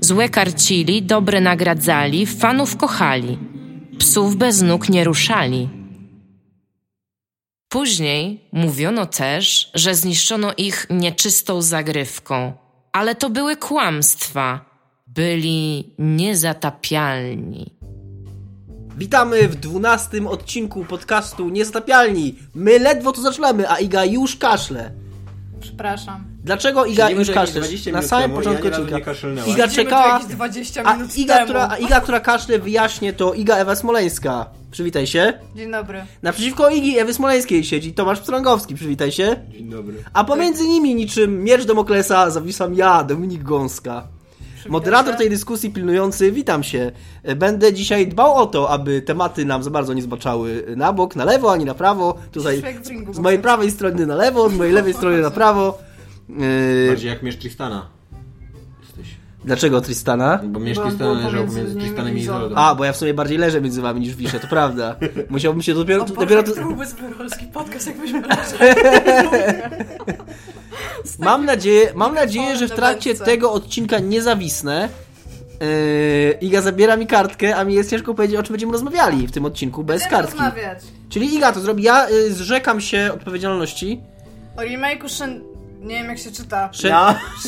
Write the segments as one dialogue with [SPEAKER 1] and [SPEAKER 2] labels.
[SPEAKER 1] Złe karcili, dobre nagradzali, fanów kochali. Psów bez nóg nie ruszali. Później mówiono też, że zniszczono ich nieczystą zagrywką, ale to były kłamstwa. Byli niezatapialni.
[SPEAKER 2] Witamy w dwunastym odcinku podcastu Niezatapialni. My ledwo to zaczynamy, a Iga już kaszle.
[SPEAKER 3] Przepraszam.
[SPEAKER 2] Dlaczego Iga
[SPEAKER 4] Siedzimy
[SPEAKER 2] już
[SPEAKER 4] tutaj
[SPEAKER 2] kaszle?
[SPEAKER 4] 20
[SPEAKER 2] Na
[SPEAKER 4] minut
[SPEAKER 2] samym
[SPEAKER 4] temu,
[SPEAKER 2] początku
[SPEAKER 4] ja nie razu
[SPEAKER 2] odcinka.
[SPEAKER 4] nie kaszlnęłam.
[SPEAKER 2] Iga
[SPEAKER 3] Siedzimy tu
[SPEAKER 2] czekała,
[SPEAKER 3] jakieś 20
[SPEAKER 2] a
[SPEAKER 3] minut
[SPEAKER 2] Iga,
[SPEAKER 3] temu.
[SPEAKER 2] która, a Iga, która kaszle wyjaśnię to Iga Ewa Smoleńska. Przywitaj się.
[SPEAKER 3] Dzień dobry.
[SPEAKER 2] Naprzeciwko Igi Ewy Smoleńskiej siedzi Tomasz Pstrągowski. Przywitaj się.
[SPEAKER 4] Dzień dobry.
[SPEAKER 2] A pomiędzy nimi niczym miecz Demoklesa zawisłam ja, Dominik Gąska. Moderator tej dyskusji pilnujący, witam się. Będę dzisiaj dbał o to, aby tematy nam za bardzo nie zbaczały na bok, na lewo, ani na prawo. Tutaj
[SPEAKER 3] Szwek w ringu
[SPEAKER 2] z mojej
[SPEAKER 3] boksera.
[SPEAKER 2] prawej strony na lewo, z mojej lewej strony na prawo. Yy,
[SPEAKER 4] Bardziej jak miecz Tristana. Jesteś.
[SPEAKER 2] dlaczego Tristana?
[SPEAKER 4] No, Bo miecz
[SPEAKER 3] Bo on
[SPEAKER 4] Tristana
[SPEAKER 3] był
[SPEAKER 4] leżał
[SPEAKER 3] pomiędzy
[SPEAKER 4] pomiędzy
[SPEAKER 3] nimi
[SPEAKER 4] Tristanem
[SPEAKER 3] i
[SPEAKER 4] i Izoldą.
[SPEAKER 2] A, bo ja w sumie bardziej leżę między wami niż wiszę, to prawda. Musiałbym się dopiero...
[SPEAKER 3] O Boże,
[SPEAKER 2] dopiero
[SPEAKER 3] to byłby polski podcast, jakbyśmy
[SPEAKER 2] Mam nadzieję, mam nadzieję, że w
[SPEAKER 3] na
[SPEAKER 2] trakcie
[SPEAKER 3] belce.
[SPEAKER 2] tego odcinka nie zawisnę. Yy, Iga zabiera mi kartkę, a mi jest ciężko powiedzieć, o czym będziemy rozmawiali w tym odcinku bez kartki.
[SPEAKER 3] rozmawiać.
[SPEAKER 2] Czyli Iga to zrobi. Ja y, zrzekam się odpowiedzialności.
[SPEAKER 3] O remake'u Shen... Nie wiem jak się czyta.
[SPEAKER 2] Prze-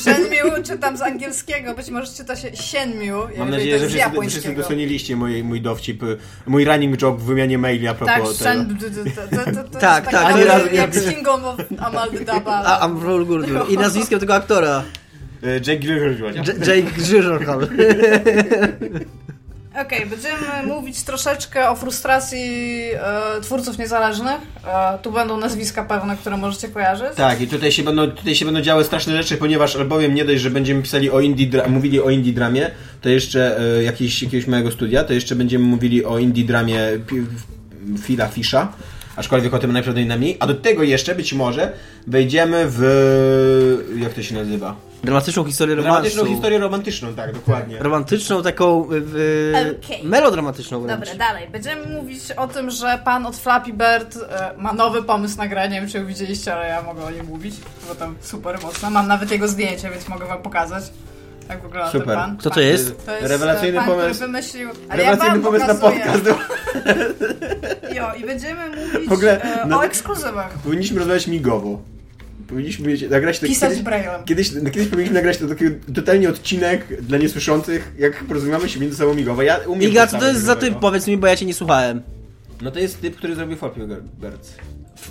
[SPEAKER 3] Shenmue czytam z angielskiego, być może czyta się Shenmue. ja
[SPEAKER 4] Mam
[SPEAKER 3] wiem,
[SPEAKER 4] nadzieję,
[SPEAKER 3] to jest z
[SPEAKER 4] że wszyscy, wszyscy
[SPEAKER 3] japońskiego.
[SPEAKER 4] doceniliście mój, mój dowcip, y, mój running job w wymianie maili a
[SPEAKER 3] Tak,
[SPEAKER 4] propos tego.
[SPEAKER 3] Shen... To, to, to, to
[SPEAKER 2] Tak,
[SPEAKER 3] jest
[SPEAKER 2] tak,
[SPEAKER 4] ani
[SPEAKER 3] jak-
[SPEAKER 4] razu nie
[SPEAKER 3] Jak
[SPEAKER 2] wiem.
[SPEAKER 3] z Kingom of Amaldy
[SPEAKER 2] A,
[SPEAKER 3] Daba.
[SPEAKER 2] Amrol Gurdur. I nazwiskiem tego aktora.
[SPEAKER 4] Y, Jake Gyllenhaal.
[SPEAKER 2] J- Jake Gyllenhaal.
[SPEAKER 3] Okej, będziemy mówić troszeczkę o frustracji e, twórców niezależnych. E, tu będą nazwiska pewne, które możecie kojarzyć.
[SPEAKER 4] Tak, i tutaj się, będą, tutaj się będą działy straszne rzeczy, ponieważ albowiem nie dość, że będziemy pisali o indie, dra- mówili o indie dramie, to jeszcze y, jakiejś, jakiegoś mojego studia, to jeszcze będziemy mówili o indie dramie pi- w- Phila Fisha, aczkolwiek o tym najprawdopodobniej najmniej, a do tego jeszcze być może wejdziemy w... jak to się nazywa?
[SPEAKER 2] Dramatyczną historię
[SPEAKER 4] Romantyczną
[SPEAKER 2] romansu.
[SPEAKER 4] historię romantyczną, tak, dokładnie.
[SPEAKER 2] Romantyczną taką... y, y,
[SPEAKER 3] Okej.
[SPEAKER 2] Melodramatyczną wręcz.
[SPEAKER 3] Dobra, dalej. Będziemy mówić o tym, że pan od Flappy Bird e, ma nowy pomysł na grę. Nie wiem, czy widzieliście, ale ja mogę o nim mówić, bo tam super mocno. Mam nawet jego zdjęcie, więc mogę wam pokazać. Tak wygląda
[SPEAKER 4] Super.
[SPEAKER 3] ten pan.
[SPEAKER 2] Kto to
[SPEAKER 3] Pan-
[SPEAKER 2] jest?
[SPEAKER 3] To jest Rewelacyjny
[SPEAKER 4] Rewelacyjny
[SPEAKER 3] pan, pomysł.
[SPEAKER 4] pomysł.
[SPEAKER 3] który wymyślił... Ale ja
[SPEAKER 4] Rewelacyjny
[SPEAKER 3] wam
[SPEAKER 4] pomysł na
[SPEAKER 3] pokazuję.
[SPEAKER 4] podcast.
[SPEAKER 3] Jo, i będziemy mówić
[SPEAKER 4] W ogóle
[SPEAKER 3] e,
[SPEAKER 4] na-
[SPEAKER 3] o ekskluzywach.
[SPEAKER 4] Powinniśmy rozmawiać migowo. Powinniśmy mieć- nagrać to
[SPEAKER 3] Pisać
[SPEAKER 4] kiedyś,
[SPEAKER 3] braille'em.
[SPEAKER 4] kiedyś, no, kiedyś powinniśmy nagrać to taki totalnie odcinek dla niesłyszących, jak porozumiemy się między sobą migowo. Ja umiem
[SPEAKER 2] Iga, co
[SPEAKER 4] podstawy
[SPEAKER 2] to jest za
[SPEAKER 4] migowego.
[SPEAKER 2] typ? Powiedz mi, bo ja cię nie słuchałem.
[SPEAKER 4] No to jest typ, który zrobił Flappy Birds.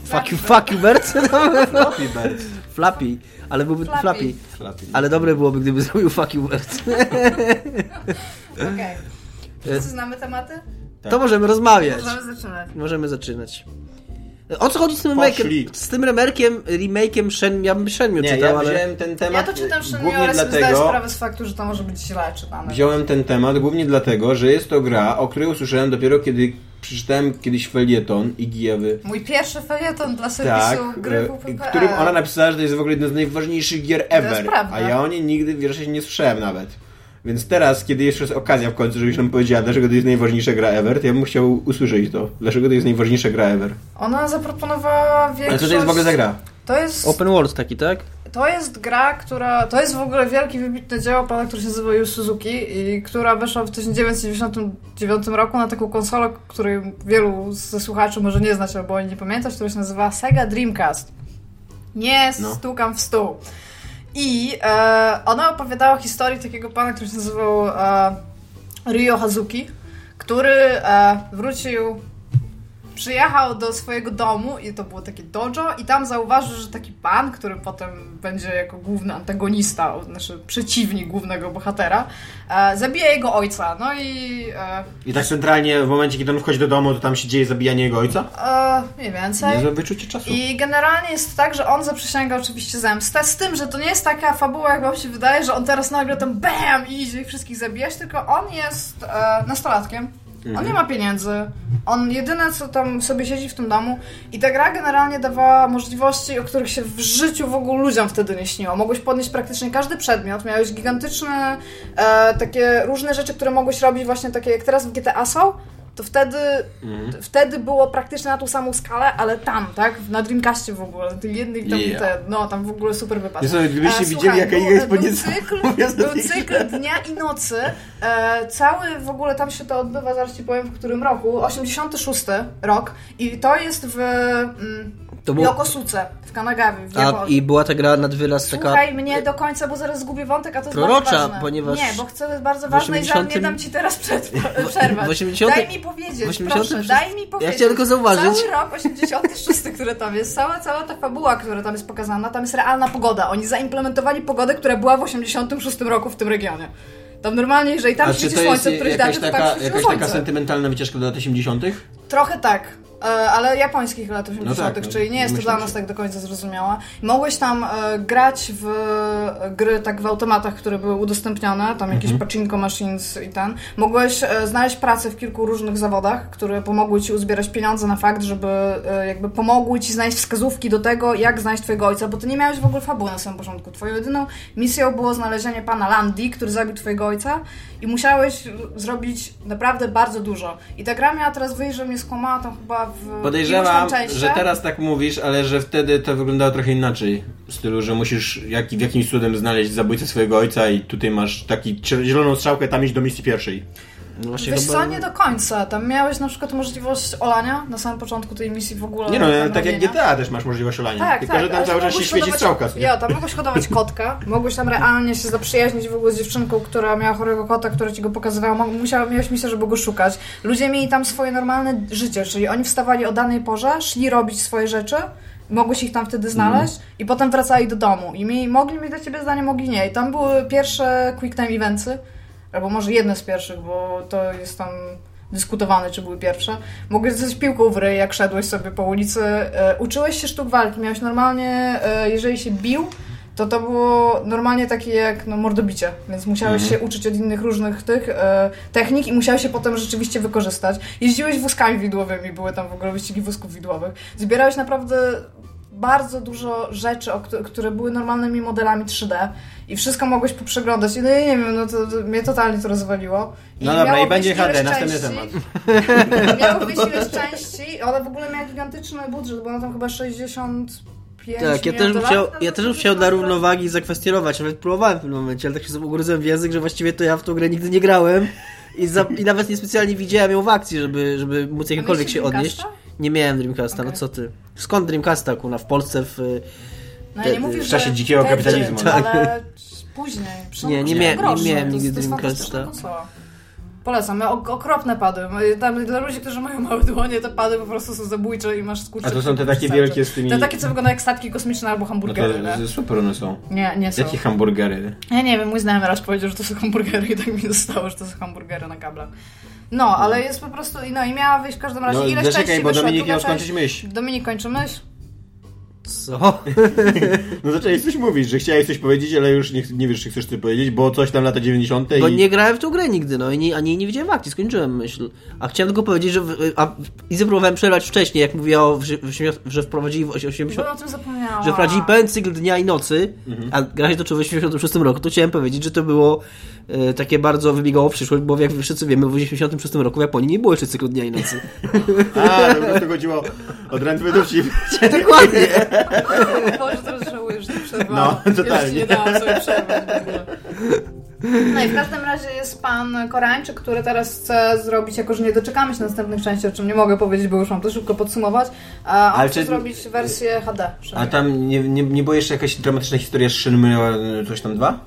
[SPEAKER 2] Fuck you, fuck you, Bert. No.
[SPEAKER 4] Flappy Birds.
[SPEAKER 2] Flappy. Ale byłby
[SPEAKER 3] Flappy.
[SPEAKER 2] Flappy.
[SPEAKER 4] Flappy.
[SPEAKER 2] Ale dobre byłoby, gdyby zrobił fuck you, Bert.
[SPEAKER 4] Tak.
[SPEAKER 3] Okej.
[SPEAKER 4] E,
[SPEAKER 3] Wszyscy znamy tematy?
[SPEAKER 4] Tak.
[SPEAKER 2] To możemy rozmawiać.
[SPEAKER 3] Możemy zaczynać.
[SPEAKER 2] Możemy zaczynać. O co chodzi z tym
[SPEAKER 4] Poszli.
[SPEAKER 2] remake'em? Z tym remerkiem, remake'em Shen, ja bym Shenmue
[SPEAKER 4] Nie,
[SPEAKER 2] czytał,
[SPEAKER 4] ja
[SPEAKER 2] ale...
[SPEAKER 4] wziąłem ten
[SPEAKER 3] Ja
[SPEAKER 4] temat e,
[SPEAKER 3] to czytam szczerze,
[SPEAKER 4] głównie
[SPEAKER 3] ale sobie zdaję
[SPEAKER 4] dlatego...
[SPEAKER 3] sprawę z faktu, że to może być źle czytane.
[SPEAKER 4] Wziąłem ten temat głównie dlatego, że jest to gra, o której usłyszałem dopiero kiedy przeczytałem kiedyś felieton Igiewy
[SPEAKER 3] Mój pierwszy felieton dla
[SPEAKER 4] Tak,
[SPEAKER 3] serwisu gry
[SPEAKER 4] e,
[SPEAKER 3] WPPL.
[SPEAKER 4] którym ona napisała, że to jest w ogóle jedna z najważniejszych gier ever.
[SPEAKER 3] prawda.
[SPEAKER 4] a ja o niej nigdy wierzę się nie słyszałem nawet. Więc teraz, kiedy jeszcze jest okazja w końcu, żebyś nam powiedziała, dlaczego to jest najważniejsza gra ever, to ja bym chciał usłyszeć to. Dlaczego to jest najważniejsza gra ever.
[SPEAKER 3] Ona zaproponowała większość...
[SPEAKER 4] Ale co to jest w ogóle za gra?
[SPEAKER 3] To jest,
[SPEAKER 2] Open world taki, tak?
[SPEAKER 3] to jest gra, która... To jest w ogóle wielki, wybitny dzieło pana, który się nazywa Yu Suzuki i która weszła w 1999 roku na taką konsolę, której wielu ze słuchaczy może nie znać albo o niej nie pamiętać, która się nazywa Sega Dreamcast. Nie
[SPEAKER 4] No.
[SPEAKER 3] stukam w stół. I e, ona opowiadała historię takiego pana, który się nazywał e, Ryo Hazuki, który e, wrócił przyjechał do swojego domu i to było takie dojo i tam zauważył, że taki pan, który potem będzie jako główny antagonista, znaczy przeciwnik głównego bohatera, e, zabija jego ojca. No i e,
[SPEAKER 4] I tak centralnie w momencie, kiedy on wchodzi do domu, to tam się dzieje zabijanie jego ojca?
[SPEAKER 3] e, mniej więcej.
[SPEAKER 4] Niezłe wyczucie czasu.
[SPEAKER 3] I generalnie jest tak, że on zaprzysięga oczywiście zemstę, z tym, że to nie jest taka fabuła, jak wam się wydaje, że on teraz nagle tam BAM i idzie ich wszystkich zabijać, tylko on jest e, nastolatkiem. On nie ma pieniędzy. On jedyne co tam sobie siedzi w tym domu i ta gra generalnie dawała możliwości, o których się w życiu w ogóle ludziom wtedy nie śniło. Mogłeś podnieść praktycznie każdy przedmiot, miałeś gigantyczne e, takie różne rzeczy, które mogłeś robić właśnie takie jak teraz w GTA są, to wtedy,
[SPEAKER 4] Mhm.
[SPEAKER 3] t- wtedy było praktycznie na tą samą skalę, ale tam, tak? Na Dreamcastie w ogóle. Tych jednych tam,
[SPEAKER 4] Yeah.
[SPEAKER 3] te, no tam w ogóle super wypadł.
[SPEAKER 4] Nie sobie, gdybyście
[SPEAKER 3] E,
[SPEAKER 4] widzieli,
[SPEAKER 3] słuchaj,
[SPEAKER 4] jaka
[SPEAKER 3] był-
[SPEAKER 4] Iga jest
[SPEAKER 3] był
[SPEAKER 4] podniecona,
[SPEAKER 3] cykl-
[SPEAKER 4] mówiąc o
[SPEAKER 3] Był
[SPEAKER 4] tej
[SPEAKER 3] cykl dnia i nocy. E, cały w ogóle tam się to odbywa, zaraz ci powiem w którym roku. 86 rok i to jest w mm,
[SPEAKER 2] To było-
[SPEAKER 3] Yokosuce, w Kanagawie, w
[SPEAKER 2] A,
[SPEAKER 3] Japonii.
[SPEAKER 2] i była ta gra nad wyraz taka...
[SPEAKER 3] Słuchaj mnie do końca, bo zaraz zgubię wątek, a to jest
[SPEAKER 2] Prorocza,
[SPEAKER 3] bardzo ważne.
[SPEAKER 2] ponieważ
[SPEAKER 3] Nie, bo chcę, to jest bardzo
[SPEAKER 2] w
[SPEAKER 3] ważne i za
[SPEAKER 2] 80
[SPEAKER 3] nie dam ci teraz przed, przerwać.
[SPEAKER 2] w 80
[SPEAKER 3] Daj mi powiedzieć,
[SPEAKER 2] w 80
[SPEAKER 3] proszę,
[SPEAKER 2] przez-
[SPEAKER 3] daj mi powiedzieć.
[SPEAKER 2] chciałem tylko zauważyć.
[SPEAKER 3] Cały rok 86, który tam jest, cała, cała ta fabuła, która tam jest pokazana, tam jest realna pogoda. Oni zaimplementowali pogodę, która była w 86 roku w tym regionie. Tam normalnie, jeżeli tam świeci słońce, któryś
[SPEAKER 4] jakaś
[SPEAKER 3] daty, to tam
[SPEAKER 4] taka,
[SPEAKER 3] świeciło
[SPEAKER 4] jakaś taka
[SPEAKER 3] słońce.
[SPEAKER 4] sentymentalna wycieczka do lat 80.?
[SPEAKER 3] Trochę tak, e, ale japońskich lat 80.,
[SPEAKER 4] No tak,
[SPEAKER 3] czyli nie jest to
[SPEAKER 4] myślę,
[SPEAKER 3] dla nas
[SPEAKER 4] że-
[SPEAKER 3] tak do końca zrozumiałe. Mogłeś tam e, grać w gry tak w automatach, które były udostępnione, tam jakieś
[SPEAKER 4] Mhm.
[SPEAKER 3] pachinko machines i ten. Mogłeś e, znaleźć pracę w kilku różnych zawodach, które pomogły ci uzbierać pieniądze na fakt, żeby e, jakby pomogły ci znaleźć wskazówki do tego, jak znaleźć twojego ojca, bo ty nie miałeś w ogóle fabuły na samym początku. Twoją jedyną misją było znalezienie pana Landi, który zabił twojego ojca i musiałeś zrobić naprawdę bardzo dużo. I ta gra miała teraz wyjść, że mnie skłamała tam chyba w
[SPEAKER 4] Podejrzewam,
[SPEAKER 3] iluś tam częściach.
[SPEAKER 4] że teraz tak mówisz, ale że wtedy to wyglądało trochę inaczej. W stylu, że musisz jak, w jakimś cudem znaleźć zabójcę swojego ojca i tutaj masz taki cie- zieloną strzałkę, tam iść do misji pierwszej.
[SPEAKER 2] No
[SPEAKER 4] Znaczy,
[SPEAKER 2] właśnie
[SPEAKER 3] Wiesz
[SPEAKER 2] chyba-
[SPEAKER 3] co, nie do końca. Tam miałeś na przykład możliwość olania na samym początku tej misji w ogóle.
[SPEAKER 4] Nie no,
[SPEAKER 3] tam
[SPEAKER 4] tak jak
[SPEAKER 3] robienia.
[SPEAKER 4] GTA też masz możliwość olania,
[SPEAKER 3] Tak,
[SPEAKER 4] tylko
[SPEAKER 3] tak,
[SPEAKER 4] że tam
[SPEAKER 3] ale
[SPEAKER 4] cały czas się
[SPEAKER 3] mogłeś
[SPEAKER 4] świeci
[SPEAKER 3] hodować-
[SPEAKER 4] strzałka.
[SPEAKER 3] Ja, tam mogłeś hodować kotka, mogłeś tam realnie się zaprzyjaźnić w ogóle z dziewczynką, która miała chorego kota, która ci go pokazywała, Mo- musiała, miałeś misję, żeby go szukać. Ludzie mieli tam swoje normalne życie, czyli oni wstawali o danej porze, szli robić swoje rzeczy, mogłeś ich tam
[SPEAKER 4] Mhm.
[SPEAKER 3] wtedy znaleźć i potem wracali do domu. I mieli, mogli mieć dla ciebie zdanie, mogli nie. I tam były pierwsze quick time eventsy, albo może jedne z pierwszych, bo to jest tam dyskutowane, czy były pierwsze. Mogłeś zostać piłką w ryj, jak szedłeś sobie po ulicy. E, uczyłeś się sztuk walki, miałeś normalnie, e, jeżeli się bił, to to było normalnie takie jak no, mordobicie, więc musiałeś się uczyć od innych różnych tych e, technik i musiałeś się potem rzeczywiście wykorzystać. Jeździłeś wózkami widłowymi, były tam w ogóle wyścigi wózków widłowych. Zbierałeś naprawdę bardzo dużo rzeczy, o któ- które były normalnymi modelami 3D i wszystko mogłeś poprzeglądać. I no, ja nie wiem, no to, to mnie totalnie to rozwaliło.
[SPEAKER 4] No dobra,
[SPEAKER 3] miało
[SPEAKER 4] i będzie
[SPEAKER 3] być
[SPEAKER 4] HD,
[SPEAKER 3] ileś
[SPEAKER 4] następny
[SPEAKER 3] części-
[SPEAKER 4] temat.
[SPEAKER 3] Miało być ileś części, ona w ogóle miała gigantyczny budżet, bo ona tam chyba 65
[SPEAKER 2] Tak, ja też,
[SPEAKER 3] milionów
[SPEAKER 2] bym chciał,
[SPEAKER 3] dolarów,
[SPEAKER 2] ja też bym
[SPEAKER 3] to
[SPEAKER 2] chciał
[SPEAKER 3] to
[SPEAKER 2] dla
[SPEAKER 3] to-
[SPEAKER 2] równowagi zakwestionować, nawet próbowałem w pewnym momencie, ale tak się ugryzłem w język, że właściwie to ja w tą grę nigdy nie grałem i, za, i nawet niespecjalnie widziałem ją w akcji, żeby, żeby móc jakkolwiek się
[SPEAKER 3] mieliście
[SPEAKER 2] odnieść.
[SPEAKER 3] Dreamcasta?
[SPEAKER 2] Nie miałem Dreamcasta, no
[SPEAKER 3] Okej.
[SPEAKER 2] co ty. Skąd Dreamcasta, kuna, w Polsce, w... y,
[SPEAKER 3] No ja
[SPEAKER 2] te-
[SPEAKER 3] nie mówię,
[SPEAKER 4] w czasie
[SPEAKER 3] że
[SPEAKER 4] dzikiego
[SPEAKER 3] wtedy,
[SPEAKER 4] kapitalizmu.
[SPEAKER 3] Ale później. przy
[SPEAKER 2] Tak. Nie, nie
[SPEAKER 3] okresie
[SPEAKER 2] miałem- nie
[SPEAKER 3] groszy,
[SPEAKER 2] miałem
[SPEAKER 3] to jest-
[SPEAKER 2] nigdy
[SPEAKER 3] to jest
[SPEAKER 2] Dreamcasta.
[SPEAKER 3] fantastyczna konsola. Polecam, ja ok- okropne pady. Tam dla ludzi, którzy mają małe dłonie, te pady po prostu są zabójcze i masz skurcze.
[SPEAKER 4] A to są te takie wielkie z tymi-
[SPEAKER 3] Te takie, co wyglądają jak statki kosmiczne albo
[SPEAKER 4] No
[SPEAKER 3] hamburgery,
[SPEAKER 4] to
[SPEAKER 3] nie?
[SPEAKER 4] z- super one są.
[SPEAKER 3] Nie, nie są.
[SPEAKER 4] Jakie hamburgery?
[SPEAKER 3] Ja nie wiem, mój znajomy raz powiedział, że to są hamburgery i tak mi zostało, że to są hamburgery na kablach. No, ale jest po prostu, no i miała wyjść w każdym razie
[SPEAKER 4] No
[SPEAKER 3] ileś
[SPEAKER 4] zaczekaj,
[SPEAKER 3] części
[SPEAKER 4] bo
[SPEAKER 3] wyszła,
[SPEAKER 4] Dominik
[SPEAKER 3] druga
[SPEAKER 4] miał
[SPEAKER 3] część-
[SPEAKER 4] skończyć myśl.
[SPEAKER 3] Dominik kończy myśl?
[SPEAKER 2] Co?
[SPEAKER 4] No zaczęłeś coś mówić, że chciałeś coś powiedzieć, ale już nie, ch- nie wiesz, czy chcesz coś powiedzieć, bo coś tam lata 90.
[SPEAKER 2] Bo
[SPEAKER 4] i...
[SPEAKER 2] nie grałem w tą grę nigdy, no i nie, ani jej nie widziałem w akcji, skończyłem myśl. A chciałem tylko powiedzieć, że... W, a, I zapróbowałem przerwać wcześniej, jak mówiła, o- że, że wprowadzili w 80...
[SPEAKER 3] Bo o tym zapomniałam.
[SPEAKER 2] że wprowadzili pełen cykl dnia i nocy,
[SPEAKER 3] Mhm.
[SPEAKER 2] a gra się toczyła w 86 roku, to chciałem powiedzieć, że to było e, takie bardzo wybiegało w przyszłość, bo jak wszyscy wiemy, w 86 roku w Japonii nie było jeszcze cyklu dnia i nocy.
[SPEAKER 4] A, to po prostu chodziło od ręce do wsi.
[SPEAKER 2] Dokładnie.
[SPEAKER 3] Boże, teraz żałuję, że nie
[SPEAKER 4] No,
[SPEAKER 3] przerwałam.
[SPEAKER 4] totalnie.
[SPEAKER 3] Jeszcze nie dałam sobie przerwy. w ogóle. No i w każdym razie jest pan Koreańczyk, który teraz chce zrobić, jako że nie doczekamy się następnych części, o czym nie mogę powiedzieć, bo już mam to szybko podsumować, a on
[SPEAKER 4] Ale
[SPEAKER 3] chce
[SPEAKER 4] czy-
[SPEAKER 3] zrobić wersję HD.
[SPEAKER 4] A
[SPEAKER 3] przynajmniej.
[SPEAKER 4] tam nie, nie, nie była jeszcze jakaś dramatyczna historia z Shenmue e, coś tam dwa?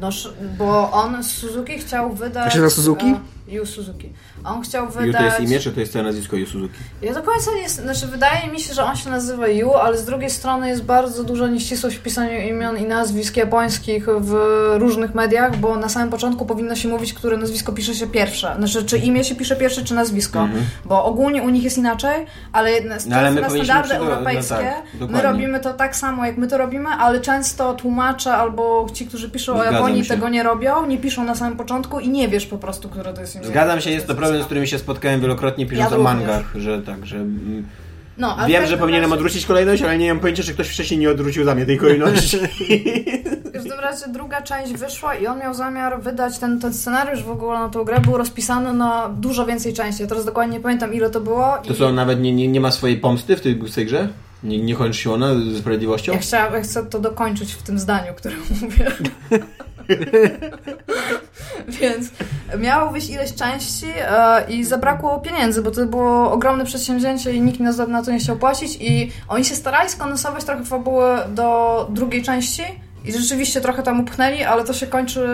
[SPEAKER 3] No, sz- bo on z Suzuki chciał wydać...
[SPEAKER 2] Jeszcze na Suzuki?
[SPEAKER 3] e, Yu Suzuki. A on chciał
[SPEAKER 4] Yu to jest
[SPEAKER 3] wydać...
[SPEAKER 4] imię, czy to jest całe nazwisko Yu Suzuki?
[SPEAKER 3] Ja do końca nie... Znaczy, wydaje mi się, że on się nazywa Yu, ale z drugiej strony jest bardzo duża nieścisłość w pisaniu imion i nazwisk japońskich w różnych mediach, bo na samym początku powinno się mówić, które nazwisko pisze się pierwsze. Znaczy, czy imię się pisze pierwsze, czy nazwisko. Bo ogólnie u nich jest inaczej, ale na,
[SPEAKER 4] Mhm. No, ale my
[SPEAKER 3] na
[SPEAKER 4] powinniśmy
[SPEAKER 3] standardy
[SPEAKER 4] przygo- no
[SPEAKER 3] europejskie
[SPEAKER 4] tak, dokładnie.
[SPEAKER 3] my robimy to tak samo, jak my to robimy, ale często tłumacze albo ci, którzy piszą
[SPEAKER 4] Zgadzam
[SPEAKER 3] o Japonii,
[SPEAKER 4] się.
[SPEAKER 3] tego nie robią, nie piszą na samym początku i nie wiesz po prostu, które to jest imię.
[SPEAKER 4] Zgadzam się, jest to problem, z którym się spotkałem wielokrotnie pisząc
[SPEAKER 3] Ja
[SPEAKER 4] o
[SPEAKER 3] również.
[SPEAKER 4] mangach, że tak, że... mm,
[SPEAKER 3] No, ale w
[SPEAKER 4] Wiem, że
[SPEAKER 3] każdym
[SPEAKER 4] powinienem
[SPEAKER 3] razie-
[SPEAKER 4] odwrócić kolejność, ale nie mam pojęcia, czy ktoś wcześniej nie odwrócił za mnie tej kolejności.
[SPEAKER 3] W każdym razie druga część wyszła i on miał zamiar wydać ten, ten scenariusz w ogóle na tą grę, był rozpisany na dużo więcej części. Ja teraz dokładnie nie pamiętam, ile to było.
[SPEAKER 4] To
[SPEAKER 3] i-
[SPEAKER 4] co, nawet nie, nie, nie ma swojej pomsty w tej, w tej grze? Nie, nie kończy się ona ze sprawiedliwością?
[SPEAKER 3] Ja, chciałam, ja chcę to dokończyć w tym zdaniu, które mówię. Więc miało wyjść ileś części e, i zabrakło pieniędzy, bo to było ogromne przedsięwzięcie i nikt nas na to nie chciał płacić i oni się starali skondensować trochę fabułę do drugiej części i rzeczywiście trochę tam upchnęli, ale to się kończy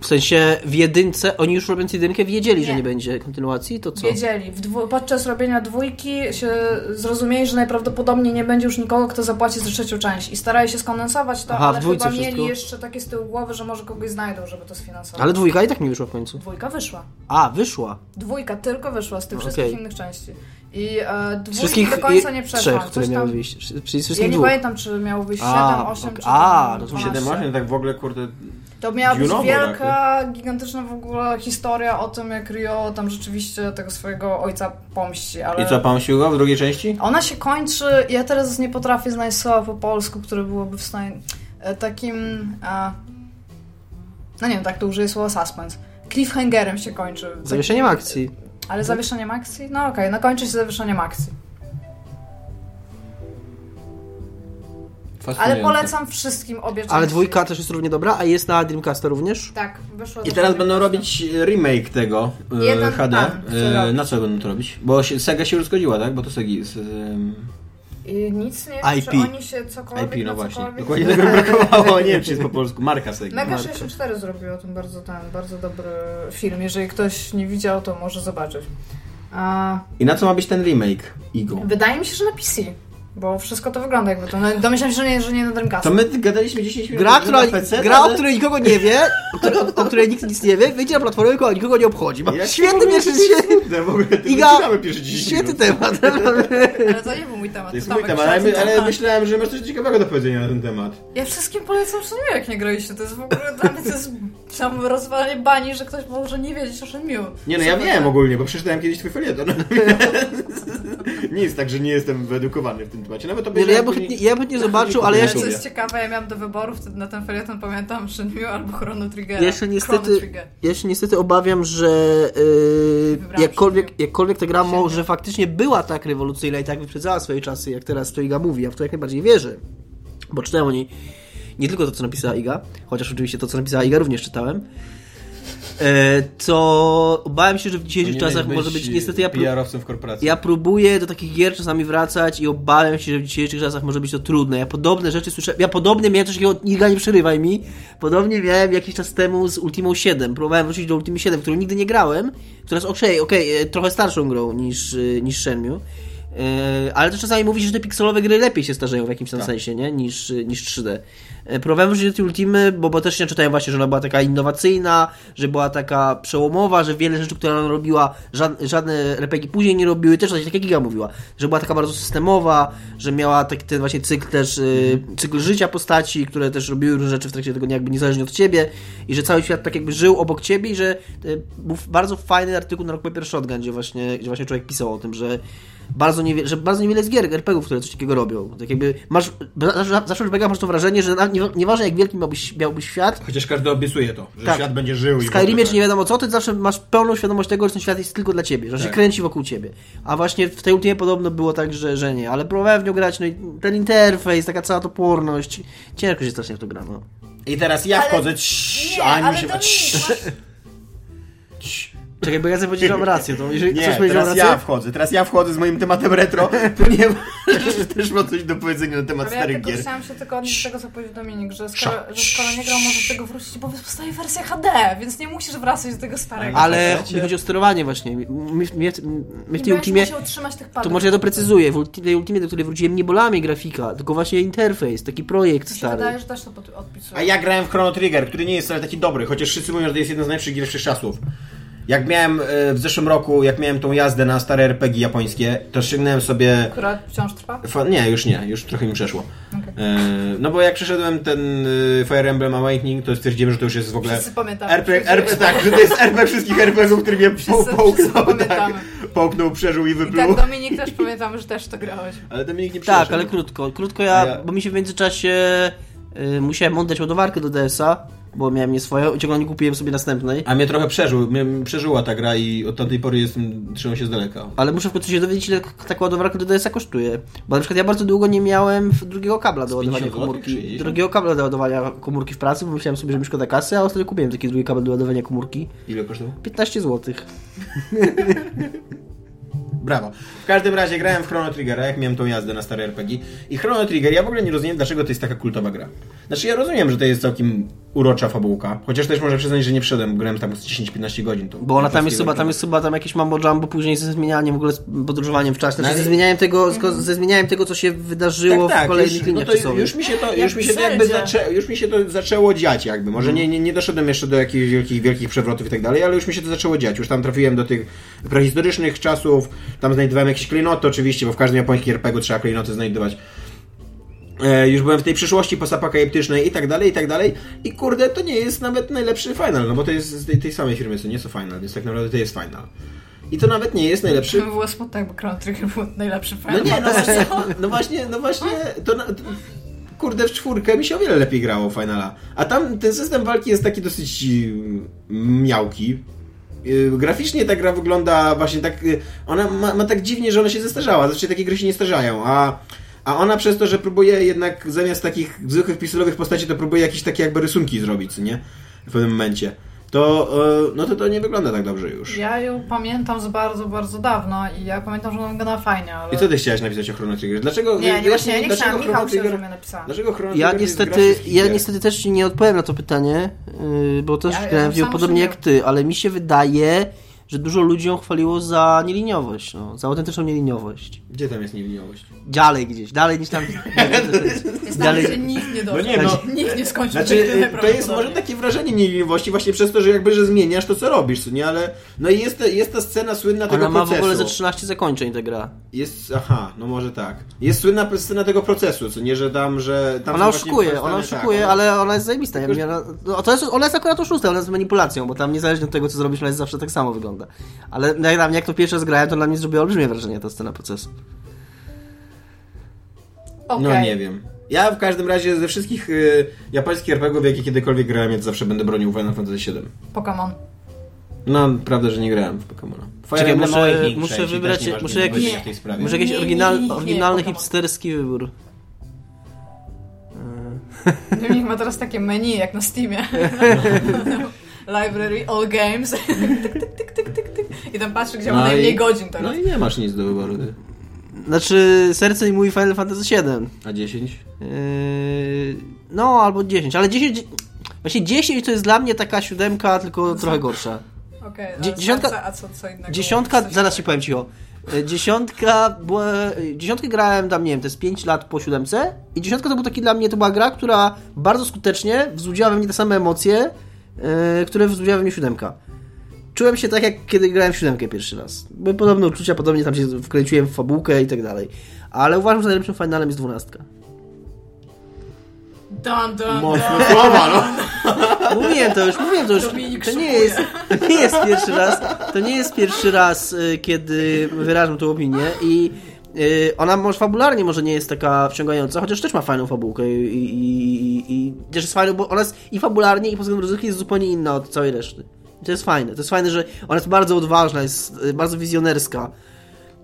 [SPEAKER 2] W sensie w jedynce, oni już robiąc jedynkę wiedzieli, że
[SPEAKER 3] Nie.
[SPEAKER 2] nie będzie kontynuacji, to co?
[SPEAKER 3] Wiedzieli. W dwu, podczas robienia dwójki się zrozumieli, że najprawdopodobniej nie będzie już nikogo, kto zapłaci za trzecią część. I starali się skondensować to,
[SPEAKER 2] Aha,
[SPEAKER 3] ale
[SPEAKER 2] w dwójce
[SPEAKER 3] chyba mieli
[SPEAKER 2] wszystko.
[SPEAKER 3] jeszcze takie z tyłu głowy, że może kogoś znajdą, żeby to sfinansować.
[SPEAKER 2] Ale dwójka i tak nie wyszła w końcu.
[SPEAKER 3] Dwójka wyszła.
[SPEAKER 2] A, wyszła.
[SPEAKER 3] Dwójka tylko wyszła z tych
[SPEAKER 2] No, Okej.
[SPEAKER 3] wszystkich innych części. I e,
[SPEAKER 2] Z
[SPEAKER 3] dwójki
[SPEAKER 2] wszystkich
[SPEAKER 3] do końca
[SPEAKER 2] i-
[SPEAKER 3] nie przeszła.
[SPEAKER 2] trzech, które
[SPEAKER 3] Coś
[SPEAKER 2] miały
[SPEAKER 3] tam-
[SPEAKER 2] wyjść. Czyli z wszystkich
[SPEAKER 3] Ja nie
[SPEAKER 2] dwóch.
[SPEAKER 3] pamiętam, czy miało wyjść
[SPEAKER 2] A,
[SPEAKER 3] 7, 8
[SPEAKER 2] ok.
[SPEAKER 3] czy
[SPEAKER 2] A, no
[SPEAKER 3] tam
[SPEAKER 2] rozumiem.
[SPEAKER 4] 7,
[SPEAKER 3] 12.
[SPEAKER 4] 8, tak w ogóle, kurde...
[SPEAKER 3] To miała być
[SPEAKER 4] Dziurowo
[SPEAKER 3] wielka, gigantyczna w ogóle historia o tym, jak Rio tam rzeczywiście tego swojego ojca pomści, ale...
[SPEAKER 4] I co, pan Siłgo w drugiej części?
[SPEAKER 3] Ona się kończy, ja teraz nie potrafię znaleźć słowa po polsku, które byłoby w stanie e, takim, e, no nie wiem, tak to użyję słowa suspense. Cliffhangerem się kończy. Tak,
[SPEAKER 2] Zawieszeniem akcji.
[SPEAKER 3] Ale zawieszeniem akcji? No okej, no kończy się zawieszeniem akcji. Ale
[SPEAKER 4] Fascynujące.
[SPEAKER 3] polecam wszystkim obie części.
[SPEAKER 2] Ale dwójka też jest równie dobra, a jest na Dreamcasta również?
[SPEAKER 3] Tak, wyszło.
[SPEAKER 4] I teraz będą robić remake tego e,
[SPEAKER 3] Jeden
[SPEAKER 4] HD.
[SPEAKER 3] pan chce
[SPEAKER 4] E,
[SPEAKER 3] robić.
[SPEAKER 4] na co będą to robić? Bo się, Sega się już zgodziła, tak? Bo to Segi... Z, em,
[SPEAKER 3] I nic nie wiem,
[SPEAKER 2] IP.
[SPEAKER 3] czy oni się cokolwiek
[SPEAKER 4] IP, no
[SPEAKER 3] na
[SPEAKER 4] właśnie.
[SPEAKER 3] cokolwiek-
[SPEAKER 4] Dokładnie tego mi brakowało, nie wiem czy jest po polsku. Marka Sega.
[SPEAKER 3] Mega
[SPEAKER 2] Marka.
[SPEAKER 3] 64 zrobiło ten bardzo ten, bardzo dobry film. Jeżeli ktoś nie widział, to może zobaczyć. A,
[SPEAKER 4] I na co ma być ten remake, Igo?
[SPEAKER 3] Wydaje mi się, że na PC. Bo wszystko to wygląda jakby to. No, domyślam się, że nie, że nie na Dreamcast.
[SPEAKER 4] To my gadaliśmy 10 minut
[SPEAKER 2] Gra,
[SPEAKER 4] na
[SPEAKER 2] która,
[SPEAKER 4] PC,
[SPEAKER 2] gra o
[SPEAKER 4] ale-
[SPEAKER 2] której nikogo nie wie, o, której- o, o której nikt nic nie wie, wyjdzie na platformę, która nikogo nie obchodzi. Mam
[SPEAKER 4] Ja się
[SPEAKER 2] świetny pierwszy świetny,
[SPEAKER 4] Kurde, w ogóle ty
[SPEAKER 2] Iga,
[SPEAKER 4] wycinamy pierwsze 10
[SPEAKER 2] świetny
[SPEAKER 4] minut.
[SPEAKER 2] temat.
[SPEAKER 3] Ale to nie był mój temat.
[SPEAKER 4] To jest
[SPEAKER 3] Tomek
[SPEAKER 4] mój temat, ale,
[SPEAKER 3] przed-
[SPEAKER 4] my, ale myślałem, że masz coś ciekawego do powiedzenia na ten temat.
[SPEAKER 3] Ja wszystkim polecam Shenmue, jak nie graliście. To jest w ogóle dla mnie to jest samo rozwalanie bani, że ktoś może nie wiedzieć o Shenmue.
[SPEAKER 4] Nie no, ja
[SPEAKER 3] Super.
[SPEAKER 4] wiem ogólnie, bo przeczytałem kiedyś twój felieton. nie jest tak, że nie jestem wyedukowany w tym temacie. Nawet
[SPEAKER 2] Nie, no, ja,
[SPEAKER 4] obejrzałem
[SPEAKER 2] bym chętnie,
[SPEAKER 4] później-
[SPEAKER 2] ja bym nie zobaczył, ale ja
[SPEAKER 3] Ale
[SPEAKER 2] się,
[SPEAKER 3] co
[SPEAKER 4] sobie.
[SPEAKER 3] jest ciekawe, ja miałam do wyboru wtedy na ten felieton, pamiętam Shenmue albo Chrono Trigger.
[SPEAKER 2] ja się
[SPEAKER 3] Chrono
[SPEAKER 2] niestety,
[SPEAKER 3] Trigger.
[SPEAKER 2] ja się niestety obawiam, że yy,
[SPEAKER 3] Wybrałam
[SPEAKER 2] jakkolwiek,
[SPEAKER 3] siebie.
[SPEAKER 2] jakkolwiek ta gra
[SPEAKER 3] Siebie.
[SPEAKER 2] może faktycznie była tak rewolucyjna i tak wyprzedzała swoje czasy, jak teraz to Iga mówi, ja w to jak najbardziej wierzę, bo czytałem o niej nie tylko to, co napisała Iga, chociaż oczywiście to, co napisała Iga również czytałem, e, to obawiam się, że w dzisiejszych
[SPEAKER 4] Powinieneś
[SPEAKER 2] czasem może być
[SPEAKER 4] e,
[SPEAKER 2] niestety... Ja pró-
[SPEAKER 4] PR-owcem w korporacji.
[SPEAKER 2] Ja próbuję do takich gier czasami wracać i obawiam się, że w dzisiejszych czasach może być to trudne. Ja podobne rzeczy słyszałem. Ja podobnie miałem coś takiego, Iga nie przerywaj mi. Podobnie miałem jakiś czas temu z Ultimą 7. Próbowałem wrócić do Ultimy 7, którą nigdy nie grałem, która jest okej, okej, e, trochę starszą grą niż, e, niż Shenmue. E, ale też czasami mówi się, że te pikselowe gry lepiej się starzeją w jakimś tam sensie, nie? Niż, e, niż 3D. E, Próbowałem wrócić do tej Ultimy, bo, bo też nie czytałem właśnie, że ona była taka innowacyjna, że była taka przełomowa, że wiele rzeczy, które ona robiła, żad, żadne RPG później nie robiły, też właśnie tak jak Giga mówiła, że była taka bardzo systemowa, że miała taki ten właśnie cykl też, y, cykl życia postaci, które też robiły różne rzeczy w trakcie tego dnia jakby niezależnie od ciebie i że cały świat tak jakby żył obok ciebie i że y, był bardzo fajny artykuł na Rock Paper Shotgun, gdzie właśnie, gdzie właśnie człowiek pisał o tym, że bardzo, niewie, że bardzo niewiele jest gier RPG-ów, które coś takiego robią. Tak jakby masz, zawsze- zawsze w RPG masz to wrażenie, że na- nie, nieważne jak wielki miałby, miałby świat,
[SPEAKER 4] Chociaż każdy obiecuje to, że
[SPEAKER 2] Tak.
[SPEAKER 4] świat będzie żył.
[SPEAKER 2] w
[SPEAKER 4] i
[SPEAKER 2] Skyrimie
[SPEAKER 4] ogóle,
[SPEAKER 2] czy nie wiadomo co, ty zawsze masz pełną świadomość tego, że ten świat jest tylko dla ciebie, że on się
[SPEAKER 4] Tak.
[SPEAKER 2] kręci wokół ciebie. A właśnie w tej ultimie podobno było tak, że, że nie, ale próbowałem w nią grać, no i ten interfejs, taka cała toporność, ciężko się strasznie w to gra, no.
[SPEAKER 4] I teraz ja
[SPEAKER 3] Ale-
[SPEAKER 4] wchodzę. Cii,
[SPEAKER 3] Nie,
[SPEAKER 4] Aniu
[SPEAKER 3] ale
[SPEAKER 4] się
[SPEAKER 3] to
[SPEAKER 4] cii,
[SPEAKER 3] nie,
[SPEAKER 4] cii.
[SPEAKER 2] Czekaj, bo Tak ja sobie powiedzieć, że mam rację. To jeżeli
[SPEAKER 4] Nie,
[SPEAKER 2] ktoś powiedział
[SPEAKER 4] teraz
[SPEAKER 2] rację,
[SPEAKER 4] ja wchodzę, teraz ja wchodzę z moim tematem retro, ponieważ też mam coś do powiedzenia na temat
[SPEAKER 3] Ale ja
[SPEAKER 4] starych
[SPEAKER 3] tylko
[SPEAKER 4] gier.
[SPEAKER 3] chciałam się tylko odnieść do tego, co powiedział Dominik, że skoro, że skoro nie grał, może do tego wrócić, bo powstaje wersja HD, więc nie musisz wracać do tego starego.
[SPEAKER 2] ale
[SPEAKER 4] Słuchajcie.
[SPEAKER 2] mi chodzi o sterowanie właśnie. My, my, my w
[SPEAKER 3] I
[SPEAKER 2] tej Ultimie...
[SPEAKER 3] się utrzymać tych padów.
[SPEAKER 2] To może ja doprecyzuję. W ulti- tej Ultimie, do której wróciłem, nie bolami grafika, tylko właśnie interfejs, taki projekt
[SPEAKER 3] Mi się
[SPEAKER 2] stary.
[SPEAKER 3] wydaje, że też to pod- odpisuje.
[SPEAKER 4] A ja grałem w Chrono Trigger, który nie jest wcale taki dobry, chociaż wszyscy mówią, że to jest jeden z najlepszych gier wszechczasów. Jak miałem e, w zeszłym roku, jak miałem tą jazdę na stare RPG japońskie, to ściągnąłem sobie...
[SPEAKER 3] Która wciąż trwa?
[SPEAKER 4] Fa- nie, już nie, już trochę mi przeszło. E, no bo jak przeszedłem ten e, Fire Emblem Awakening, to stwierdziłem, że to już jest w ogóle...
[SPEAKER 3] Wszyscy pamiętamy.
[SPEAKER 4] RPG, RP, tak, że to jest RP wszystkich RPG-ów, który mnie po,
[SPEAKER 3] Wszyscy-
[SPEAKER 4] połknął,
[SPEAKER 3] wszyscy
[SPEAKER 4] tak,
[SPEAKER 3] pamiętamy.
[SPEAKER 4] połknął, przeżył i
[SPEAKER 3] I
[SPEAKER 4] wypluł.
[SPEAKER 3] tak Dominik też pamiętam, że też to grałeś.
[SPEAKER 4] Ale Dominik nie przeszedł.
[SPEAKER 2] Tak,
[SPEAKER 3] no.
[SPEAKER 2] ale krótko. Krótko
[SPEAKER 4] A
[SPEAKER 2] ja,
[SPEAKER 4] ja-
[SPEAKER 2] bo mi się w międzyczasie y, musiałem oddać ładowarkę do DS-a, bo miałem nie swoją i ciągle nie kupiłem sobie następnej.
[SPEAKER 4] A mnie trochę przeżył, mnie przeżyła ta gra i od tamtej pory jestem, trzymam się z daleka.
[SPEAKER 2] Ale muszę w końcu się dowiedzieć, ile taka ładowarka do DS-a kosztuje. Bo na przykład ja bardzo długo nie miałem w- drugiego kabla do ładowania
[SPEAKER 4] 50 złotych, czy
[SPEAKER 2] komórki.
[SPEAKER 4] 60?
[SPEAKER 2] Drugiego kabla do ładowania komórki w pracy, bo myślałem sobie, że mi szkoda kasy, a ostatnio kupiłem taki drugi kabel do ładowania komórki.
[SPEAKER 4] Ile kosztował?
[SPEAKER 2] 15 zł.
[SPEAKER 4] Brawo. W każdym razie grałem w Chrono Triggera, jak miałem tą jazdę na stare RPG. I Chrono Trigger, ja w ogóle nie rozumiem, dlaczego to jest taka kultowa gra. Znaczy, ja rozumiem, że to jest całkiem urocza fabułka, chociaż też może przyznać, że nie wszedłem, grałem tam z 10-15 godzin. To
[SPEAKER 2] Bo ona tam jest chyba, tam jest chyba tam jakieś mambo jumbo później ze zmienianiem, w ogóle z podróżowaniem w czasie, znaczy ze
[SPEAKER 4] ale-
[SPEAKER 2] zmienianiem tego, sko-
[SPEAKER 3] Mhm.
[SPEAKER 2] ze zmienianiem tego, co się wydarzyło
[SPEAKER 4] tak,
[SPEAKER 2] w
[SPEAKER 4] tak,
[SPEAKER 2] kolejnych
[SPEAKER 4] już, no
[SPEAKER 2] liniach
[SPEAKER 4] to
[SPEAKER 2] czasowych.
[SPEAKER 4] już mi się to,
[SPEAKER 3] Jak
[SPEAKER 4] już mi się to jakby
[SPEAKER 3] w Zeldzie.
[SPEAKER 4] zaczę, już mi się to zaczęło dziać jakby. Może
[SPEAKER 2] Mhm.
[SPEAKER 4] nie, nie, nie doszedłem jeszcze do jakichś wielkich, wielkich przewrotów i tak dalej, ale już mi się to zaczęło dziać. Już tam trafiłem do tych prehistorycznych czasów, tam znajdowałem jakieś klejnoty oczywiście, bo w każdym japońskim RPG trzeba klejnoty znajdować. E, już byłem w tej przyszłości postapokaliptycznej i tak dalej, i tak dalej. I kurde, to nie jest nawet najlepszy final, no bo to jest z tej, tej samej firmy, co nie co final, więc tak naprawdę to jest final. I to nawet nie jest najlepszy
[SPEAKER 3] Czy było smutno, jakby Chrono Trigger był najlepszy
[SPEAKER 4] no
[SPEAKER 3] fan.
[SPEAKER 4] nie, no właśnie, no właśnie, no właśnie to, na, to kurde w czwórkę mi się o wiele lepiej grało w finala. A tam ten system walki jest taki dosyć y, miałki. Y, Graficznie ta gra wygląda właśnie tak. y, Ona ma, ma tak dziwnie, że ona się zestarzała. Zresztą takie gry się nie starzają, a, a ona przez to, że próbuje jednak zamiast takich zwykłych pikselowych postaci, to próbuje jakieś takie jakby rysunki zrobić, co nie? W pewnym momencie. To, y, no to to nie wygląda tak dobrze już.
[SPEAKER 3] Ja ją pamiętam z bardzo, bardzo dawna i ja pamiętam, że ona wygląda fajnie, ale...
[SPEAKER 4] I co ty chciałeś napisać o Chrono Trigger? Dlaczego?
[SPEAKER 3] Nie, nie, właśnie, ja nie
[SPEAKER 4] dlaczego
[SPEAKER 3] chciałam.
[SPEAKER 4] Chrono
[SPEAKER 3] Michał chciał,
[SPEAKER 4] Trigger-
[SPEAKER 3] żebym ja napisała.
[SPEAKER 4] Dlaczego Chrono
[SPEAKER 2] Ja
[SPEAKER 4] Trigger jest
[SPEAKER 2] niestety,
[SPEAKER 4] gra wszystkich
[SPEAKER 2] ja
[SPEAKER 4] gier?
[SPEAKER 2] niestety też nie odpowiem na to pytanie, yy, bo też
[SPEAKER 3] Ja- ja
[SPEAKER 2] grałem w nią
[SPEAKER 3] sam
[SPEAKER 2] podobnie
[SPEAKER 3] się
[SPEAKER 2] jak ty, ale mi się wydaje, że dużo ludzi ją chwaliło za nieliniowość, no, za autentyczną nieliniowość.
[SPEAKER 4] Gdzie tam jest niewiniołość?
[SPEAKER 2] Dalej gdzieś, dalej niż tam.
[SPEAKER 3] Jest tam,
[SPEAKER 2] dalej.
[SPEAKER 3] gdzie nikt nie
[SPEAKER 4] No
[SPEAKER 3] doszedł.
[SPEAKER 4] nie, no.
[SPEAKER 3] Nikt nie skończył. tej gry
[SPEAKER 4] Znaczy, to jest
[SPEAKER 3] prawdopodobnie.
[SPEAKER 4] może takie wrażenie niewiniołości właśnie przez to, że jakby, że zmieniasz to, co robisz, co nie? Ale, no i jest, te, jest ta scena słynna tego
[SPEAKER 2] Ona ma w
[SPEAKER 4] procesu.
[SPEAKER 2] ogóle ze 13 zakończeń ta gra.
[SPEAKER 4] Jest, aha, no może tak. Jest słynna scena tego procesu, co nie? Że tam, że... Tam
[SPEAKER 2] Ona
[SPEAKER 4] są właśnie
[SPEAKER 2] oszukuje,
[SPEAKER 4] postane-
[SPEAKER 2] ona
[SPEAKER 4] tak,
[SPEAKER 2] oszukuje,
[SPEAKER 4] ona-
[SPEAKER 2] ale ona jest zajebista. Ja mówię, ona, no, to jest, ona jest akurat oszustem, ona jest manipulacją, bo tam niezależnie od tego, co zrobisz, ona jest zawsze tak samo wygląda. Ale jak dla mnie, jak to pierwsze zgrałem, to dla mnie zrobiła olbrzymie wrażenie ta scena procesu.
[SPEAKER 4] No
[SPEAKER 3] Okej.
[SPEAKER 4] nie wiem. Ja w każdym razie ze wszystkich y, japońskich RPGów, jakie kiedykolwiek grałem, ja zawsze będę bronił Final Fantasy VII.
[SPEAKER 3] Pokémon.
[SPEAKER 4] No, prawda, że nie grałem w Pokemona. Fire
[SPEAKER 2] Czekaj,
[SPEAKER 4] Emblem
[SPEAKER 2] muszę,
[SPEAKER 4] Awakening
[SPEAKER 2] muszę
[SPEAKER 4] przecież i
[SPEAKER 2] wybrać,
[SPEAKER 4] też nie masz
[SPEAKER 2] muszę jakiś,
[SPEAKER 4] możliwości w tej sprawie.
[SPEAKER 2] muszę jakiś
[SPEAKER 3] Nie, nie,
[SPEAKER 2] oryginal,
[SPEAKER 3] nie, nie,
[SPEAKER 2] oryginalny
[SPEAKER 3] Pokemon.
[SPEAKER 2] hipsterski wybór.
[SPEAKER 3] Dominik ma teraz takie menu jak na Steamie. Library, all games. tyk, tyk, tyk, tyk, tyk, tyk. I tam patrzy, gdzie ma
[SPEAKER 4] No i-
[SPEAKER 3] najmniej godzin
[SPEAKER 4] No
[SPEAKER 3] teraz.
[SPEAKER 4] i nie masz nic do wyboru, ty.
[SPEAKER 2] Znaczy, serce i mój Final Fantasy VII.
[SPEAKER 4] A 10?
[SPEAKER 2] Yy, no, albo 10, ale 10... Właśnie 10 to jest dla mnie taka siódemka, tylko trochę gorsza.
[SPEAKER 3] Okej,
[SPEAKER 2] Dzie-
[SPEAKER 3] a
[SPEAKER 2] dziesiątka-
[SPEAKER 3] serce, a co, co innego?
[SPEAKER 2] Dziesiątka,
[SPEAKER 3] Coś
[SPEAKER 2] zaraz ci powiem cicho. E, Dziesiątka, była, e, dziesiątkę grałem tam, nie wiem, to jest 5 lat po siódemce i dziesiątka to był taki dla mnie, to była gra, która bardzo skutecznie wzbudziła we mnie te same emocje, e, które wzbudziła we mnie siódemka. Czułem się tak, jak kiedy grałem w siódemkę pierwszy raz. Były podobne uczucia, podobnie tam się wkręciłem w fabułkę i tak dalej. Ale uważam, że najlepszym finalem jest dwunastka.
[SPEAKER 3] Dun, dun, dun.
[SPEAKER 4] Mocno słowa, no!
[SPEAKER 2] Mówiłem to już, mówiłem to już.
[SPEAKER 3] Dominik
[SPEAKER 2] To nie
[SPEAKER 3] szukuje.
[SPEAKER 2] jest, to nie jest pierwszy raz, to nie jest pierwszy raz, y, kiedy wyrażam tą opinię i y, ona może fabularnie może nie jest taka wciągająca, chociaż też ma fajną fabułkę i, i, i, i też jest fajną, bo ona jest i fabularnie i pod względem rozrywki jest zupełnie inna od całej reszty. I To jest fajne, to jest fajne, że ona jest bardzo odważna, jest y, bardzo wizjonerska.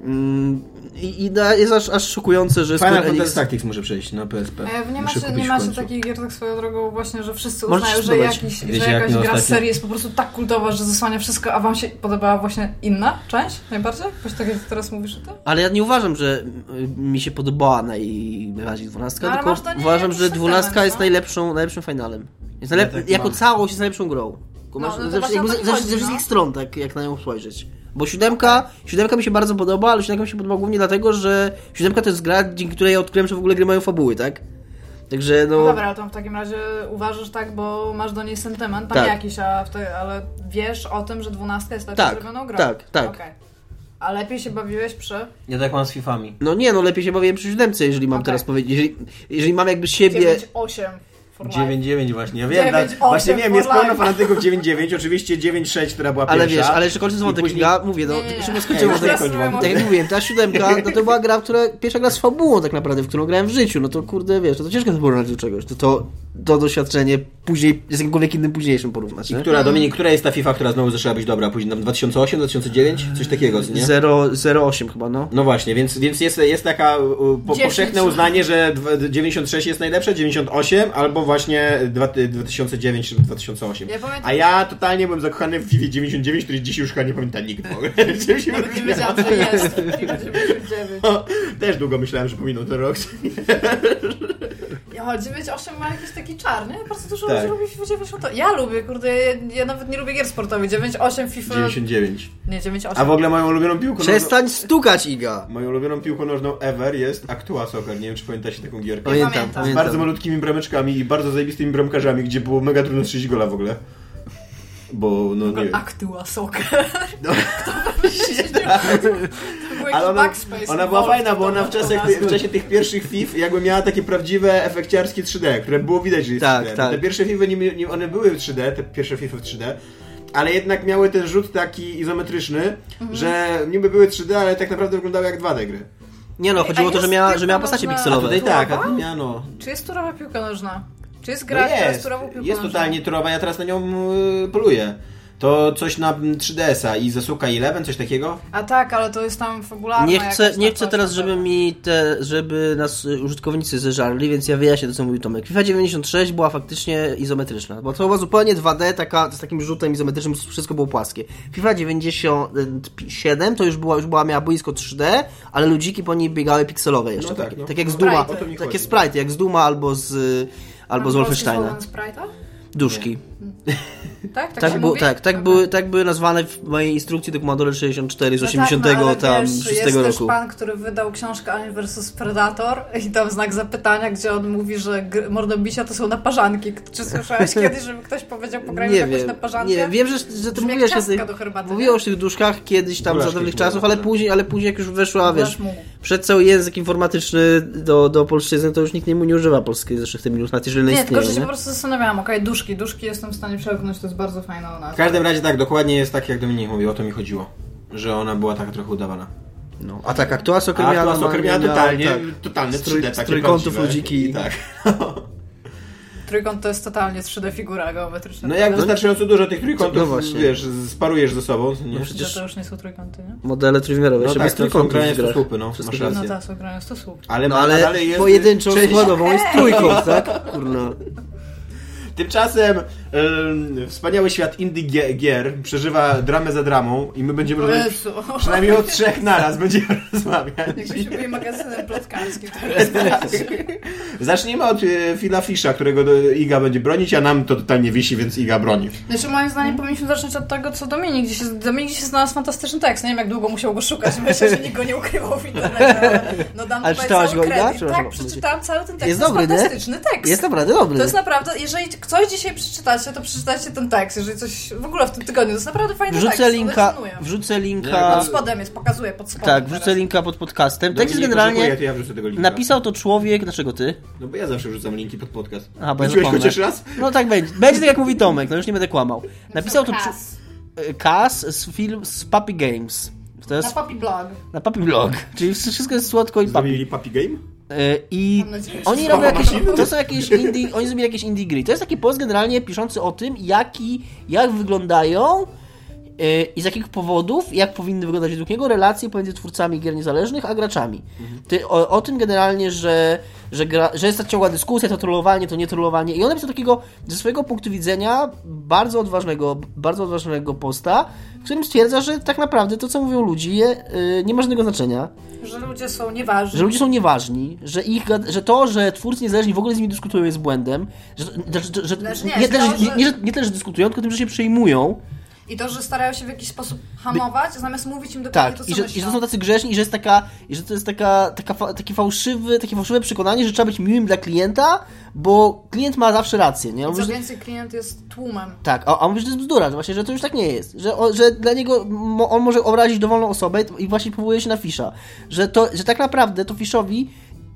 [SPEAKER 2] Mm, I, i da- jest aż, aż szokujące, że
[SPEAKER 4] Final
[SPEAKER 2] Square
[SPEAKER 4] Fantasy tak,
[SPEAKER 2] Enix...
[SPEAKER 4] Tactics muszę przejść no, na PSP.
[SPEAKER 3] E, Nie
[SPEAKER 4] Muszę
[SPEAKER 3] macie,
[SPEAKER 4] kupić
[SPEAKER 3] nie
[SPEAKER 4] w
[SPEAKER 3] macie
[SPEAKER 4] końcu.
[SPEAKER 3] takich gier tak swoją drogą właśnie, że wszyscy
[SPEAKER 2] Możecie
[SPEAKER 3] uznają, że,
[SPEAKER 2] spróbować.
[SPEAKER 3] jakiś, że
[SPEAKER 4] Wiecie, jak
[SPEAKER 3] jakaś gra
[SPEAKER 4] my
[SPEAKER 3] z
[SPEAKER 4] ostatnio-
[SPEAKER 3] serii jest po prostu tak kultowa, że zasłania wszystko, a wam się podobała właśnie inna część najbardziej? Właśnie tak jak teraz mówisz o tym?
[SPEAKER 2] Ale ja nie uważam, że y, mi się podobała najbardziej dwunastka,
[SPEAKER 3] No, ale
[SPEAKER 2] tylko
[SPEAKER 3] masz do niej
[SPEAKER 2] uważam,
[SPEAKER 3] jakiś
[SPEAKER 2] że dwunastka
[SPEAKER 3] sentyment,
[SPEAKER 2] jest
[SPEAKER 3] no.
[SPEAKER 2] najlepszą, najlepszym finalem. Jest
[SPEAKER 4] Ja
[SPEAKER 2] najlep...
[SPEAKER 4] tak
[SPEAKER 2] jako
[SPEAKER 4] mam.
[SPEAKER 2] całość jest najlepszą grą. Tylko
[SPEAKER 3] No,
[SPEAKER 2] masz
[SPEAKER 3] no to
[SPEAKER 2] ze,
[SPEAKER 3] właśnie
[SPEAKER 2] jakby
[SPEAKER 3] o to
[SPEAKER 2] ze,
[SPEAKER 3] mi
[SPEAKER 2] ze,
[SPEAKER 3] chodzi,
[SPEAKER 2] ze
[SPEAKER 3] no.
[SPEAKER 2] wszystkich stron, tak jak na nią spojrzeć. Bo siódemka, siódemka mi się bardzo podoba, ale siódemka mi się podoba głównie dlatego, że siódemka to jest gra, dzięki której ja odkryłem, że w ogóle gry mają fabuły, tak? Także no...
[SPEAKER 3] No dobra, ale to w takim razie uważasz tak, bo masz do niej sentyment, tam
[SPEAKER 2] Tak.
[SPEAKER 3] jakiś, a w te, ale wiesz o tym, że dwunastka jest lepiej
[SPEAKER 2] Tak,
[SPEAKER 3] zrobioną grą.
[SPEAKER 2] tak, tak.
[SPEAKER 3] Okej. A lepiej się bawiłeś przy...
[SPEAKER 4] Ja tak mam z Fifami.
[SPEAKER 2] No nie, no lepiej się bawiłem przy siódemce, jeżeli mam
[SPEAKER 3] Okej.
[SPEAKER 2] teraz powiedzieć. Jeżeli, jeżeli mam jakby siebie...
[SPEAKER 3] 9-8 for life.
[SPEAKER 4] 9-9 właśnie, ja wiem,
[SPEAKER 3] 9-8
[SPEAKER 4] tak, właśnie wiem, jest
[SPEAKER 3] for
[SPEAKER 4] pełno
[SPEAKER 3] life.
[SPEAKER 4] fanatyków 9-9, oczywiście 9-6, która była
[SPEAKER 2] Ale
[SPEAKER 4] pierwsza.
[SPEAKER 2] wiesz, ale jeszcze kończąc
[SPEAKER 4] I
[SPEAKER 2] wątek,
[SPEAKER 4] później-
[SPEAKER 2] ja mówię, no,
[SPEAKER 3] Nie, nie, nie.
[SPEAKER 2] szybko
[SPEAKER 4] Nie,
[SPEAKER 2] skończymy
[SPEAKER 4] już
[SPEAKER 2] wątek.
[SPEAKER 4] teraz kończ wątek.
[SPEAKER 2] Tak jak mówiłem, ta siódemka, no to była gra, która, pierwsza gra z fabułą tak naprawdę, w którą grałem w życiu, no to kurde, wiesz, no to ciężko to porównać do czegoś, to to, to doświadczenie później, z jakimkolwiek innym późniejszym porównać,
[SPEAKER 4] I
[SPEAKER 2] nie?
[SPEAKER 4] która, Dominik, która jest ta FIFA, która znowu zaczęła być dobra, później tam 2008, 2009, coś takiego, nie?
[SPEAKER 2] Zero- 0,8 chyba, no.
[SPEAKER 4] No właśnie, więc, więc jest, jest taka u, po,
[SPEAKER 3] 10.
[SPEAKER 4] powszechne uznanie, że dwa- 96 jest najlepsze, 98 albo właśnie dwa- 2009 czy 2008.
[SPEAKER 3] Ja pamiętam-
[SPEAKER 4] A ja totalnie byłem zakochany w FIFA 99, który dzisiaj już chyba nie pamięta nikt w ogóle. Czym się
[SPEAKER 3] Nawet nie
[SPEAKER 4] wyróżnia?
[SPEAKER 3] wiedziałam, że jest. I będzie 9.
[SPEAKER 4] Też długo myślałem, że pominął ten rok.
[SPEAKER 3] Ja 9-8 ma jakiś taki czar, nie? Bardzo dużo
[SPEAKER 4] Tak.
[SPEAKER 3] ludzi lubi FIFA 9 to. Ja lubię, kurde, ja, ja nawet nie lubię gier sportowych. 9-8 FIFA...
[SPEAKER 4] 99.
[SPEAKER 3] Nie, 9-8.
[SPEAKER 4] A w ogóle moją ulubioną piłką nożną...
[SPEAKER 2] Przestań stukać, Iga!
[SPEAKER 4] Moją ulubioną piłką nożną ever jest Actua Soccer. Nie wiem, czy pamiętacie taką
[SPEAKER 3] Nie
[SPEAKER 4] gierkę.
[SPEAKER 2] Pamiętam,
[SPEAKER 3] pamiętam.
[SPEAKER 4] Z
[SPEAKER 2] pamiętam.
[SPEAKER 4] bardzo malutkimi brameczkami i bardzo zajebistymi bramkarzami, gdzie było mega trudno strzelić gola w ogóle. Bo, no nie wiem.
[SPEAKER 3] Aktyła Soccer.
[SPEAKER 4] No.
[SPEAKER 3] To był jakiś
[SPEAKER 4] Ale ona,
[SPEAKER 3] backspace.
[SPEAKER 4] ona była
[SPEAKER 3] Wolf
[SPEAKER 4] fajna, bo ona w,
[SPEAKER 3] to
[SPEAKER 4] czasach,
[SPEAKER 3] nazwa.
[SPEAKER 4] w czasie tych pierwszych FIF jakby miała takie prawdziwe efekciarskie 3D, które było widać, że jest
[SPEAKER 2] Tak,
[SPEAKER 4] 3D.
[SPEAKER 2] tak.
[SPEAKER 4] Te pierwsze FIFy, nim, nim one były w 3D, te pierwsze FIFy w 3D, ale jednak miały ten rzut taki izometryczny,
[SPEAKER 3] Mhm.
[SPEAKER 4] że niby były 3D, ale tak naprawdę wyglądały jak 2D gry.
[SPEAKER 2] Nie no, chodziło o to, że miała, że miała postacie
[SPEAKER 4] A
[SPEAKER 2] pikselowe.
[SPEAKER 4] tutaj tak, a tu miała, no...
[SPEAKER 3] Czy jest turowa piłka nożna? Czy jest
[SPEAKER 4] No
[SPEAKER 3] gra, która jest
[SPEAKER 4] jest,
[SPEAKER 3] turową piłką
[SPEAKER 4] jest
[SPEAKER 3] nożną?
[SPEAKER 4] totalnie turowa, ja teraz na nią y, poluję. To coś na mm, 3DS-a i Zasuka Eleven, coś takiego?
[SPEAKER 3] A tak, ale to jest tam fabularna
[SPEAKER 2] Nie chcę,
[SPEAKER 3] jakaś
[SPEAKER 2] nie
[SPEAKER 3] tam
[SPEAKER 2] chcę
[SPEAKER 3] coś,
[SPEAKER 2] teraz,
[SPEAKER 3] prawda?
[SPEAKER 2] żeby mi te, żeby nas y, użytkownicy zeżarli, więc ja wyjaśnię to, co mówił Tomek. FIFA 96 była faktycznie izometryczna, bo to była zupełnie 2D, taka, z takim rzutem izometrycznym, wszystko było płaskie. FIFA 97 to już była, już była, miała boisko 3D, ale ludziki po niej biegały pikselowe jeszcze,
[SPEAKER 4] No tak,
[SPEAKER 2] tak, tak,
[SPEAKER 4] no.
[SPEAKER 2] jak z Duma,
[SPEAKER 3] Sprite. O
[SPEAKER 4] to mi
[SPEAKER 2] takie
[SPEAKER 4] chodzi. no.
[SPEAKER 2] sprite, jak z Duma albo z, albo z
[SPEAKER 3] Mam
[SPEAKER 2] Wolfensteina.
[SPEAKER 3] polskie słowo na Sprite'a?
[SPEAKER 2] Duszki.
[SPEAKER 3] Tak, tak, się
[SPEAKER 2] Tak, było,
[SPEAKER 3] mówi?
[SPEAKER 2] tak, tak,
[SPEAKER 3] Okej.
[SPEAKER 2] były, tak były nazwane w mojej instrukcji do Commodore 64 z
[SPEAKER 3] No tak,
[SPEAKER 2] 80
[SPEAKER 3] no, ale
[SPEAKER 2] tam
[SPEAKER 3] wiesz,
[SPEAKER 2] 6
[SPEAKER 3] Jest też
[SPEAKER 2] roku.
[SPEAKER 3] pan, który wydał książkę Alien vs Predator i tam znak zapytania, gdzie on mówi, że gr- mordobicia to są naparzanki. Czy słyszałeś kiedyś, żeby ktoś powiedział po graniu jakąś naparzankę?
[SPEAKER 2] Nie, wiem, że, że ty
[SPEAKER 3] Brzmi jak
[SPEAKER 2] mówiłeś o,
[SPEAKER 3] ciastka
[SPEAKER 2] tych,
[SPEAKER 3] do herbaty,
[SPEAKER 2] mówiłeś
[SPEAKER 3] nie?
[SPEAKER 2] o tych duszkach kiedyś tam
[SPEAKER 4] Blaszki
[SPEAKER 2] za dawnych
[SPEAKER 4] były,
[SPEAKER 2] czasów, ale
[SPEAKER 4] tak.
[SPEAKER 2] później, ale później jak już weszła, wiesz,
[SPEAKER 3] Blaszki mu.
[SPEAKER 2] przed cały język informatyczny do, do polszczyzny, to już nikt nie, mu nie używa polskiej zresztą w tym ilustracji, jeżeli
[SPEAKER 3] Nie,
[SPEAKER 2] nie
[SPEAKER 3] tylko że się
[SPEAKER 2] istnieje,
[SPEAKER 3] po
[SPEAKER 2] nie?
[SPEAKER 3] prostu zastanawiałam, okej, duszki, duszki jestem w stanie przełknąć, to jest bardzo fajna
[SPEAKER 4] W
[SPEAKER 3] nazwa.
[SPEAKER 4] każdym razie tak, dokładnie jest tak, jak Dominik mówił, o to mi chodziło. Że ona była tak trochę udawana.
[SPEAKER 2] No, a tak, aktua
[SPEAKER 4] A
[SPEAKER 2] soccer
[SPEAKER 4] Atlas Soccer miała totalnie,
[SPEAKER 2] tak.
[SPEAKER 4] totalny
[SPEAKER 2] Z trój-
[SPEAKER 4] 3D, takie
[SPEAKER 2] z trójkątów
[SPEAKER 4] prawdziwe.
[SPEAKER 2] ludziki.
[SPEAKER 4] I tak.
[SPEAKER 3] Trójkąt to jest totalnie 3D figura geometryczna.
[SPEAKER 4] No jak wystarczająco dużo tych trójkątów,
[SPEAKER 2] No właśnie. No.
[SPEAKER 4] wiesz, sparujesz ze sobą. Nie?
[SPEAKER 3] Że
[SPEAKER 2] przecież-
[SPEAKER 3] To już nie są trójkąty, nie?
[SPEAKER 2] Modele trójwymiarowe,
[SPEAKER 4] No
[SPEAKER 2] jeszcze
[SPEAKER 4] tak,
[SPEAKER 2] bez
[SPEAKER 4] to są
[SPEAKER 2] trójkątów
[SPEAKER 4] granice
[SPEAKER 2] w grach.
[SPEAKER 4] słupy, no, masz
[SPEAKER 2] grane.
[SPEAKER 4] rację.
[SPEAKER 3] No ta są grane, to słup.
[SPEAKER 4] Ale,
[SPEAKER 2] No
[SPEAKER 4] ale
[SPEAKER 2] ale
[SPEAKER 4] dalej jest
[SPEAKER 2] pojedynczą
[SPEAKER 4] część-
[SPEAKER 2] składową jest trójkąt, tak? Kurna.
[SPEAKER 4] Tymczasem em, wspaniały świat indie gie- gier przeżywa dramę za dramą i my będziemy
[SPEAKER 2] No
[SPEAKER 4] rozmawiać
[SPEAKER 3] Jezu.
[SPEAKER 4] przynajmniej o trzech naraz będziemy rozmawiać.
[SPEAKER 3] Jakby się byli magazynem plotkarskim. to jest-
[SPEAKER 4] Zacznijmy od e, Phila Fisha, którego do, Iga będzie bronić, a nam to totalnie wisi, więc Iga broni.
[SPEAKER 2] Tak
[SPEAKER 4] No
[SPEAKER 3] Znaczy moim zdaniem powinniśmy zacząć od tego, co Dominik gdzieś... Dominik gdzieś znalazł fantastyczny tekst. Nie wiem, jak długo musiał go szukać. Myślę, że nikt go nie ukrywał w internecie. ale No dam
[SPEAKER 2] Ale
[SPEAKER 3] tutaj
[SPEAKER 2] czytałaś
[SPEAKER 3] cały
[SPEAKER 2] go, Iga?
[SPEAKER 3] kredyt.
[SPEAKER 2] Przepraszam,
[SPEAKER 3] Tak, przeczytałam cały ten tekst.
[SPEAKER 2] Jest
[SPEAKER 3] to jest
[SPEAKER 2] dobry, nie?
[SPEAKER 3] fantastyczny tekst.
[SPEAKER 2] Jest naprawdę dobry.
[SPEAKER 3] Tak, To jest naprawdę... Jeżeli ktoś dzisiaj przeczytacie, to przeczytajcie ten tekst. Jeżeli coś... W ogóle w tym tygodniu. To jest naprawdę fajny
[SPEAKER 2] Wrzucę
[SPEAKER 3] tekst.
[SPEAKER 2] linka,
[SPEAKER 3] rezonuje.
[SPEAKER 2] wrzucę
[SPEAKER 4] Ja
[SPEAKER 2] linka,
[SPEAKER 3] Pod spodem jest, pokazuję pod spodem.
[SPEAKER 2] tak,
[SPEAKER 3] teraz.
[SPEAKER 2] wrzucę linka pod podcastem. Tak jest
[SPEAKER 4] Dominik,
[SPEAKER 2] generalnie...
[SPEAKER 4] oczekuję, to ja wrzucę tego linka.
[SPEAKER 2] Napisał to człowiek, dlaczego ty?
[SPEAKER 4] No bo ja zawsze rzucam linki pod podcast.
[SPEAKER 2] Aha, bo ja
[SPEAKER 4] Wrzuciłeś
[SPEAKER 2] zapomnę.
[SPEAKER 4] chociaż raz?
[SPEAKER 2] No tak będzie. Będzie tak jak mówi Tomek, no już nie będę kłamał. Napisał to
[SPEAKER 3] Kas.
[SPEAKER 2] Kas, Kas z film z Puppy Games. To
[SPEAKER 3] Na
[SPEAKER 2] jest
[SPEAKER 3] Papi Blog.
[SPEAKER 2] na Puppy Blog. Czyli wszystko jest słodko i papi.
[SPEAKER 4] Zrobili Papi Game?
[SPEAKER 2] E, I
[SPEAKER 3] Mam nadzieję, że
[SPEAKER 2] oni
[SPEAKER 3] wszystko
[SPEAKER 2] robią jakieś,
[SPEAKER 3] ma
[SPEAKER 2] to są jakieś indie, oni zrobili jakieś indie gry. To jest taki post generalnie piszący o tym, jaki, jak wyglądają Yy, I z jakich powodów, jak powinny wyglądać według niego relacje pomiędzy twórcami gier niezależnych a graczami. Ty, o, o tym generalnie, że, że, gra, że jest ta ciągła dyskusja, to trollowanie, to nie trollowanie. I on napisał takiego, ze swojego punktu widzenia, bardzo odważnego, bardzo odważnego posta, w którym stwierdza, że tak naprawdę to, co mówią ludzie, yy, nie ma żadnego znaczenia
[SPEAKER 3] Że ludzie są nieważni.
[SPEAKER 2] że ludzie są nieważni, że, ich, gad- że to, że twórcy niezależni w ogóle z nimi dyskutują jest błędem, że, że, że,
[SPEAKER 3] Lecz
[SPEAKER 2] że
[SPEAKER 3] Znaczy, nie,
[SPEAKER 2] nie, tyle,
[SPEAKER 3] to,
[SPEAKER 2] że,
[SPEAKER 3] że-
[SPEAKER 2] nie, nie, nie tyle, że dyskutują, tylko tym, że się przejmują.
[SPEAKER 3] I to, że starają się w jakiś sposób hamować, zamiast mówić im dokładnie
[SPEAKER 2] Tak,
[SPEAKER 3] to, co
[SPEAKER 2] i że, i
[SPEAKER 3] myślą.
[SPEAKER 2] że są tacy grzeczni, i że jest taka, i że to jest taka, taka fa, taki fałszywy, takie fałszywe przekonanie, że trzeba być miłym dla klienta, bo klient ma zawsze rację, nie? On
[SPEAKER 3] Co
[SPEAKER 2] mówi, że,
[SPEAKER 3] więcej, klient jest tłumem.
[SPEAKER 2] tak, a, a mówi, że to jest bzdura, że właśnie, że to już tak nie jest, że, on, że dla niego mo, on może obrazić dowolną osobę i właśnie powołuje się na fisza, że, to, że tak naprawdę to fiszowi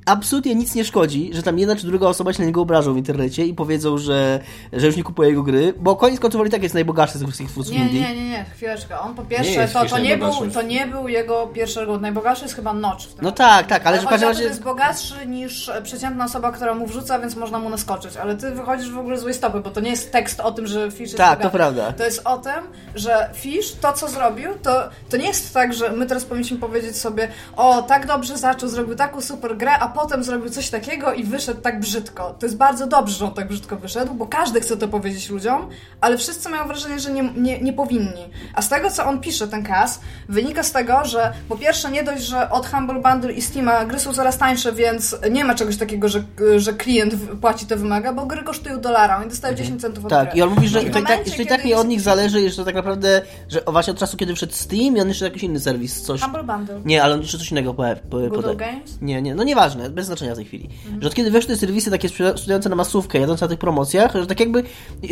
[SPEAKER 2] absolutnie nic nie szkodzi, że tam jedna czy druga osoba się na niego obrażą w internecie i powiedzą, że, że już nie kupuje jego gry, bo koniec końców on i tak jest najbogatszy z tych wszystkich twórców
[SPEAKER 3] Nie,
[SPEAKER 2] indie.
[SPEAKER 3] nie, nie, nie, chwileczkę. On po
[SPEAKER 4] Nie
[SPEAKER 3] pierwsze,
[SPEAKER 4] jest
[SPEAKER 3] to, to,
[SPEAKER 4] jakiś
[SPEAKER 3] nie był,
[SPEAKER 4] najbogatszy.
[SPEAKER 3] to nie był jego pierwszy argument. Najbogatszy jest chyba Notch w tym
[SPEAKER 2] No tak, tak, ale,
[SPEAKER 3] Ale
[SPEAKER 2] że w każdym
[SPEAKER 3] powiedziałabym,
[SPEAKER 2] razie...
[SPEAKER 3] że jest bogatszy niż e, przeciętna osoba, która mu wrzuca, więc można mu naskoczyć. Ale ty wychodzisz w ogóle z złej stopy, bo to nie jest tekst o tym, że Fish jest
[SPEAKER 2] Tak,
[SPEAKER 3] bogaty.
[SPEAKER 2] to prawda.
[SPEAKER 3] To jest o tym, że Fish to, co zrobił, to, to nie jest tak, że my teraz powinniśmy powiedzieć sobie o, tak dobrze zaczął, zrobił taką super grę, a potem zrobił coś takiego i wyszedł tak brzydko. To jest bardzo dobrze, że on tak brzydko wyszedł, bo każdy chce to powiedzieć ludziom, ale wszyscy mają wrażenie, że nie, nie, nie powinni. A z tego, co on pisze, ten kas, wynika z tego, że po pierwsze nie dość, że od Humble Bundle i Steama gry są coraz tańsze, więc nie ma czegoś takiego, że, że klient w- płaci to wymaga, bo gry kosztują dolara, oni dostają 10 centów od
[SPEAKER 2] Tak,
[SPEAKER 3] gry.
[SPEAKER 2] i on mówi, że
[SPEAKER 3] No I
[SPEAKER 2] i
[SPEAKER 3] w
[SPEAKER 2] tak, tak,
[SPEAKER 3] momencie,
[SPEAKER 2] że i tak
[SPEAKER 3] kiedy
[SPEAKER 2] nie od
[SPEAKER 3] jest-
[SPEAKER 2] nich zależy, że tak naprawdę, że właśnie od czasu, kiedy wszedł Steam i on jeszcze jakiś inny serwis, coś.
[SPEAKER 3] Humble Bundle.
[SPEAKER 2] Nie, ale on jeszcze coś innego poda- po-
[SPEAKER 3] Good
[SPEAKER 2] poda-
[SPEAKER 3] Old Games?
[SPEAKER 2] Nie, nie, no nieważne, bez znaczenia w tej chwili. Że od kiedy weszły te serwisy takie sprzeda- sprzedające na masówkę, jadące na tych promocjach, że tak jakby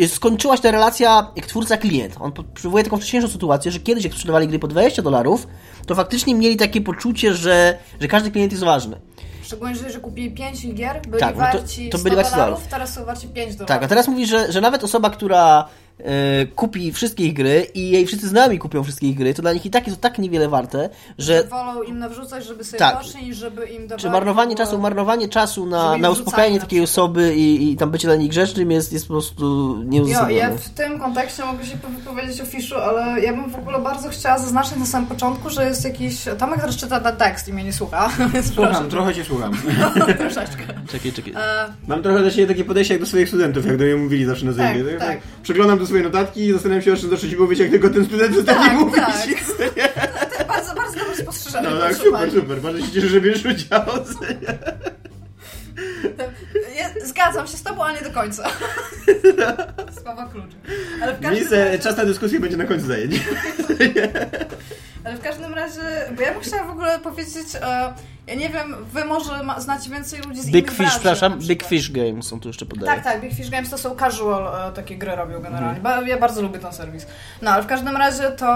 [SPEAKER 2] y, skończyła się ta relacja jak twórca-klient. On po- przywołuje taką wcześniejszą sytuację, że kiedyś jak sprzedawali gry po 20 dolarów, to faktycznie mieli takie poczucie, że, że każdy klient jest ważny.
[SPEAKER 3] Szczególnie, że- że kupili 5 gier, byli
[SPEAKER 2] Tak, no to-
[SPEAKER 3] warci
[SPEAKER 2] to
[SPEAKER 3] 100
[SPEAKER 2] byli warci
[SPEAKER 3] dolarów,
[SPEAKER 2] dolarów.
[SPEAKER 3] teraz są warci 5 dolarów.
[SPEAKER 2] Tak, a teraz mówi, że, że nawet osoba, która e, kupi wszystkie ich gry i jej wszyscy znajomi kupią wszystkie ich gry, to dla nich i tak jest to tak niewiele warte, że
[SPEAKER 3] Wolą im nawrzucać, żeby sobie
[SPEAKER 2] Tak.
[SPEAKER 3] poszli, niż żeby im dawać...
[SPEAKER 2] czy marnowanie
[SPEAKER 3] e,
[SPEAKER 2] czasu, marnowanie czasu na,
[SPEAKER 3] żeby ich
[SPEAKER 2] na
[SPEAKER 3] wrzucali
[SPEAKER 2] uspokajanie
[SPEAKER 3] na
[SPEAKER 2] takiej osoby i, i tam bycie dla nich grzecznym jest, jest po prostu
[SPEAKER 3] Ja, ja
[SPEAKER 2] nieuzasadnione.
[SPEAKER 3] w tym kontekście mogę się wypowiedzieć o Fiszu, ale ja bym w ogóle bardzo chciała zaznaczyć na samym początku, że jest jakiś... Tomek teraz czyta ten tekst i mnie nie słucha, więc proszę,
[SPEAKER 4] Słucham, trochę cię słucham.
[SPEAKER 3] troszeczkę.
[SPEAKER 2] Czekaj, czekaj.
[SPEAKER 3] e,
[SPEAKER 4] Mam trochę do siebie takie podejście jak do swoich studentów, jak do mnie mówili zawsze na zajmie.
[SPEAKER 3] tak.
[SPEAKER 4] Przeglądam do swoje notatki i zastanawiam się, o czym zacząć mówić, jak tylko ten student przestanie
[SPEAKER 3] Tak,
[SPEAKER 4] mówić.
[SPEAKER 3] tak. Bardzo, bardzo dobre spostrzeżenie.
[SPEAKER 4] No tak,
[SPEAKER 3] proszę
[SPEAKER 4] super,
[SPEAKER 3] pani.
[SPEAKER 4] super. Bardzo się cieszę, że bierzesz udział.
[SPEAKER 3] Ja zgadzam się z tobą, ale nie do końca. Słowa klucz. Ale w każdym
[SPEAKER 4] Miejsce,
[SPEAKER 3] razie...
[SPEAKER 4] czas na dyskusję będzie na końcu zajęć.
[SPEAKER 3] Ale w każdym razie, bo ja bym chciała w ogóle powiedzieć, e, ja nie wiem, wy może ma, znacie więcej ludzi z
[SPEAKER 2] Big
[SPEAKER 3] innych
[SPEAKER 2] Fish,
[SPEAKER 3] branży, na
[SPEAKER 2] przepraszam, Big
[SPEAKER 3] przykład.
[SPEAKER 2] Fish Games są tu jeszcze podaje.
[SPEAKER 3] Tak, tak, Big Fish Games to są casual e, takie gry robią generalnie. Ba, ja bardzo lubię ten serwis. No, ale w każdym razie to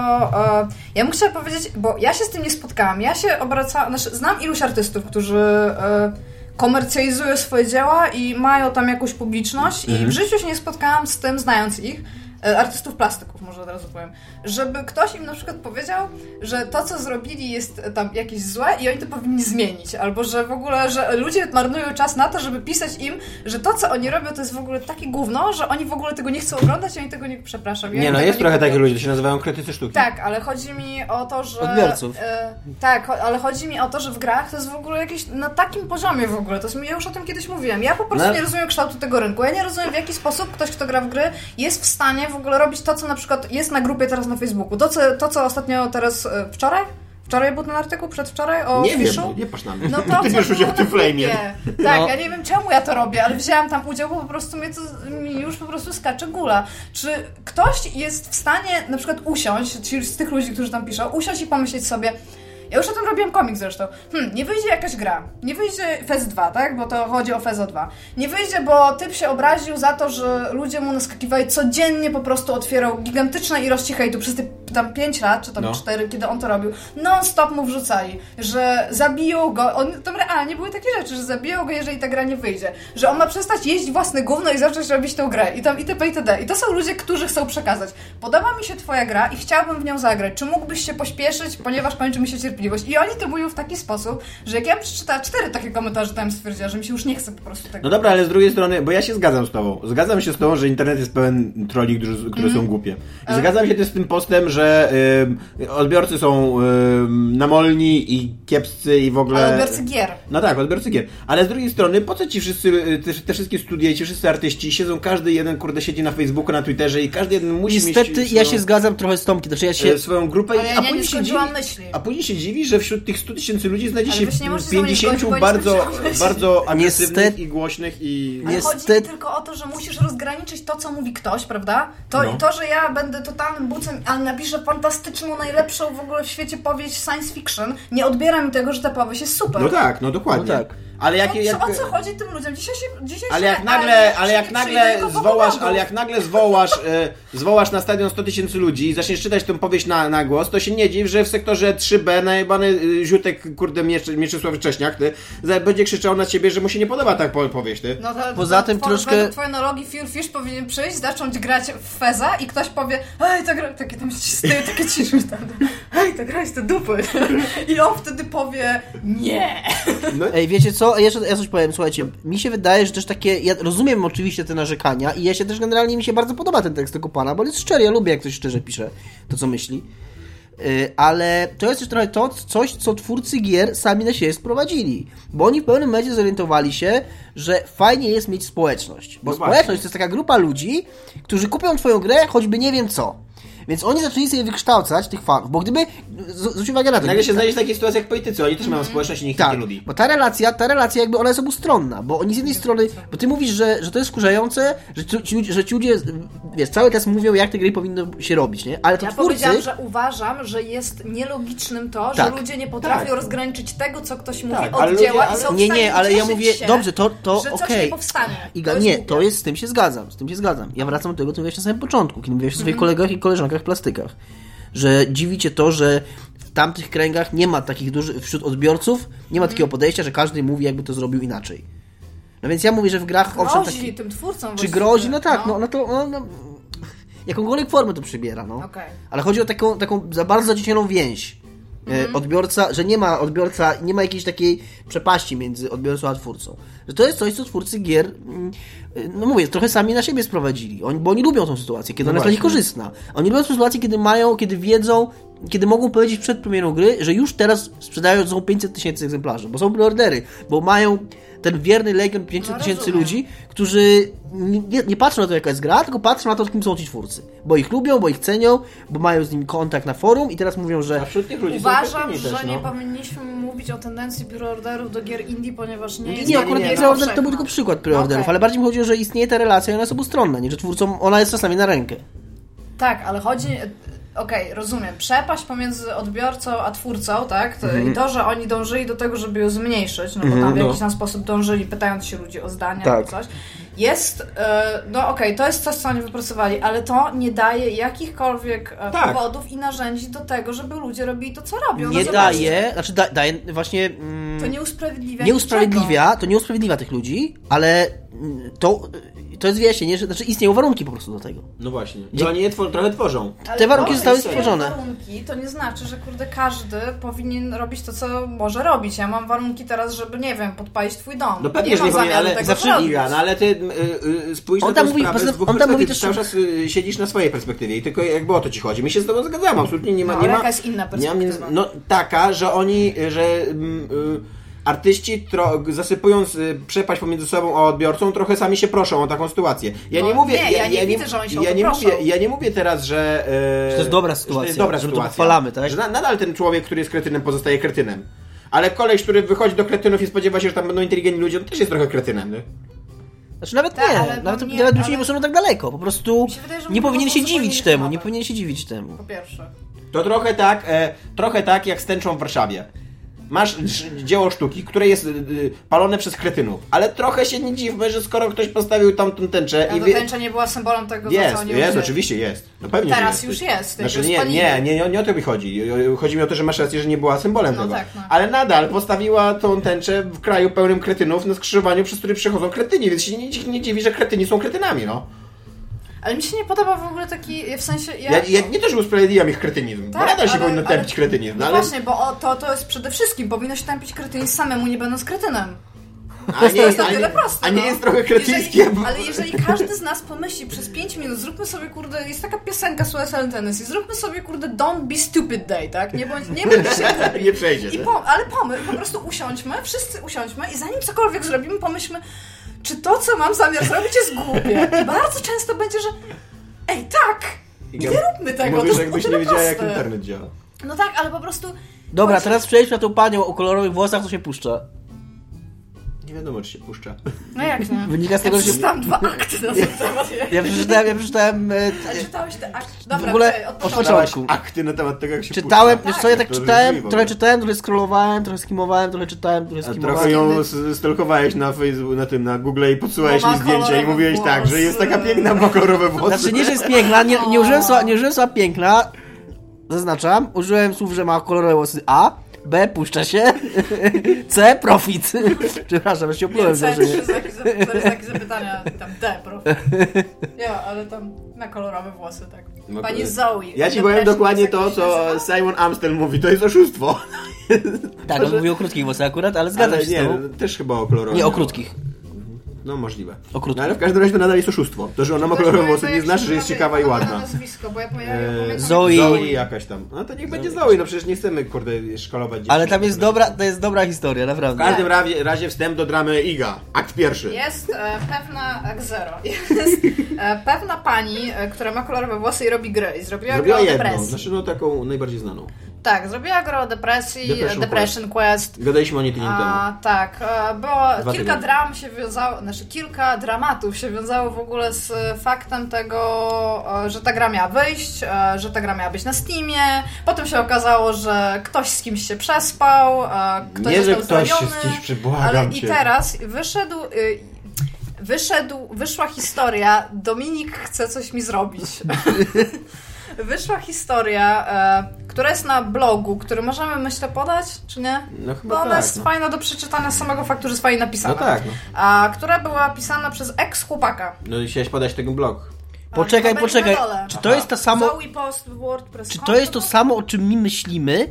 [SPEAKER 3] e, ja bym chciała powiedzieć, bo ja się z tym nie spotkałam. Ja się obracałam, znaczy znam iluś artystów, którzy e, komercjalizują swoje dzieła i mają tam jakąś publiczność i w życiu się nie spotkałam z tym, znając ich. e, Artystów plastyków, może od razu powiem, żeby ktoś im na przykład powiedział, że to, co zrobili, jest e, tam jakieś złe i oni to powinni zmienić, albo że w ogóle, że ludzie marnują czas na to, żeby pisać im, że to, co oni robią, to jest w ogóle takie gówno, że oni w ogóle tego nie chcą oglądać i oni tego nie. Przepraszam. i
[SPEAKER 4] no,
[SPEAKER 3] oni tego kupią.
[SPEAKER 4] ludzi, to się nazywają krytycy sztuki.
[SPEAKER 3] Tak, ale chodzi mi o to, że.
[SPEAKER 2] Odbiorców.
[SPEAKER 3] E, tak, cho- ale chodzi mi o to, że w grach to jest w ogóle jakieś. na takim poziomie w ogóle. To jest, ja już o tym kiedyś mówiłam. Ja po prostu
[SPEAKER 4] No.
[SPEAKER 3] nie rozumiem kształtu tego rynku. Ja nie rozumiem, w jaki sposób ktoś, kto gra w gry, jest w stanie w ogóle robić to, co na przykład jest na grupie teraz na Facebooku. To, co, to, co ostatnio teraz. E, wczoraj? Wczoraj był ten artykuł? Przedwczoraj? O
[SPEAKER 4] Nie wiem,
[SPEAKER 3] Fiszu?
[SPEAKER 4] nie patrz na mnie.
[SPEAKER 3] No to
[SPEAKER 4] Ty
[SPEAKER 3] co
[SPEAKER 4] bierzesz udział w tym
[SPEAKER 3] było na
[SPEAKER 4] flame'ie.
[SPEAKER 3] grupie. Tak,
[SPEAKER 2] No.
[SPEAKER 3] ja nie wiem czemu ja to robię, ale wzięłam tam udział, bo po prostu mnie to, mi już po prostu skacze gula. Czy ktoś jest w stanie na przykład usiąść, czyli z tych ludzi, którzy tam piszą, usiąść i pomyśleć sobie, ja już o tym robiłam komik zresztą. Hmm, nie wyjdzie jakaś gra. Nie wyjdzie Fez 2, tak? Bo to chodzi o Fezo 2. Nie wyjdzie, bo typ się obraził za to, że ludzie mu naskakiwali codziennie, po prostu otwierał gigantyczne ilości hejtu przez te tam 5 lat, czy tam
[SPEAKER 4] No.
[SPEAKER 3] 4, kiedy on to robił. Non-stop mu wrzucali, że zabiją go. On, tam realnie były takie rzeczy, że zabiją go, jeżeli ta gra nie wyjdzie. Że on ma przestać jeść własne gówno i zacząć robić tą grę. I tam itp. itd. I to są ludzie, którzy chcą przekazać. Podoba mi się twoja gra i chciałabym w nią zagrać. Czy mógłbyś się pośpieszyć, ponieważ kończy mi się cierpliwość? wątpliwość. I oni to mówią w taki sposób, że jak ja przeczytałam cztery takie komentarze, tam stwierdziłam, że mi się już nie chce po prostu tego.
[SPEAKER 4] No dobra, ale z drugiej strony, bo ja się zgadzam z tobą. Zgadzam się z tobą, że internet jest pełen troli, którzy, które
[SPEAKER 3] Mhm.
[SPEAKER 4] są głupie. I zgadzam się też z tym postem, że ym, odbiorcy są ym, namolni i kiepscy i w ogóle...
[SPEAKER 3] Ale odbiorcy gier.
[SPEAKER 4] No tak, odbiorcy gier. Ale z drugiej strony, po co ci wszyscy, y, te, te wszystkie studia i ci wszyscy artyści siedzą, każdy jeden, kurde, siedzi na Facebooku, na Twitterze i każdy jeden musi
[SPEAKER 2] Niestety
[SPEAKER 4] mieć
[SPEAKER 2] ja się
[SPEAKER 4] swoją,
[SPEAKER 2] zgadzam trochę z Tomki, znaczy ja się...
[SPEAKER 4] y, swoją grupę.
[SPEAKER 3] Ale ja nie,
[SPEAKER 4] później
[SPEAKER 3] nie
[SPEAKER 4] się
[SPEAKER 3] skończyłam
[SPEAKER 4] dziwi-
[SPEAKER 3] myśli.
[SPEAKER 4] A później się dziwi, że wśród tych 100 tysięcy ludzi znajdzie
[SPEAKER 3] Ale
[SPEAKER 4] się
[SPEAKER 3] wy się nie możecie za mnie
[SPEAKER 4] 50
[SPEAKER 3] zgodzić, bo nie
[SPEAKER 4] bardzo,
[SPEAKER 3] skończyłam
[SPEAKER 4] bardzo agresywnych
[SPEAKER 2] Niestety-
[SPEAKER 4] i głośnych i...
[SPEAKER 3] Ale
[SPEAKER 2] Niestety-
[SPEAKER 3] chodzi tylko o to, że musisz rozgraniczyć to, co mówi ktoś, prawda? To,
[SPEAKER 4] No.
[SPEAKER 3] to że ja będę totalnym bucem, ale napiszę fantastyczną, najlepszą w ogóle w świecie powieść science fiction, nie odbiera mi tego, że ta powieść jest super.
[SPEAKER 4] No tak, no dokładnie.
[SPEAKER 2] No tak.
[SPEAKER 4] Ale jak,
[SPEAKER 3] No,
[SPEAKER 4] jak,
[SPEAKER 3] co, o co chodzi tym ludziom? Dzisiaj się... Dzisiaj
[SPEAKER 4] ale
[SPEAKER 3] się
[SPEAKER 4] jak nagle,
[SPEAKER 3] się
[SPEAKER 4] ale jak
[SPEAKER 3] nie
[SPEAKER 4] nagle
[SPEAKER 3] przyjdzie do
[SPEAKER 4] zwołasz,
[SPEAKER 3] powodu.
[SPEAKER 4] ale jak nagle zwołasz, e, zwołasz na stadion 100 tysięcy ludzi i zaczniesz czytać tę powieść na, na głos, to się nie dziw, że w sektorze 3B najebany y, ziutek, kurde, Miecz- Mieczysław Cześniak, ty, za- będzie krzyczał na ciebie, że mu się nie podoba ta po- powieść, ty.
[SPEAKER 3] No to,
[SPEAKER 2] Poza
[SPEAKER 3] to
[SPEAKER 2] tym
[SPEAKER 3] two-
[SPEAKER 2] troszkę-
[SPEAKER 3] Według twojej analogii Fearfish powinien przyjść, zacząć grać w Feza i ktoś powie Ej, to gra... Takie tam stoję, takie ciszy tam. Ej, to grać te dupy. I on wtedy powie nie.
[SPEAKER 2] Ej, wiecie co? Jeszcze ja coś powiem, słuchajcie, mi się wydaje, że też takie, ja rozumiem oczywiście te narzekania i ja się też generalnie mi się bardzo podoba ten tekst tego pana, bo on jest szczery, ja lubię jak ktoś szczerze pisze to, co myśli. Y, Ale to jest też trochę to, coś, co twórcy gier sami na siebie sprowadzili. Bo oni w pewnym momencie zorientowali się, że fajnie jest mieć społeczność. Bo
[SPEAKER 4] No właśnie.
[SPEAKER 2] społeczność to jest taka grupa ludzi, którzy kupią twoją grę, choćby nie wiem co. Więc oni zaczęli sobie wykształcać tych fanów, bo gdyby... z- Zwróć uwagę na to.
[SPEAKER 4] Nagle się znajdziesz w takiej sytuacji jak politycy, oni też
[SPEAKER 3] Mhm.
[SPEAKER 4] mają społeczność i nikt ich
[SPEAKER 2] Tak,
[SPEAKER 4] nie lubi.
[SPEAKER 2] bo ta relacja, ta relacja jakby ona jest obustronna, bo oni z jednej strony, bo ty mówisz, że, że to jest wkurzające, że ci, ci, ludzie- że ci ludzie, wiesz, cały czas mówią, jak te gry powinno się robić, nie? Ale to
[SPEAKER 3] Ja
[SPEAKER 2] twórcy,
[SPEAKER 3] powiedziałam, że uważam, że jest nielogicznym to,
[SPEAKER 2] Tak.
[SPEAKER 3] że ludzie nie potrafią
[SPEAKER 4] Tak.
[SPEAKER 3] rozgraniczyć tego, co ktoś mówi
[SPEAKER 4] Tak, ale
[SPEAKER 3] od dzieła
[SPEAKER 4] ludzie-
[SPEAKER 3] i są w
[SPEAKER 2] nie,
[SPEAKER 3] stanie
[SPEAKER 2] nie, ale ja
[SPEAKER 3] cieszyć
[SPEAKER 2] mówię,
[SPEAKER 3] się,
[SPEAKER 2] dobrze, to, to
[SPEAKER 3] że coś
[SPEAKER 2] okej.
[SPEAKER 3] nie powstanie.
[SPEAKER 2] Iga,
[SPEAKER 3] jest
[SPEAKER 2] nie,
[SPEAKER 3] głupie.
[SPEAKER 2] to jest, z tym się zgadzam, z tym się zgadzam. Ja wracam do tego, co mówiłeś na samym początku, kiedy mówiłeś o
[SPEAKER 3] Mhm.
[SPEAKER 2] swoich kolegach i koleżankach plastykach, że dziwi cię to, że w tamtych kręgach nie ma takich dużych, wśród odbiorców, nie ma
[SPEAKER 3] Mhm.
[SPEAKER 2] takiego podejścia, że każdy mówi, jakby to zrobił inaczej. No więc ja mówię, że w grach, owszem,
[SPEAKER 3] Grozi
[SPEAKER 2] taki...
[SPEAKER 3] tym twórcom
[SPEAKER 2] Czy
[SPEAKER 3] właściwie,
[SPEAKER 2] grozi? No tak, no, no to. No, no, jakąkolwiek formę to przybiera, no.
[SPEAKER 3] Okej.
[SPEAKER 2] Ale chodzi o taką, taką za bardzo zaciśnioną więź. e, Odbiorca, że nie ma odbiorca, nie ma jakiejś takiej przepaści między odbiorcą a twórcą. Że to jest coś, co twórcy gier, mm, y, no mówię, trochę sami na siebie sprowadzili, oni, bo oni lubią tą sytuację, kiedy ona jest dla nich
[SPEAKER 4] właśnie.
[SPEAKER 2] korzystna. Oni lubią sytuację, kiedy mają, kiedy wiedzą, kiedy mogą powiedzieć przed premierą gry, że już teraz sprzedają są 500 tysięcy egzemplarzy, bo są preordery, bo mają ten wierny legion 500
[SPEAKER 3] No,
[SPEAKER 2] tysięcy
[SPEAKER 3] rozumiem.
[SPEAKER 2] ludzi, którzy nie, nie patrzą na to, jaka jest gra, tylko patrzą na to, kim są ci twórcy. Bo ich lubią, bo ich cenią, bo mają z nimi kontakt na forum i teraz mówią,
[SPEAKER 4] A
[SPEAKER 2] że
[SPEAKER 4] wśród tych ludzi są
[SPEAKER 3] Uważam,
[SPEAKER 4] kretyni
[SPEAKER 3] że
[SPEAKER 4] też,
[SPEAKER 3] nie
[SPEAKER 4] no.
[SPEAKER 3] powinniśmy mówić o tendencji preorderów do gier indie, ponieważ nie jest
[SPEAKER 2] nie,
[SPEAKER 3] to
[SPEAKER 2] akurat
[SPEAKER 3] wiedza
[SPEAKER 2] preorder to był
[SPEAKER 3] powszechna.
[SPEAKER 2] tak tylko przykład preorderów,
[SPEAKER 3] Okej.
[SPEAKER 2] ale bardziej mi chodzi o, że istnieje ta relacja i ona jest obustronna, nie, że twórcom ona jest czasami na rękę.
[SPEAKER 3] Tak, ale chodzi. Okej, rozumiem. Przepaść pomiędzy odbiorcą a twórcą, tak? To, I to, że oni dążyli do tego, żeby ją zmniejszyć, no bo tam w jakiś tam sposób dążyli, pytając się ludzi o zdania
[SPEAKER 2] Tak.
[SPEAKER 3] albo coś. Jest, e, no okej, to jest coś, co oni wypracowali, ale to nie daje jakichkolwiek e,
[SPEAKER 4] Tak.
[SPEAKER 3] powodów i narzędzi do tego, żeby ludzie robili to, co robią.
[SPEAKER 2] Nie
[SPEAKER 3] no,
[SPEAKER 2] daje, znaczy da, daje właśnie... Mm,
[SPEAKER 3] To nie usprawiedliwia.
[SPEAKER 2] nie usprawiedliwia, to nie usprawiedliwia tych ludzi, ale mm, to, to jest wyjaśnienie, że znaczy istnieją warunki po prostu do tego.
[SPEAKER 4] No właśnie. Że oni je twor- trochę tworzą.
[SPEAKER 2] Te warunki zostały stworzone.
[SPEAKER 3] stworzone. warunki, to nie znaczy, że kurde każdy powinien robić to, co może robić. Ja mam warunki teraz, żeby, nie wiem, podpalić twój dom.
[SPEAKER 4] No pewnie,
[SPEAKER 3] nie
[SPEAKER 4] że
[SPEAKER 3] mam
[SPEAKER 4] nie powinien,
[SPEAKER 3] zamiaru
[SPEAKER 4] ale
[SPEAKER 3] tego
[SPEAKER 4] zawsze
[SPEAKER 3] zrobić.
[SPEAKER 4] Iga, no ale ty y, y, spójrz
[SPEAKER 2] On
[SPEAKER 4] na
[SPEAKER 2] tam
[SPEAKER 4] tę
[SPEAKER 2] mówi-
[SPEAKER 4] sprawę
[SPEAKER 2] poza-
[SPEAKER 4] z dwóch
[SPEAKER 2] on tam mówi
[SPEAKER 4] perspektyw.
[SPEAKER 2] też-
[SPEAKER 4] cały czas y, siedzisz na swojej perspektywie i tylko jakby o to ci chodzi. Mi się z tobą zgadzam, absolutnie nie ma...
[SPEAKER 3] No,
[SPEAKER 4] nie
[SPEAKER 3] ale
[SPEAKER 4] ma
[SPEAKER 3] jaka jest inna
[SPEAKER 4] Nie
[SPEAKER 3] perspektywa?
[SPEAKER 4] ma, no taka, że oni, y, że... mm, y, Artyści, tro, zasypując y, przepaść pomiędzy sobą a odbiorcą, trochę sami się proszą o taką sytuację. Ja
[SPEAKER 3] No
[SPEAKER 4] nie mówię,
[SPEAKER 3] nie, ja nie widzę, że oni się o
[SPEAKER 4] ja
[SPEAKER 3] to
[SPEAKER 4] nie
[SPEAKER 3] proszą.
[SPEAKER 4] mówię, ja nie mówię teraz, że, y,
[SPEAKER 2] Że to jest dobra
[SPEAKER 4] Że to
[SPEAKER 2] sytuacja,
[SPEAKER 4] jest dobra
[SPEAKER 2] że to
[SPEAKER 4] sytuacja.
[SPEAKER 2] pochwalamy, tak?
[SPEAKER 4] Że na, nadal ten człowiek, który jest kretynem, pozostaje kretynem. Ale koleś, który wychodzi do kretynów i spodziewa się, że tam będą inteligentni ludzie, on też jest trochę kretynem, nie?
[SPEAKER 2] Znaczy nawet
[SPEAKER 3] Tak,
[SPEAKER 2] nie,
[SPEAKER 3] ale
[SPEAKER 2] nawet,
[SPEAKER 3] to nie-
[SPEAKER 2] nawet ludzie nie
[SPEAKER 3] ale-
[SPEAKER 2] poszedł tak daleko, po prostu
[SPEAKER 3] się wydaje, że
[SPEAKER 2] nie
[SPEAKER 3] mówią
[SPEAKER 2] powinien
[SPEAKER 3] o
[SPEAKER 2] się
[SPEAKER 3] zupełnie
[SPEAKER 2] dziwić
[SPEAKER 3] innych
[SPEAKER 2] temu, nie
[SPEAKER 3] tematach.
[SPEAKER 2] powinien się dziwić temu.
[SPEAKER 3] Po pierwsze.
[SPEAKER 4] To trochę tak, e, trochę tak jak stęczą w Warszawie. Masz dż- dzieło sztuki, które jest y, y, palone przez kretynów, ale trochę się nie dziwmy, że skoro ktoś postawił tam tą tęczę
[SPEAKER 3] Ta
[SPEAKER 4] i wie...
[SPEAKER 3] tęcza nie była symbolem tego, za co
[SPEAKER 4] Jest,
[SPEAKER 3] oni
[SPEAKER 4] jest,
[SPEAKER 3] ludzie-
[SPEAKER 4] oczywiście jest. No pewnie, że
[SPEAKER 3] Teraz
[SPEAKER 4] jest.
[SPEAKER 3] już jest,
[SPEAKER 4] Znaczy
[SPEAKER 3] już
[SPEAKER 4] nie,
[SPEAKER 3] spalili.
[SPEAKER 4] nie, nie, nie, nie o to mi chodzi. Chodzi mi o to, że masz rację, że nie była symbolem
[SPEAKER 3] No
[SPEAKER 4] tego.
[SPEAKER 3] tak, no.
[SPEAKER 4] Ale nadal postawiła tą tęczę w kraju pełnym kretynów na skrzyżowaniu, przez który przechodzą kretyni, więc się nie, nie dziwi, że kretyni są kretynami, no.
[SPEAKER 3] Ale mi się nie podoba w ogóle taki, w sensie... Ja,
[SPEAKER 4] Ja, ja nie to, że usprawiedliwiam ich kretynizm, bo
[SPEAKER 3] Tak,
[SPEAKER 4] nadal się
[SPEAKER 3] ale-
[SPEAKER 4] powinno
[SPEAKER 3] ale-
[SPEAKER 4] tępić kretynizm,
[SPEAKER 3] No
[SPEAKER 4] ale,
[SPEAKER 3] właśnie, bo o, to, to jest przede wszystkim, powinno się tępić kretynizm samemu, nie będąc kretynem.
[SPEAKER 4] a nie,
[SPEAKER 3] To jest
[SPEAKER 4] jest,
[SPEAKER 3] na
[SPEAKER 4] a nie,
[SPEAKER 3] tyle proste.
[SPEAKER 4] a nie
[SPEAKER 3] no.
[SPEAKER 4] jest trochę kretyńskie,
[SPEAKER 3] Jeżeli,
[SPEAKER 4] bo...
[SPEAKER 3] ale jeżeli każdy z nas pomyśli przez 5 minut, zróbmy sobie, kurde, jest taka piosenka z USL Tennessee, zróbmy sobie, kurde, don't be stupid day, tak? Nie bądź, nie bądź się
[SPEAKER 4] nie przejdzie.
[SPEAKER 3] I
[SPEAKER 4] tak?
[SPEAKER 3] po, ale pomyśl, po prostu usiądźmy, wszyscy usiądźmy i zanim cokolwiek zrobimy, pomyślmy, czy to, co mam zamiar zrobić, jest głupie. I bardzo często będzie, że ej, tak, nie róbmy tego,
[SPEAKER 4] Mówisz,
[SPEAKER 3] to jest o
[SPEAKER 4] jakbyś
[SPEAKER 3] tyle
[SPEAKER 4] nie wiedziała, jak
[SPEAKER 3] proste.
[SPEAKER 4] internet działa.
[SPEAKER 3] No tak, ale po prostu...
[SPEAKER 2] Dobra,
[SPEAKER 3] Chodź-
[SPEAKER 2] teraz przejdźmy na tą panią o kolorowych włosach, co się puszcza.
[SPEAKER 4] Nie wiadomo, czy się puszcza.
[SPEAKER 3] No jak nie?
[SPEAKER 2] Wynika z tego,
[SPEAKER 3] ja
[SPEAKER 2] że się...
[SPEAKER 3] przeczytałam dwa akty na ten temat.
[SPEAKER 2] Ja przeczytałem, ja przeczytałem... e,
[SPEAKER 3] Ale
[SPEAKER 2] t-
[SPEAKER 3] czytałeś te akty. Dobra,
[SPEAKER 2] W ogóle
[SPEAKER 3] czekaj,
[SPEAKER 2] od
[SPEAKER 3] od początku.
[SPEAKER 2] początku.
[SPEAKER 4] Dałaś akty na temat tego, jak się
[SPEAKER 2] Czytałem,
[SPEAKER 4] puszcza.
[SPEAKER 2] wiesz co, ja tak
[SPEAKER 4] To
[SPEAKER 2] czytałem,
[SPEAKER 4] życzliwe.
[SPEAKER 2] trochę czytałem, trochę scrollowałem, trochę skimowałem, trochę czytałem, trochę
[SPEAKER 4] A
[SPEAKER 2] skimowałem.
[SPEAKER 4] trochę ją s- stalkowałeś na Facebook, na tym, na Google i podsyłałeś
[SPEAKER 3] Bo ma
[SPEAKER 4] mi zdjęcia i
[SPEAKER 3] No, kolorowe
[SPEAKER 4] mówiłeś tak, że
[SPEAKER 3] włosy.
[SPEAKER 4] jest taka piękna, ma kolorowe włosy.
[SPEAKER 2] Znaczy nie, że jest piękna, nie, nie, użyłem słowa, nie użyłem słowa piękna, zaznaczam, użyłem słów, że ma kolorowe włosy A, B, puszcza się, C, profit. Przepraszam, ja się oplułem.
[SPEAKER 3] Więcej,
[SPEAKER 2] że nie.
[SPEAKER 3] trzy znaki zapy- cztery znaki zapytania, tam D, prof. Ja, ale tam na kolorowe włosy, tak.
[SPEAKER 4] No,
[SPEAKER 3] Pani
[SPEAKER 4] kurde.
[SPEAKER 3] Zoe.
[SPEAKER 4] Ja ci
[SPEAKER 3] Dobra,
[SPEAKER 4] powiem dokładnie
[SPEAKER 3] jak
[SPEAKER 4] to,
[SPEAKER 3] się
[SPEAKER 4] co
[SPEAKER 3] nazywa?
[SPEAKER 4] Simon Amstel mówi, to jest oszustwo.
[SPEAKER 2] Tak, on mówił o krótkich włosach akurat, ale zgadzam
[SPEAKER 4] Ale
[SPEAKER 2] się z
[SPEAKER 4] nie, no-
[SPEAKER 2] tobą.
[SPEAKER 4] też chyba o kolorowe.
[SPEAKER 2] Nie, o krótkich.
[SPEAKER 4] No możliwe.
[SPEAKER 2] Okrutne.
[SPEAKER 4] No, ale w każdym razie to nadal jest oszustwo. To, że ona ma
[SPEAKER 3] Też
[SPEAKER 4] kolorowe
[SPEAKER 3] pamiętam,
[SPEAKER 4] włosy, nie
[SPEAKER 3] jak
[SPEAKER 4] znaczy,
[SPEAKER 3] się
[SPEAKER 4] że jest
[SPEAKER 3] nazywa
[SPEAKER 4] ciekawa i
[SPEAKER 3] jej
[SPEAKER 4] ładna.
[SPEAKER 3] nazwisko, bo ja pamiętam,
[SPEAKER 4] Eee,
[SPEAKER 3] pamiętam-
[SPEAKER 2] Zoe.
[SPEAKER 4] Zoe jakaś tam. No to niech będzie Zoe, no przecież nie chcemy, kurde, szkolować dzieci.
[SPEAKER 2] Ale tam jest dobra, to jest dobra historia,
[SPEAKER 4] W
[SPEAKER 2] naprawdę.
[SPEAKER 4] każdym razie, razie wstęp do dramy Iga. Akt pierwszy.
[SPEAKER 3] Jest e, pewna, tak zero, jest e, pewna pani, e, która ma kolorowe włosy i robi gry. I zrobiła,
[SPEAKER 4] Zrobiła
[SPEAKER 3] grę o
[SPEAKER 4] jedną,
[SPEAKER 3] depresji.
[SPEAKER 4] znaczy no taką najbardziej znaną.
[SPEAKER 3] Tak, zrobiła grę o depresji,
[SPEAKER 4] Depression
[SPEAKER 3] Depression, Quest.
[SPEAKER 4] Gadaliśmy o niej tydzień temu.
[SPEAKER 3] A, tak, e, bo
[SPEAKER 4] Dwa
[SPEAKER 3] kilka
[SPEAKER 4] tygodnie.
[SPEAKER 3] dram się wiązało, znaczy kilka dramatów się wiązało w ogóle z e, faktem tego, e, że ta gra miała wyjść, e, że ta gra miała być na Steamie. Potem się okazało, że ktoś z kimś się przespał, e, ktoś
[SPEAKER 4] Nie, że
[SPEAKER 3] został
[SPEAKER 4] ktoś się
[SPEAKER 3] zwolniony,
[SPEAKER 4] z kimś przybłagam
[SPEAKER 3] Ale i
[SPEAKER 4] cię.
[SPEAKER 3] teraz wyszedł... y, Wyszedł, wyszła historia, Dominik chce coś mi zrobić. wyszła historia, e, która jest na blogu, który możemy, myślę, podać, czy nie?
[SPEAKER 4] No chyba
[SPEAKER 3] Bo ona
[SPEAKER 4] tak,
[SPEAKER 3] jest
[SPEAKER 4] no.
[SPEAKER 3] fajna do przeczytania z samego faktu, że jest fajnie
[SPEAKER 4] No
[SPEAKER 3] napisana.
[SPEAKER 4] tak, no.
[SPEAKER 3] A, która była pisana przez ex-chłopaka.
[SPEAKER 4] No i chciałeś podać tego blog.
[SPEAKER 2] Poczekaj,
[SPEAKER 3] Ale to będzie
[SPEAKER 2] poczekaj.
[SPEAKER 3] na dole.
[SPEAKER 2] Czy to jest to samo,
[SPEAKER 3] Zoe Post, WordPress.
[SPEAKER 2] czy to jest to samo, o czym my myślimy?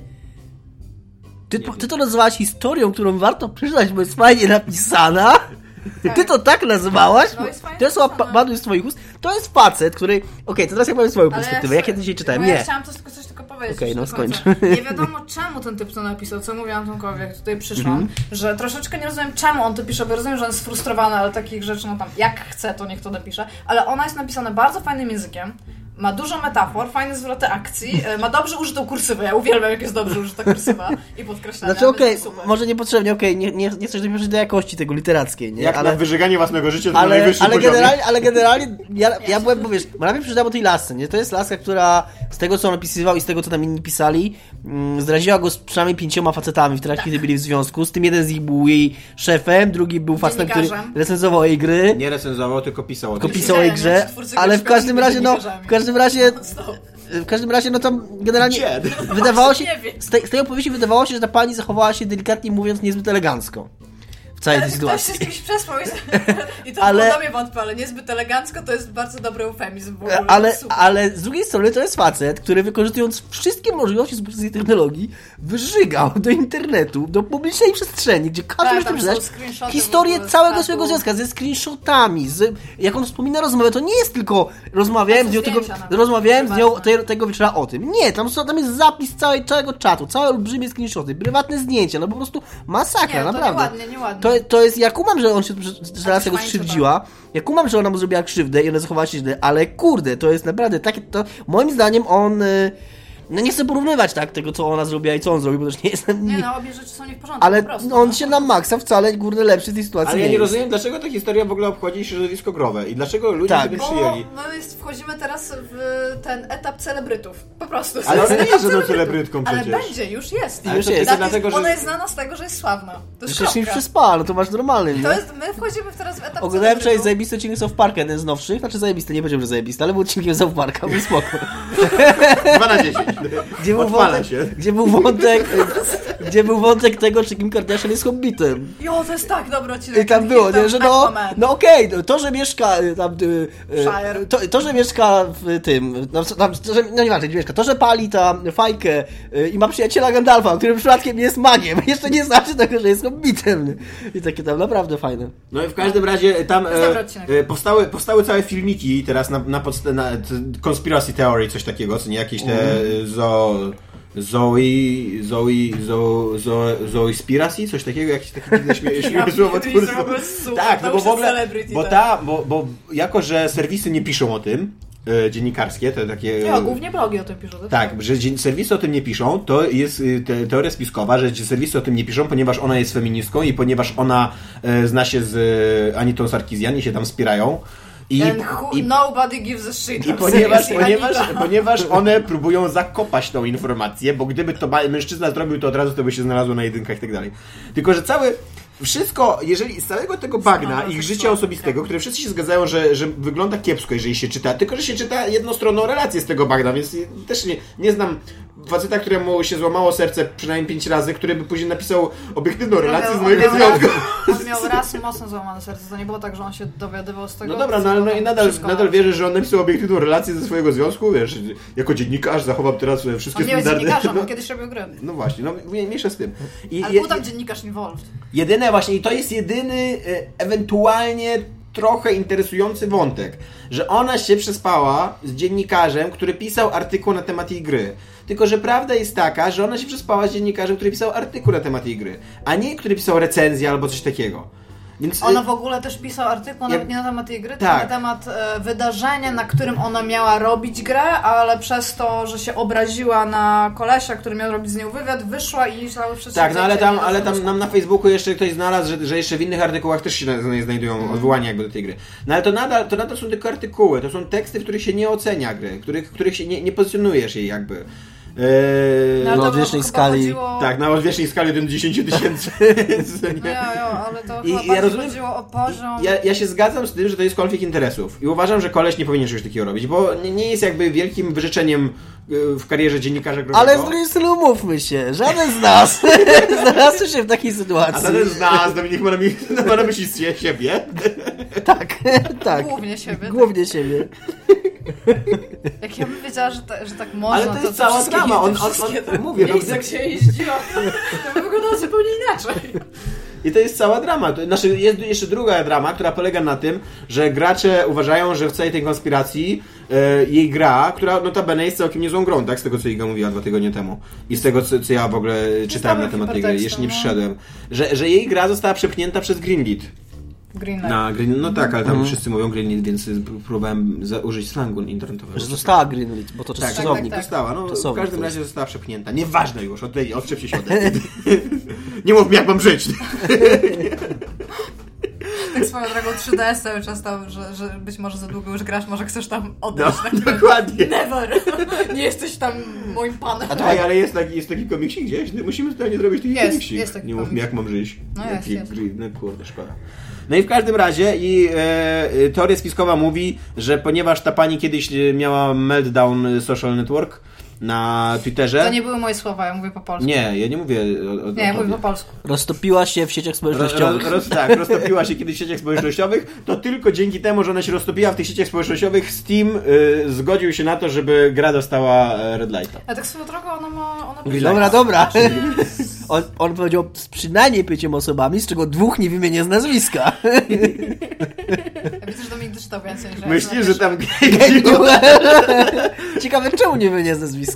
[SPEAKER 2] Ty,
[SPEAKER 4] Nie
[SPEAKER 2] ty to nazywałaś historią, którą warto przeczytać, bo jest fajnie napisana.
[SPEAKER 3] Tak.
[SPEAKER 2] Ty to tak nazwałaś?
[SPEAKER 3] No jest fajnie
[SPEAKER 2] to jest słowa
[SPEAKER 3] napisana.
[SPEAKER 2] padły z twoich ust. To jest facet, który... Okej, to teraz ja powiem swoją
[SPEAKER 3] Ale
[SPEAKER 2] perspektywę. Jak ja dzisiaj czytałem?
[SPEAKER 3] bo Ja
[SPEAKER 2] Nie.
[SPEAKER 3] chciałam coś, tylko- coś tylko powiedzieć.
[SPEAKER 2] Okej,
[SPEAKER 3] już
[SPEAKER 2] no
[SPEAKER 3] do końca.
[SPEAKER 2] skończ.
[SPEAKER 3] Nie wiadomo czemu ten typ to napisał, co mówiłam Tomkowi, jak tutaj przyszłam,
[SPEAKER 2] Mhm.
[SPEAKER 3] że troszeczkę nie rozumiem czemu on to pisze, bo rozumiem, że on jest sfrustrowany, ale takich rzeczy, no tam jak chce, to niech to napisze. Ale ona jest napisana bardzo fajnym językiem, ma dużo metafor, fajne zwroty akcji, e, ma dobrze użytą kursywę. Ja uwielbiam, jak jest dobrze użyta kursywa i podkreślania.
[SPEAKER 2] Znaczy okej,
[SPEAKER 3] będzie super.
[SPEAKER 2] może niepotrzebnie, okej, nie, nie, nie chcesz dopiero do jakości tego literackiej, nie?
[SPEAKER 4] Jak
[SPEAKER 2] ale...
[SPEAKER 4] na wyżeganie własnego życia to
[SPEAKER 2] ale,
[SPEAKER 4] najwyższy
[SPEAKER 2] ale,
[SPEAKER 4] poziom.
[SPEAKER 2] generalnie, ale generalnie ja, ja byłem, bo wiesz, bo najpierw przeczytałem o tej lasce, nie? To jest laska, która z tego, co on opisywał i z tego, co tam inni pisali, mm, zdradziła go z przynajmniej pięcioma facetami w trakcie,
[SPEAKER 3] Tak.
[SPEAKER 2] kiedy byli w związku. Z tym jeden z nich był jej szefem, drugi był facetem, który
[SPEAKER 3] Dziennikarzem.
[SPEAKER 2] recenzował jej gry,
[SPEAKER 4] Nie recenzował, tylko pisał o tym.
[SPEAKER 2] tylko pisał o jej grze,
[SPEAKER 3] Twórcy
[SPEAKER 2] ale w
[SPEAKER 3] gościa
[SPEAKER 2] każdym
[SPEAKER 3] byli
[SPEAKER 2] razie, no,
[SPEAKER 3] dziennikarzami.
[SPEAKER 2] w każdym razie,
[SPEAKER 3] No, Stop.
[SPEAKER 2] w każdym razie, no tam generalnie
[SPEAKER 4] Gdzie?
[SPEAKER 2] wydawało się,
[SPEAKER 3] Właśnie nie wiem.
[SPEAKER 2] z tej, z tej opowieści wydawało się, że ta pani zachowała się delikatnie mówiąc niezbyt elegancko w całej tej
[SPEAKER 3] Ktoś
[SPEAKER 2] sytuacji.
[SPEAKER 3] się z kimś przespał i- i to
[SPEAKER 2] Ale-
[SPEAKER 3] ale... było dla mnie wątpię, ale niezbyt elegancko to jest bardzo dobry eufemizm w ogóle.
[SPEAKER 2] Ale,
[SPEAKER 3] Super.
[SPEAKER 2] ale z drugiej strony to jest facet, który wykorzystując wszystkie możliwości współczesnej technologii, wyżygał do internetu, do publicznej przestrzeni, gdzie każdy
[SPEAKER 3] Tak,
[SPEAKER 2] może to
[SPEAKER 3] tam są
[SPEAKER 2] przeczytać,
[SPEAKER 3] screenshoty w
[SPEAKER 2] historię
[SPEAKER 3] ogóle z
[SPEAKER 2] całego
[SPEAKER 3] chatu.
[SPEAKER 2] swojego związka, ze screenshotami, z, jak on wspomina rozmowę, to nie jest tylko rozmawiałem
[SPEAKER 3] To
[SPEAKER 2] z
[SPEAKER 3] są
[SPEAKER 2] nią, tego,
[SPEAKER 3] zdjęcia nawet,
[SPEAKER 2] rozmawiałem z nią
[SPEAKER 3] prywatne.
[SPEAKER 2] te, tego wieczora o tym. Nie, tam, są- tam jest zapis całej, całego czatu, całe olbrzymie screenshoty, prywatne zdjęcia, no po prostu masakra,
[SPEAKER 3] Nie, to
[SPEAKER 2] naprawdę.
[SPEAKER 3] nieładnie, nieładnie.
[SPEAKER 2] To, to jest, ja kumam, że on się że- że
[SPEAKER 3] A
[SPEAKER 2] raz
[SPEAKER 3] ty
[SPEAKER 2] tego
[SPEAKER 3] fajnie
[SPEAKER 2] skrzywdziła, ja kumam, że ona mu zrobiła krzywdę i ona zachowała się źle, ale kurde, to jest naprawdę takie, to moim zdaniem on, y, no nie chcę porównywać tak tego, co ona zrobiła i co on zrobił, bo też nie jestem,
[SPEAKER 3] Nie no, obie rzeczy są nie w porządku,
[SPEAKER 2] ale no,
[SPEAKER 3] po prostu.
[SPEAKER 2] on się na maksa wcale, kurde, lepszy z tej sytuacji
[SPEAKER 4] Ale ja
[SPEAKER 2] nie
[SPEAKER 4] nie
[SPEAKER 2] jest.
[SPEAKER 4] rozumiem, dlaczego ta historia w ogóle obchodzi środowisko growe i dlaczego ludzie
[SPEAKER 2] Tak.
[SPEAKER 4] tego
[SPEAKER 3] Bo
[SPEAKER 4] przyjęli.
[SPEAKER 3] no jest, wchodzimy teraz w ten etap celebrytów. Po prostu.
[SPEAKER 4] Ale
[SPEAKER 3] To jest
[SPEAKER 4] ona nie
[SPEAKER 3] etap
[SPEAKER 4] jest żadną
[SPEAKER 3] celebrytów.
[SPEAKER 4] celebrytką
[SPEAKER 3] Ale
[SPEAKER 4] przecież.
[SPEAKER 3] będzie, już jest.
[SPEAKER 4] Ale
[SPEAKER 2] Już
[SPEAKER 4] to
[SPEAKER 2] jest.
[SPEAKER 3] Dla-
[SPEAKER 4] tylko Znaczy, dlatego, że...
[SPEAKER 3] Ona jest znana z tego, że jest sławna. To jest
[SPEAKER 2] Że się
[SPEAKER 3] kropka.
[SPEAKER 2] przespała, no to masz normalny,
[SPEAKER 3] To
[SPEAKER 2] nie?
[SPEAKER 3] jest, my wchodzimy teraz w etap
[SPEAKER 2] Oglądałem wczoraj
[SPEAKER 3] celebrytów.
[SPEAKER 2] zajebisty odcinek South Parka, jeden z nowszych, znaczy zajebisty, nie powiedziałem, że zajebisty, ale był odcinkiem South Parka, był spoko.
[SPEAKER 4] 2 na 10.
[SPEAKER 2] Gdzie był
[SPEAKER 4] Odpala
[SPEAKER 2] wątek,
[SPEAKER 4] się.
[SPEAKER 2] Gdzie był wątek, gdzie był wątek tego, czy Kim Kardashian jest hobbitem.
[SPEAKER 3] Jo, to jest tak dobry odcinek. Tak,
[SPEAKER 2] I tam było, nie? Że no,
[SPEAKER 3] Aquaman.
[SPEAKER 2] no okej, no to, że mieszka y, tam... y, y,
[SPEAKER 3] Shire.
[SPEAKER 2] To, to, że mieszka w tym... No, co tam, to, że, no nieważne, gdzie mieszka. To, że pali tam fajkę y, i ma przyjaciela Gandalfa, który przypadkiem jest magiem, jeszcze nie znaczy tego, że jest hobbitem. I takie tam naprawdę fajne.
[SPEAKER 4] No i w każdym razie tam
[SPEAKER 3] jest dobry
[SPEAKER 4] e,
[SPEAKER 3] odcinek.
[SPEAKER 4] e, powstały, powstały całe filmiki teraz na, na podstawie na, t- conspiracy theory, coś takiego, co nie jakieś te
[SPEAKER 3] Mhm.
[SPEAKER 4] e, zo, Zoe, Zoe, Zoe, Zoe, Zoe Spiracy, coś takiego, jakieś takie dziwne śmie- śmieszne słowo
[SPEAKER 3] pierdolę, to po prostu super,
[SPEAKER 4] Tak, no
[SPEAKER 3] to
[SPEAKER 4] bo
[SPEAKER 3] już
[SPEAKER 4] w ogóle,
[SPEAKER 3] celebrity,
[SPEAKER 4] bo
[SPEAKER 3] tak.
[SPEAKER 4] ta, bo, bo jako, że serwisy nie piszą o tym, e, dziennikarskie, te takie...
[SPEAKER 3] Nie, głównie blogi o tym piszą. to
[SPEAKER 4] Tak, że dzien- serwisy o tym nie piszą, to jest y, te, teoria spiskowa, że dzien- serwisy o tym nie piszą, ponieważ ona jest feministką i ponieważ ona e, zna się z e, Anitą Sarkisian i się tam spierają. I,
[SPEAKER 3] And who,
[SPEAKER 4] i,
[SPEAKER 3] nobody gives a shit.
[SPEAKER 4] i
[SPEAKER 3] I'm
[SPEAKER 4] ponieważ,
[SPEAKER 3] serious,
[SPEAKER 4] ponieważ,
[SPEAKER 3] Anita.
[SPEAKER 4] ponieważ one próbują zakopać tą informację, bo gdyby to ba- mężczyzna zrobił to od razu, to by się znalazło na jedynkach i tak dalej. Tylko, że cały, wszystko, jeżeli z całego tego bagna
[SPEAKER 3] Sama
[SPEAKER 4] ich życia
[SPEAKER 3] seksualna.
[SPEAKER 4] osobistego, które wszyscy się zgadzają, że, że wygląda kiepsko, jeżeli się czyta, tylko, że się czyta jednostronną relację z tego bagna, więc też nie, nie znam faceta, któremu się złamało serce przynajmniej pięć razy, który by później napisał obiektywną relację z
[SPEAKER 3] On
[SPEAKER 4] mojego
[SPEAKER 3] miał- on miał
[SPEAKER 4] związku.
[SPEAKER 3] raz- On miał raz mocno złamane serce, to nie było tak, że on się dowiadywał z tego.
[SPEAKER 4] No dobra,
[SPEAKER 3] co
[SPEAKER 4] no ale no,
[SPEAKER 3] potem
[SPEAKER 4] i nadal,
[SPEAKER 3] wszystko-
[SPEAKER 4] nadal wierzę, że on napisał obiektywną relację ze swojego związku, wiesz, jako dziennikarz zachowam teraz swoje wszystkie
[SPEAKER 3] On nie jest
[SPEAKER 4] standardy.
[SPEAKER 3] dziennikarzem,
[SPEAKER 4] no,
[SPEAKER 3] on kiedyś robił gry.
[SPEAKER 4] no właśnie, no mie- mniejsza z tym. I,
[SPEAKER 3] Ale
[SPEAKER 4] je-
[SPEAKER 3] był tam dziennikarz involved.
[SPEAKER 4] jedyne właśnie, i to jest jedyny e, ewentualnie trochę interesujący wątek, że ona się przespała z dziennikarzem, który pisał artykuł na temat jej gry. Tylko, że prawda jest taka, że ona się przespała z dziennikarzem, który pisał artykuł na temat jej gry, a nie który pisał recenzję albo coś takiego. Więc e,
[SPEAKER 3] Ona w ogóle też pisał artykuł
[SPEAKER 4] Ja-
[SPEAKER 3] nawet nie na temat tej gry,
[SPEAKER 4] Tak.
[SPEAKER 3] tylko na temat e, wydarzenia, na którym ona miała robić grę, ale przez to, że się obraziła na kolesia, który miał robić z nią wywiad, wyszła i cały przez
[SPEAKER 4] Tak, no ale tam, ale tam nam na Facebooku jeszcze ktoś znalazł, że, że jeszcze w innych artykułach też się na- zna- znajdują odwołania jakby do tej gry. No ale to nadal, to nadal są tylko artykuły, to są teksty, w których się nie ocenia gry, których, których się nie, nie pozycjonujesz jej jakby. Eee,
[SPEAKER 2] No, odwiecznej skali.
[SPEAKER 4] Tak, na odwiecznej skali do 10 tysięcy.
[SPEAKER 3] No ja, ja, ale to
[SPEAKER 4] I-
[SPEAKER 3] chyba
[SPEAKER 4] i ja
[SPEAKER 3] bardziej
[SPEAKER 4] rozumiem-
[SPEAKER 3] chodziło o poziom.
[SPEAKER 4] Ja, ja się zgadzam z tym, że to jest konflikt interesów i uważam, że koleś nie powinien czegoś takiego robić, bo nie, nie jest jakby wielkim wyrzeczeniem e, w karierze dziennikarza growego.
[SPEAKER 2] Ale z drugiej strony umówmy się, żaden z nas znalazł się w takiej
[SPEAKER 4] A
[SPEAKER 2] sytuacji.
[SPEAKER 4] ten z nas, Dominik ma na mi- ma na myśli siebie.
[SPEAKER 2] Tak, tak.
[SPEAKER 3] Głównie siebie.
[SPEAKER 2] Głównie siebie.
[SPEAKER 3] Jak ja bym wiedziała, że, ta, że tak można,
[SPEAKER 4] Ale to jest cała
[SPEAKER 3] wszystkie
[SPEAKER 4] drama.
[SPEAKER 3] inne
[SPEAKER 4] On, on,
[SPEAKER 3] wszystkie
[SPEAKER 4] on, mówię, no,
[SPEAKER 3] miejsca, gdzie jeździła, tak to by wyglądało zupełnie inaczej.
[SPEAKER 4] I to jest cała drama. To, znaczy, jest jeszcze druga drama, która polega na tym, że gracze uważają, że w całej tej konspiracji e, jej gra, która notabene jest całkiem niezłą grą, tak? Z tego, co Iga mówiła dwa tygodnie temu. I z tego, co, co ja w ogóle czytałem na
[SPEAKER 3] dobrym
[SPEAKER 4] temat tej gry, jeszcze nie
[SPEAKER 3] hipertekstem,
[SPEAKER 4] przyszedłem. Że, że jej gra została przepchnięta przez Greenlit.
[SPEAKER 3] Greenlight.
[SPEAKER 4] Na Green, no tak, ale tam wszyscy mówią Greenlit, więc próbowałem za, użyć slangu internetowego.
[SPEAKER 2] Że została Greenlit, bo to
[SPEAKER 4] Tak,
[SPEAKER 2] czasownik.
[SPEAKER 4] tak,
[SPEAKER 3] Czasownik.
[SPEAKER 4] tak, tak. Została, no,
[SPEAKER 2] To słownik
[SPEAKER 4] w każdym
[SPEAKER 2] to
[SPEAKER 4] razie została przepchnięta. Nieważne już, odej, odczepcie się ode mnie. Nie mów mi, jak mam żyć.
[SPEAKER 3] Tak swoją drogą 3DS cały czas tam, że, że być może za długo już grasz, może chcesz tam
[SPEAKER 4] No,
[SPEAKER 3] odejść. tak?
[SPEAKER 4] dokładnie.
[SPEAKER 3] Never! Nie jesteś tam moim panem.
[SPEAKER 4] A tak, ale jest taki, jest taki komiksik gdzieś, no, musimy totalnie zrobić taki
[SPEAKER 3] Jest,
[SPEAKER 4] komiksik.
[SPEAKER 3] jest taki
[SPEAKER 4] Nie mów mi,
[SPEAKER 3] komiksik.
[SPEAKER 4] jak mam żyć.
[SPEAKER 3] No jest,
[SPEAKER 4] Jaki
[SPEAKER 3] jest.
[SPEAKER 4] gry- No kurde, szkoda. No i w każdym razie i e, e, teoria spiskowa mówi, że ponieważ ta pani kiedyś e, miała meltdown social network na Twitterze.
[SPEAKER 3] To nie były moje słowa, ja mówię po polsku.
[SPEAKER 4] Nie, ja nie mówię o, o
[SPEAKER 3] Nie, ja
[SPEAKER 4] o
[SPEAKER 3] mówię po polsku.
[SPEAKER 2] Roztopiła się w sieciach
[SPEAKER 4] Roz,
[SPEAKER 2] społecznościowych.
[SPEAKER 4] roz, roz, tak, roztopiła się kiedyś w sieciach społecznościowych, to tylko dzięki temu, że ona się roztopiła w tych sieciach społecznościowych, Steam y, zgodził się na to, żeby gra dostała e, Red Lighta.
[SPEAKER 3] A tak swoją drogą ona ma... Ona
[SPEAKER 2] Mówi, Dobra, dobra. On, on powiedział z przynajmniej pięcioma osobami, z czego dwóch nie wymienię z nazwiska.
[SPEAKER 3] Ja widzę, że Dominik doczytał więcej niż ja.
[SPEAKER 4] Myślisz, że tam
[SPEAKER 2] Ciekawe, czemu nie wymienię z nazwiska.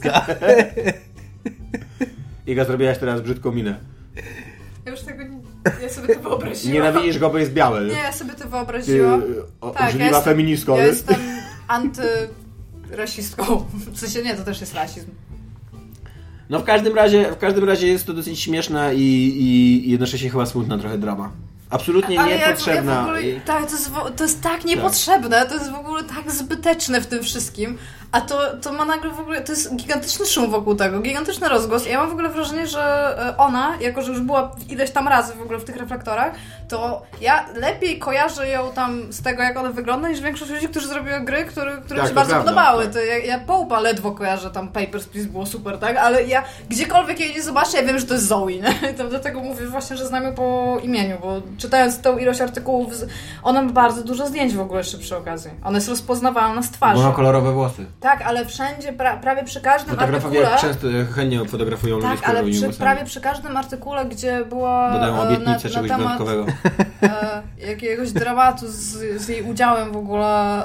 [SPEAKER 4] Iga, zrobiłaś teraz brzydką minę.
[SPEAKER 3] Ja już tego nie... Ja sobie to wyobraziłam.
[SPEAKER 4] Nienawidzisz go, bo jest biały.
[SPEAKER 3] Nie, ja sobie to
[SPEAKER 4] Ty,
[SPEAKER 3] wyobraziłam.
[SPEAKER 4] o,
[SPEAKER 3] Tak,
[SPEAKER 4] obrzydliwa
[SPEAKER 3] ja jestem-
[SPEAKER 4] feministko.
[SPEAKER 3] Ja jestem antyrasistką. W sensie nie, to też jest rasizm.
[SPEAKER 4] No w każdym razie, w każdym razie jest to dosyć śmieszna i, i, i jednocześnie chyba smutna trochę drama. Absolutnie
[SPEAKER 3] Ale
[SPEAKER 4] niepotrzebna.
[SPEAKER 3] Ja, ja tak w ogóle, tak, to, jest, wo- to jest tak niepotrzebne, to jest w ogóle tak zbyteczne w tym wszystkim, A to, to ma nagle w ogóle, to jest gigantyczny szum wokół tego, gigantyczny rozgłos. Ja mam w ogóle wrażenie, że e, ona, jako że już była ileś tam razy w ogóle w tych reflektorach, to ja lepiej kojarzę ją tam z tego, jak ona wygląda, niż większość ludzi, którzy zrobiły gry, które, które mi
[SPEAKER 4] Tak,
[SPEAKER 3] się
[SPEAKER 4] to
[SPEAKER 3] bardzo
[SPEAKER 4] prawda,
[SPEAKER 3] podobały.
[SPEAKER 4] tak.
[SPEAKER 3] To ja, ja Połpa ledwo kojarzę, tam Papers, Please było super, tak? Ale ja gdziekolwiek jej nie zobaczę, ja wiem, że to jest Zoe, nie? To dlatego mówię właśnie, że znam ją po imieniu, bo czytając tą ilość artykułów, z- ona ma bardzo dużo zdjęć w ogóle jeszcze przy okazji. Ona jest rozpoznawalna z twarzy.
[SPEAKER 4] Bo ma kolorowe włosy.
[SPEAKER 3] Tak, ale wszędzie, pra, prawie przy każdym
[SPEAKER 4] Fotografowie
[SPEAKER 3] artykule.
[SPEAKER 4] często e, chętnie fotografują ludzi
[SPEAKER 3] Tak,
[SPEAKER 4] z
[SPEAKER 3] ale
[SPEAKER 4] kolorowymi
[SPEAKER 3] przy,
[SPEAKER 4] włosami.
[SPEAKER 3] prawie przy każdym artykule, gdzie była
[SPEAKER 4] Dodają
[SPEAKER 3] e,
[SPEAKER 4] obietnicę
[SPEAKER 3] na, na
[SPEAKER 4] czegoś
[SPEAKER 3] temat
[SPEAKER 4] wyjątkowego.
[SPEAKER 3] e, jakiegoś dramatu z, z jej udziałem w ogóle,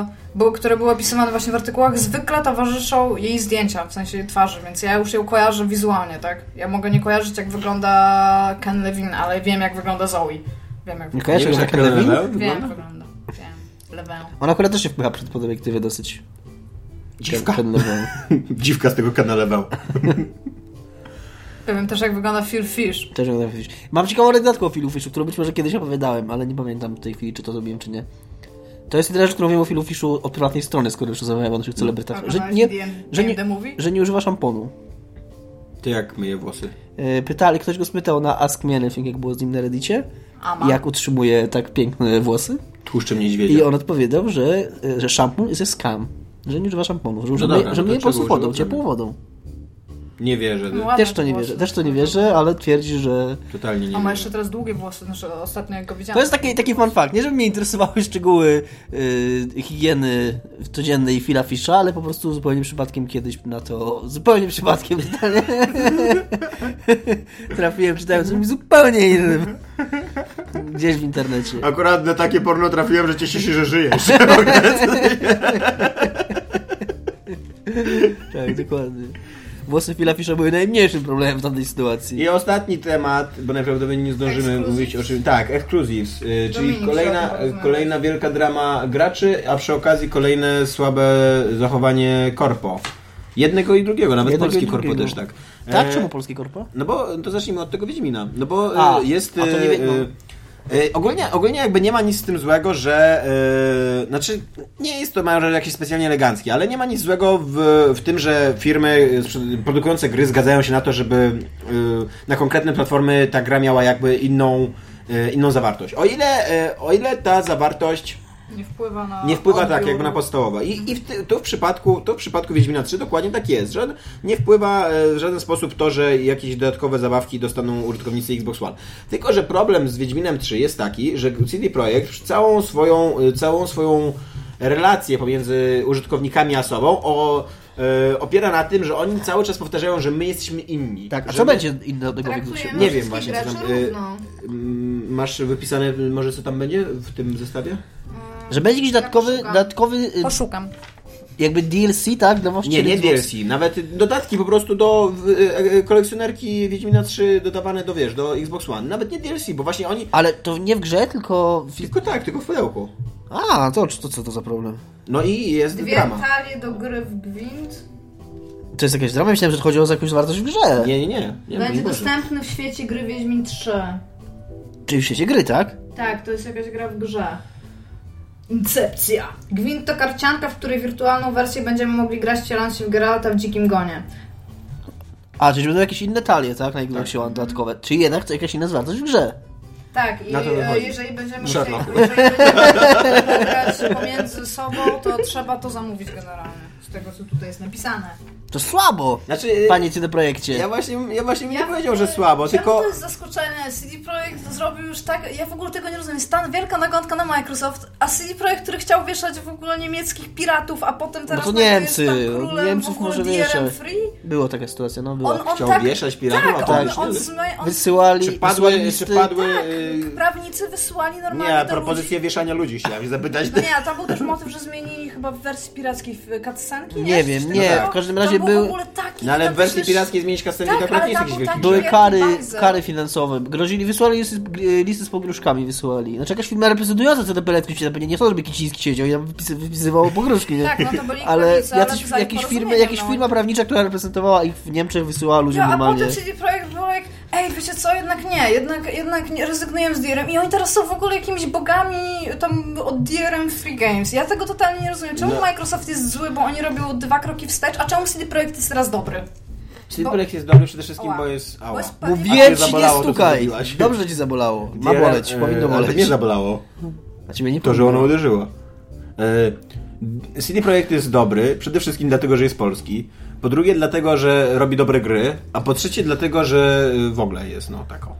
[SPEAKER 3] e, bo, które były opisywane właśnie w artykułach, zwykle towarzyszą jej zdjęcia, w sensie jej twarzy, więc ja już ją kojarzę wizualnie, tak? Ja mogę nie kojarzyć, jak wygląda Ken Levine, ale wiem, jak wygląda Zoe. Wiem, jak
[SPEAKER 2] Nie
[SPEAKER 4] Nie
[SPEAKER 2] kojarzysz
[SPEAKER 4] wiesz,
[SPEAKER 2] jak
[SPEAKER 4] jak
[SPEAKER 2] Lewin?
[SPEAKER 4] Lewin
[SPEAKER 3] Wiem,
[SPEAKER 4] wygląda?
[SPEAKER 3] jak wygląda. Wiem. Lewę.
[SPEAKER 2] Ona akurat też się wpycha przed perspektywę dosyć.
[SPEAKER 4] Dziwka.
[SPEAKER 2] Ten Lewin.
[SPEAKER 4] Dziwka z tego kanalewał.
[SPEAKER 3] Wiem też, jak wygląda Phil Fish.
[SPEAKER 2] Też ją trafisz. Mam ciekawą anegdotkę o Filu Fiszu, którą być może kiedyś opowiadałem, ale nie pamiętam w tej chwili, czy to zrobiłem, czy nie. To jest jedyna rzecz, którą wiem o Filu Fiszu od prywatnej strony, skoro już rozmawiałem o naszych celebrytach. Że
[SPEAKER 3] Oglądałeś
[SPEAKER 2] nie,
[SPEAKER 3] D&D
[SPEAKER 2] że nie,
[SPEAKER 3] movie?
[SPEAKER 2] że nie używa szamponu.
[SPEAKER 4] Ty jak myje włosy?
[SPEAKER 2] Yy, Pytali, ktoś go spytał na Ask Me Anything, jak było z nim na Reddicie,
[SPEAKER 3] Ama.
[SPEAKER 2] jak utrzymuje tak piękne włosy.
[SPEAKER 4] Tłuszczem
[SPEAKER 2] I
[SPEAKER 4] niedźwiedzia.
[SPEAKER 2] on odpowiedział, że, y, że szampon jest a scam. Że nie używa szamponu, że,
[SPEAKER 4] No dobra,
[SPEAKER 2] myje- że
[SPEAKER 4] to
[SPEAKER 2] myje po prostu
[SPEAKER 4] czego
[SPEAKER 2] wodą,
[SPEAKER 4] używa?
[SPEAKER 2] ciepłą wodą.
[SPEAKER 4] Nie wierzę.
[SPEAKER 3] No Ładne
[SPEAKER 2] Też w to nie
[SPEAKER 3] włosy.
[SPEAKER 2] wierzę, też w to nie wierzę, ale twierdzi, że...
[SPEAKER 4] Totalnie nie
[SPEAKER 3] A ma
[SPEAKER 4] wierzę.
[SPEAKER 3] jeszcze teraz długie włosy, znaczy ostatnio jak go widziałam.
[SPEAKER 2] To jest tak- taki, taki fun fact, nie żeby mnie interesowały szczegóły yy, higieny codziennej fila fisza, ale po prostu zupełnie przypadkiem kiedyś na to, zupełnie przypadkiem trafiłem czytając o czymś zupełnie innym. Gdzieś w internecie.
[SPEAKER 4] Akurat na takie porno trafiłem, że cieszę się, że żyjesz.
[SPEAKER 2] Tak, dokładnie. Włosy fila fisza były najmniejszym problemem w tamtej sytuacji.
[SPEAKER 4] I ostatni temat, bo najprawdopodobniej nie zdążymy
[SPEAKER 3] Exclusives.
[SPEAKER 4] mówić o czym. Tak, Exclusives, y, czyli
[SPEAKER 3] Dominik, trzeba
[SPEAKER 4] kolejna,
[SPEAKER 3] porozmawiać.
[SPEAKER 4] kolejna wielka drama graczy, a przy okazji kolejne słabe zachowanie korpo. Jednego i drugiego, nawet
[SPEAKER 2] Jednego i
[SPEAKER 4] polski korpo
[SPEAKER 2] drugiego.
[SPEAKER 4] też tak.
[SPEAKER 2] Tak?
[SPEAKER 4] E,
[SPEAKER 2] Czemu polski korpo?
[SPEAKER 4] No bo to zacznijmy od tego Wiedźmina. No bo
[SPEAKER 2] A,
[SPEAKER 4] e, jest.
[SPEAKER 2] a to nie
[SPEAKER 4] e,
[SPEAKER 2] wie- no.
[SPEAKER 4] e, e, Ogólnie, ogólnie jakby nie ma nic z tym złego, że. e, znaczy, nie jest to może jakieś specjalnie eleganckie, ale nie ma nic złego w, w tym, że firmy sprzed- produkujące gry zgadzają się na to, żeby e, na konkretne platformy ta gra miała jakby inną, e, inną zawartość. O ile, e, o ile ta zawartość
[SPEAKER 3] Nie wpływa na.
[SPEAKER 4] nie wpływa tak
[SPEAKER 3] odbiór.
[SPEAKER 4] jakby na podstawowe. I, i w ty, to, w przypadku, to w przypadku Wiedźmina 3 dokładnie tak jest, że nie wpływa e, w żaden sposób to, że jakieś dodatkowe zabawki dostaną użytkownicy Xbox One. Tylko, że problem z Wiedźminem 3 jest taki, że CD Projekt całą swoją, e, całą swoją relację pomiędzy użytkownikami a sobą o, e, opiera na tym, że oni cały czas powtarzają, że my jesteśmy inni.
[SPEAKER 2] Tak, a
[SPEAKER 4] Że
[SPEAKER 2] co
[SPEAKER 4] my-
[SPEAKER 2] będzie inne od tego
[SPEAKER 3] Traktujemy
[SPEAKER 2] Wigilsza?
[SPEAKER 4] Nie wiem
[SPEAKER 3] wszystkich
[SPEAKER 4] właśnie, co tam,
[SPEAKER 3] graczy
[SPEAKER 4] y,
[SPEAKER 3] równo.
[SPEAKER 4] Mm, Masz wypisane może co tam będzie w tym zestawie?
[SPEAKER 2] Że będzie jakiś dodatkowy,
[SPEAKER 3] poszukam.
[SPEAKER 2] dodatkowy y,
[SPEAKER 3] Poszukam.
[SPEAKER 2] jakby DLC, tak? Dla
[SPEAKER 4] Nie,
[SPEAKER 2] właścicieli
[SPEAKER 4] nie
[SPEAKER 2] Xbox.
[SPEAKER 4] DLC, nawet dodatki po prostu do w, e, e, kolekcjonerki Wiedźmina 3 dodawane do, wiesz, do Xbox One. Nawet nie DLC, bo właśnie oni...
[SPEAKER 2] Ale to nie w grze, tylko... W...
[SPEAKER 4] Tylko tak, tylko w pudełku.
[SPEAKER 2] A, to, to co to za problem?
[SPEAKER 4] No i jest
[SPEAKER 3] Dwie
[SPEAKER 4] drama.
[SPEAKER 3] talie do gry w Gwint
[SPEAKER 2] To jest jakaś drama? Myślałem, że chodzi o jakąś wartość w grze.
[SPEAKER 4] Nie, nie, nie. nie no
[SPEAKER 3] będzie
[SPEAKER 4] nie może.
[SPEAKER 3] dostępny w świecie gry Wiedźmin 3.
[SPEAKER 2] Czyli w świecie gry, tak?
[SPEAKER 3] Tak, to jest jakaś gra w grze. Incepcja. Gwint to karcianka, w której wirtualną wersję będziemy mogli grać wcielając się w Geralta w Dzikim Gonie.
[SPEAKER 2] A, czyli będą jakieś inne talie, tak? Na Xboxie One dodatkowe. Czyli jednak to jakaś inna wartość w grze.
[SPEAKER 3] Tak, i
[SPEAKER 4] Na to
[SPEAKER 3] e,
[SPEAKER 4] wychodzi.
[SPEAKER 3] jeżeli będziemy chcieli,
[SPEAKER 4] Sherlock.
[SPEAKER 3] jeżeli będziemy grać pomiędzy sobą, to trzeba to zamówić generalnie. Z tego, co tutaj jest napisane.
[SPEAKER 2] To słabo,
[SPEAKER 4] Znaczy, e,
[SPEAKER 2] panie CD Projekcie. No
[SPEAKER 4] ja właśnie, ja właśnie
[SPEAKER 3] Ja
[SPEAKER 4] nie
[SPEAKER 3] w
[SPEAKER 4] powiedział, że
[SPEAKER 3] ogóle-
[SPEAKER 4] słabo,
[SPEAKER 3] czemu
[SPEAKER 4] tylko...
[SPEAKER 3] to jest zaskoczenie. CD Projekt zrobił już tak... Ja w ogóle tego nie rozumiem. Jest ta wielka nagonka na Microsoft, a CD Projekt, który chciał wieszać w ogóle niemieckich piratów, a potem teraz...
[SPEAKER 4] No
[SPEAKER 2] to
[SPEAKER 3] nagle jest
[SPEAKER 2] Niemcy.
[SPEAKER 3] tam królem,
[SPEAKER 2] Niemców
[SPEAKER 3] w ogóle
[SPEAKER 2] może
[SPEAKER 3] DRM
[SPEAKER 2] wieszać.
[SPEAKER 3] free.
[SPEAKER 2] Było taka sytuacja, no było.
[SPEAKER 3] On, on
[SPEAKER 4] Chciał
[SPEAKER 3] tak,
[SPEAKER 4] wieszać piratów,
[SPEAKER 3] tak,
[SPEAKER 4] a no,
[SPEAKER 3] on,
[SPEAKER 4] potem-
[SPEAKER 3] on, zmy- on,
[SPEAKER 2] Wysyłali,
[SPEAKER 4] Czy padły,
[SPEAKER 2] wysyłali
[SPEAKER 4] czy
[SPEAKER 2] listy.
[SPEAKER 4] padły...
[SPEAKER 3] Tak,
[SPEAKER 4] e,
[SPEAKER 3] prawnicy wysłali normalnie
[SPEAKER 4] nie,
[SPEAKER 3] do ludzi.
[SPEAKER 4] propozycje wieszania ludzi chciałem zapytać.
[SPEAKER 3] No nie, a tam był też motyw, że zmienili chyba w wersji pirackiej w cutscenki,
[SPEAKER 2] Nie
[SPEAKER 3] nie? Coś
[SPEAKER 2] wiem,
[SPEAKER 3] takiego.
[SPEAKER 2] nie, w każdym
[SPEAKER 3] To
[SPEAKER 2] razie
[SPEAKER 3] był...
[SPEAKER 2] był-
[SPEAKER 3] w ogóle taki...
[SPEAKER 4] No ale
[SPEAKER 3] tam
[SPEAKER 4] w wersji
[SPEAKER 3] przecież-
[SPEAKER 4] pirackiej zmienić kastenki
[SPEAKER 3] Tak,
[SPEAKER 4] tak, akurat
[SPEAKER 3] ale
[SPEAKER 4] nie jest
[SPEAKER 3] tam
[SPEAKER 4] jakiś
[SPEAKER 3] był
[SPEAKER 4] wielki...
[SPEAKER 3] taki-
[SPEAKER 2] Były
[SPEAKER 3] Jaki
[SPEAKER 2] kary,
[SPEAKER 3] bajzel.
[SPEAKER 2] kary finansowe. Grozili, wysłali listy, z- e, listy z pogróżkami, wysyłali. Znaczy jakaś firma reprezentująca CDP Letki się zapewne nie chcą, żeby Kiciński siedział i tam wypisy, wypisywał pogróżki, nie?
[SPEAKER 3] Tak, no to byli
[SPEAKER 2] ale
[SPEAKER 3] prawnicy, ale
[SPEAKER 2] jacyś,
[SPEAKER 3] pisali
[SPEAKER 2] jakieś firmy,
[SPEAKER 3] porozumienie,
[SPEAKER 2] jakaś
[SPEAKER 3] no.
[SPEAKER 2] firma prawnicza, która reprezentowała ich w Niemczech, wysyłała ludziom
[SPEAKER 3] No, a
[SPEAKER 2] normalnie.
[SPEAKER 3] potem CD Projekt było jak ej, wiecie co, jednak nie, jednak, jednak nie, rezygnuję z DRM i oni teraz są w ogóle jakimiś bogami tam od DRM Free Games. Ja tego totalnie nie rozumiem. Czemu
[SPEAKER 4] No.
[SPEAKER 3] Microsoft jest zły, bo oni robią dwa kroki wstecz, a czemu CD Projekt jest teraz dobry?
[SPEAKER 4] Czyli
[SPEAKER 3] Bo-
[SPEAKER 4] projekt jest dobry przede wszystkim,
[SPEAKER 3] Ała.
[SPEAKER 4] bo jest... Ała.
[SPEAKER 3] Bo jest
[SPEAKER 2] Bo
[SPEAKER 3] A
[SPEAKER 2] wiem,
[SPEAKER 4] cię
[SPEAKER 2] ci nie
[SPEAKER 4] zabolało to, co
[SPEAKER 2] stukaj.
[SPEAKER 4] zrobiłaś.
[SPEAKER 2] Dobrze ci zabolało. Ma
[SPEAKER 4] DRM,
[SPEAKER 2] boleć,
[SPEAKER 4] e,
[SPEAKER 2] powinno
[SPEAKER 4] ale
[SPEAKER 2] boleć.
[SPEAKER 4] Nie zabolało.
[SPEAKER 2] A ciebie nie
[SPEAKER 4] To, że
[SPEAKER 2] powinno.
[SPEAKER 4] ono uderzyło. E, CD Projekt jest dobry, przede wszystkim dlatego, że jest polski. Po drugie, dlatego, że robi dobre gry. A po trzecie, dlatego, że y, w ogóle jest, no, taką.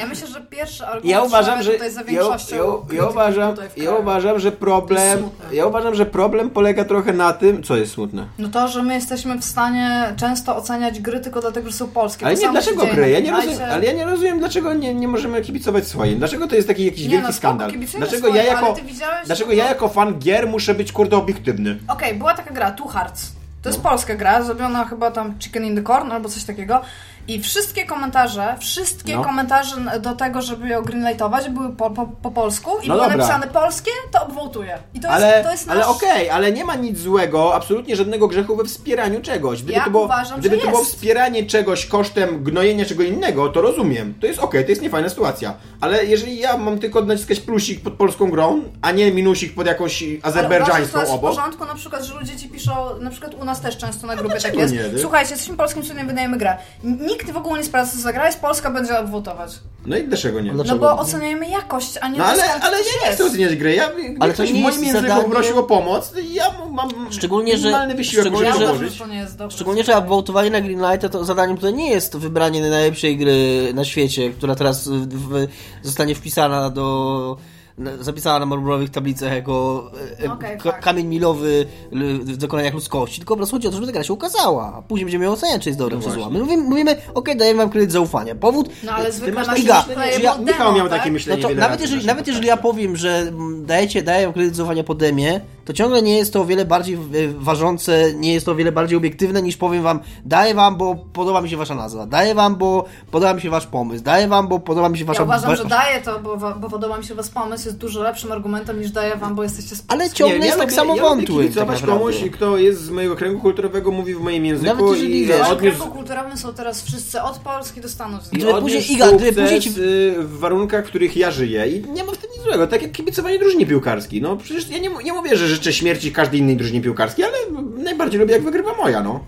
[SPEAKER 3] Ja myślę, że pierwszy argument
[SPEAKER 4] Ja uważam, że
[SPEAKER 3] tutaj za
[SPEAKER 4] ja,
[SPEAKER 3] większością
[SPEAKER 4] ja, ja,
[SPEAKER 3] krytyków
[SPEAKER 4] uważam,
[SPEAKER 3] tutaj w
[SPEAKER 4] ja
[SPEAKER 3] kraju.
[SPEAKER 4] uważam, że
[SPEAKER 3] To
[SPEAKER 4] problem,
[SPEAKER 3] jest smutne.
[SPEAKER 4] ja uważam, że problem polega trochę na tym, co jest smutne.
[SPEAKER 3] No to, że my jesteśmy w stanie często oceniać gry tylko dlatego, że są polskie.
[SPEAKER 4] Ale
[SPEAKER 3] To
[SPEAKER 4] nie
[SPEAKER 3] samo się
[SPEAKER 4] dlaczego
[SPEAKER 3] dzieje
[SPEAKER 4] gry?
[SPEAKER 3] na
[SPEAKER 4] Ja nie rozumiem,
[SPEAKER 3] Unite.
[SPEAKER 4] ale ja nie rozumiem, dlaczego nie, nie możemy kibicować swoim. Dlaczego to jest taki jakiś
[SPEAKER 3] Nie,
[SPEAKER 4] wielki
[SPEAKER 3] no spoko,
[SPEAKER 4] skandal?
[SPEAKER 3] kibicujmy
[SPEAKER 4] Dlaczego
[SPEAKER 3] swoim,
[SPEAKER 4] ja
[SPEAKER 3] ale
[SPEAKER 4] jako
[SPEAKER 3] ty widziałeś-
[SPEAKER 4] dlaczego ja jako fan gier muszę być kurde obiektywny?
[SPEAKER 3] Okej, była taka gra, Two Hearts. To
[SPEAKER 4] No.
[SPEAKER 3] jest polska gra, zrobiona chyba tam Chicken in the Corn albo coś takiego. I wszystkie komentarze, wszystkie
[SPEAKER 4] No.
[SPEAKER 3] komentarze do tego, żeby ją greenlightować, były po, po, po polsku i
[SPEAKER 4] No
[SPEAKER 3] było
[SPEAKER 4] dobra.
[SPEAKER 3] napisane polskie, to obwołtuję. I to
[SPEAKER 4] ale
[SPEAKER 3] jest, to jest nasz...
[SPEAKER 4] ale okej, ale nie ma nic złego, absolutnie żadnego grzechu we wspieraniu czegoś. Gdyby
[SPEAKER 3] Ja
[SPEAKER 4] to było,
[SPEAKER 3] uważam,
[SPEAKER 4] gdyby
[SPEAKER 3] że
[SPEAKER 4] to było
[SPEAKER 3] jest.
[SPEAKER 4] wspieranie czegoś kosztem gnojenia czego innego, to rozumiem. To jest okej, to jest niefajna sytuacja. Ale jeżeli ja mam tylko naciskać plusik pod polską grą, a nie minusik pod jakąś
[SPEAKER 3] Ale uważasz, że to
[SPEAKER 4] azerbejdżańską
[SPEAKER 3] jest w
[SPEAKER 4] obok, No
[SPEAKER 3] porządku, na przykład, że ludzie ci piszą, na przykład u nas też często na grupie tak
[SPEAKER 4] dlaczego
[SPEAKER 3] jest.
[SPEAKER 4] nie, ty?
[SPEAKER 3] Słuchajcie, jesteśmy polskim studiem, wydajemy grę. Nikt w ogóle nie sprawdza, co za gra jest, Polska będzie obwotować.
[SPEAKER 4] no i dlaczego nie?
[SPEAKER 2] No
[SPEAKER 3] No
[SPEAKER 2] Dlaczego?
[SPEAKER 3] bo oceniamy jakość, a nie
[SPEAKER 4] No
[SPEAKER 3] to,
[SPEAKER 4] ale,
[SPEAKER 3] skąd
[SPEAKER 4] ale
[SPEAKER 3] coś
[SPEAKER 4] ja nie
[SPEAKER 3] jest.
[SPEAKER 4] chcę oceniać gry. Ja, ale
[SPEAKER 2] Ale
[SPEAKER 4] ktoś
[SPEAKER 2] to
[SPEAKER 4] w
[SPEAKER 2] nie
[SPEAKER 4] moim
[SPEAKER 2] jest
[SPEAKER 4] języku
[SPEAKER 2] zadanie-
[SPEAKER 4] prosił o pomoc, ja mu mam
[SPEAKER 2] Szczególnie, że-
[SPEAKER 4] minimalny wysiłek,
[SPEAKER 2] szczególnie,
[SPEAKER 4] żeby
[SPEAKER 3] Ja
[SPEAKER 2] że-
[SPEAKER 3] uważam,
[SPEAKER 4] dołożyć.
[SPEAKER 3] że to nie jest dobre.
[SPEAKER 2] Szczególnie, że obwołtowanie na Greenlighta to zadaniem tutaj nie jest wybranie najlepszej gry na świecie, która teraz w, w, zostanie wpisana do. na- zapisana na marmurowych tablicach jako e, e,
[SPEAKER 3] Okej,
[SPEAKER 2] ka-
[SPEAKER 3] tak.
[SPEAKER 2] kamień milowy l- w dokonaniach ludzkości, tylko po prostu chodzi o to, żeby ta gra się ukazała, a później będziemy ją oceniać, czy jest dobra, czy zła. My mówimy, mówimy okej, dajemy wam kredyt zaufania. Powód...
[SPEAKER 3] No ale zwykle
[SPEAKER 4] masz
[SPEAKER 3] masz
[SPEAKER 2] takie
[SPEAKER 3] Iga,
[SPEAKER 2] myślenie,
[SPEAKER 3] ja,
[SPEAKER 2] że ja-
[SPEAKER 3] demo,
[SPEAKER 4] Michał miał
[SPEAKER 3] tak?
[SPEAKER 4] takie myślenie.
[SPEAKER 2] No to
[SPEAKER 4] wiele
[SPEAKER 2] nawet
[SPEAKER 4] razy
[SPEAKER 2] jeżeli,
[SPEAKER 4] naszym
[SPEAKER 2] nawet jeżeli ja
[SPEAKER 4] podcastem.
[SPEAKER 2] powiem, że mm, dajecie, daję kredyt zaufania po demie, to ciągle nie jest to o wiele bardziej e, ważące, nie jest to o wiele bardziej obiektywne niż powiem wam, daję wam, bo podoba mi się wasza nazwa, daję wam, bo podoba mi się wasz pomysł, daję wam, bo podoba mi się wasza...
[SPEAKER 3] Ja uważam, że
[SPEAKER 2] wa-
[SPEAKER 3] daję to, bo, bo podoba mi się was pomysł, jest dużo lepszym argumentem niż daję wam, bo jesteście z
[SPEAKER 2] Ale
[SPEAKER 3] Polski.
[SPEAKER 2] ciągle
[SPEAKER 4] Nie,
[SPEAKER 2] jest
[SPEAKER 4] ja
[SPEAKER 2] tak
[SPEAKER 4] lubię-
[SPEAKER 2] samo
[SPEAKER 4] ja lubię
[SPEAKER 2] wątły. tak
[SPEAKER 4] kibicować
[SPEAKER 2] naprawdę.
[SPEAKER 4] komuś, kto jest z mojego kręgu kulturowego, mówi w moim języku
[SPEAKER 2] Nawet jeżeli
[SPEAKER 4] i
[SPEAKER 2] wiesz-
[SPEAKER 3] W
[SPEAKER 4] odniósł,
[SPEAKER 3] kręgu kulturowym są teraz wszyscy od Polski do Stanów
[SPEAKER 4] i
[SPEAKER 3] Zjednoczonych.
[SPEAKER 2] Gdyby
[SPEAKER 4] odniósł
[SPEAKER 2] później- Iga, gdyby
[SPEAKER 4] sukces,
[SPEAKER 2] później ci-
[SPEAKER 4] y, w warunkach, w których ja żyję i nie ma w tym nic złego, tak jak kibicowanie drużynie piłkarskiej. No przecież ja nie, mu- nie mówię, że życzę śmierci każdej innej drużynie piłkarskiej, ale najbardziej lubię jak wygrywa moja, no.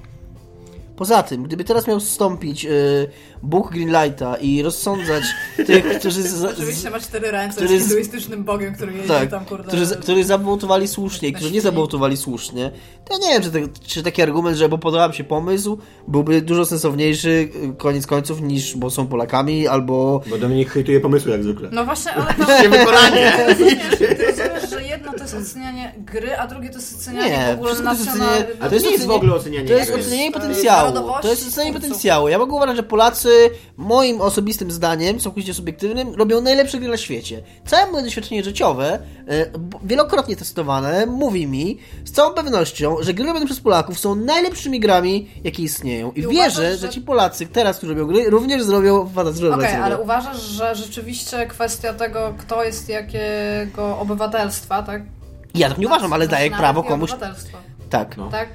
[SPEAKER 2] Poza tym, gdyby teraz miał wstąpić y, Bóg Greenlighta i rozsądzać tych, którzy... Za, z,
[SPEAKER 3] Oczywiście ma cztery ręce,
[SPEAKER 2] który
[SPEAKER 3] jest
[SPEAKER 2] z-
[SPEAKER 3] hinduistycznym bogiem, który jeździ
[SPEAKER 2] Tak,
[SPEAKER 3] tam, kurde...
[SPEAKER 2] którzy, którzy zawołtowali słusznie i którzy nie zawołtowali słusznie, to ja nie wiem, czy, te, czy taki argument, że bo podoba mi się pomysł, byłby dużo sensowniejszy y, koniec końców niż bo są Polakami albo...
[SPEAKER 4] Bo Dominik hejtuje pomysły jak zwykle.
[SPEAKER 3] No właśnie, ale to...
[SPEAKER 4] Wykonanie!
[SPEAKER 3] Rozumiesz, ty rozumiesz, że jedno to jest ocenianie gry, a drugie to jest ocenianie
[SPEAKER 2] Nie,
[SPEAKER 3] w ogóle
[SPEAKER 2] wszystko to jest
[SPEAKER 3] nacjonal...
[SPEAKER 2] ocenianie-
[SPEAKER 4] A
[SPEAKER 2] To
[SPEAKER 4] to
[SPEAKER 2] jest
[SPEAKER 4] jest nic w
[SPEAKER 2] ocenienie-
[SPEAKER 4] ogóle ocenianie.
[SPEAKER 2] To jest
[SPEAKER 4] gry.
[SPEAKER 2] ocenienie
[SPEAKER 3] to jest
[SPEAKER 2] potencjału. To jest
[SPEAKER 3] narodowości,
[SPEAKER 2] ocenienie
[SPEAKER 3] końców.
[SPEAKER 2] potencjału. Ja mogę uważać, że Polacy, moim osobistym zdaniem, całkowicie subiektywnym, robią najlepsze gry na świecie. Całe moje doświadczenie życiowe, e, b- wielokrotnie testowane, mówi mi z całą pewnością, że gry robione przez Polaków są najlepszymi grami, jakie istnieją. I,
[SPEAKER 3] I
[SPEAKER 2] wierzę,
[SPEAKER 3] uważasz,
[SPEAKER 2] że...
[SPEAKER 3] że
[SPEAKER 2] ci Polacy teraz, którzy robią gry, również zrobią fantastyczne
[SPEAKER 3] Okej,
[SPEAKER 2] gry.
[SPEAKER 3] ale uważasz, że rzeczywiście kwestia tego, kto jest jakiego obywatelstwa, tak? Znaczy,
[SPEAKER 2] Ja tak nie uważam, ale daję
[SPEAKER 3] Nacjonalności
[SPEAKER 2] prawo
[SPEAKER 3] i
[SPEAKER 2] komuś...
[SPEAKER 3] obywatelstwa.
[SPEAKER 2] Tak.
[SPEAKER 4] No.
[SPEAKER 3] tak?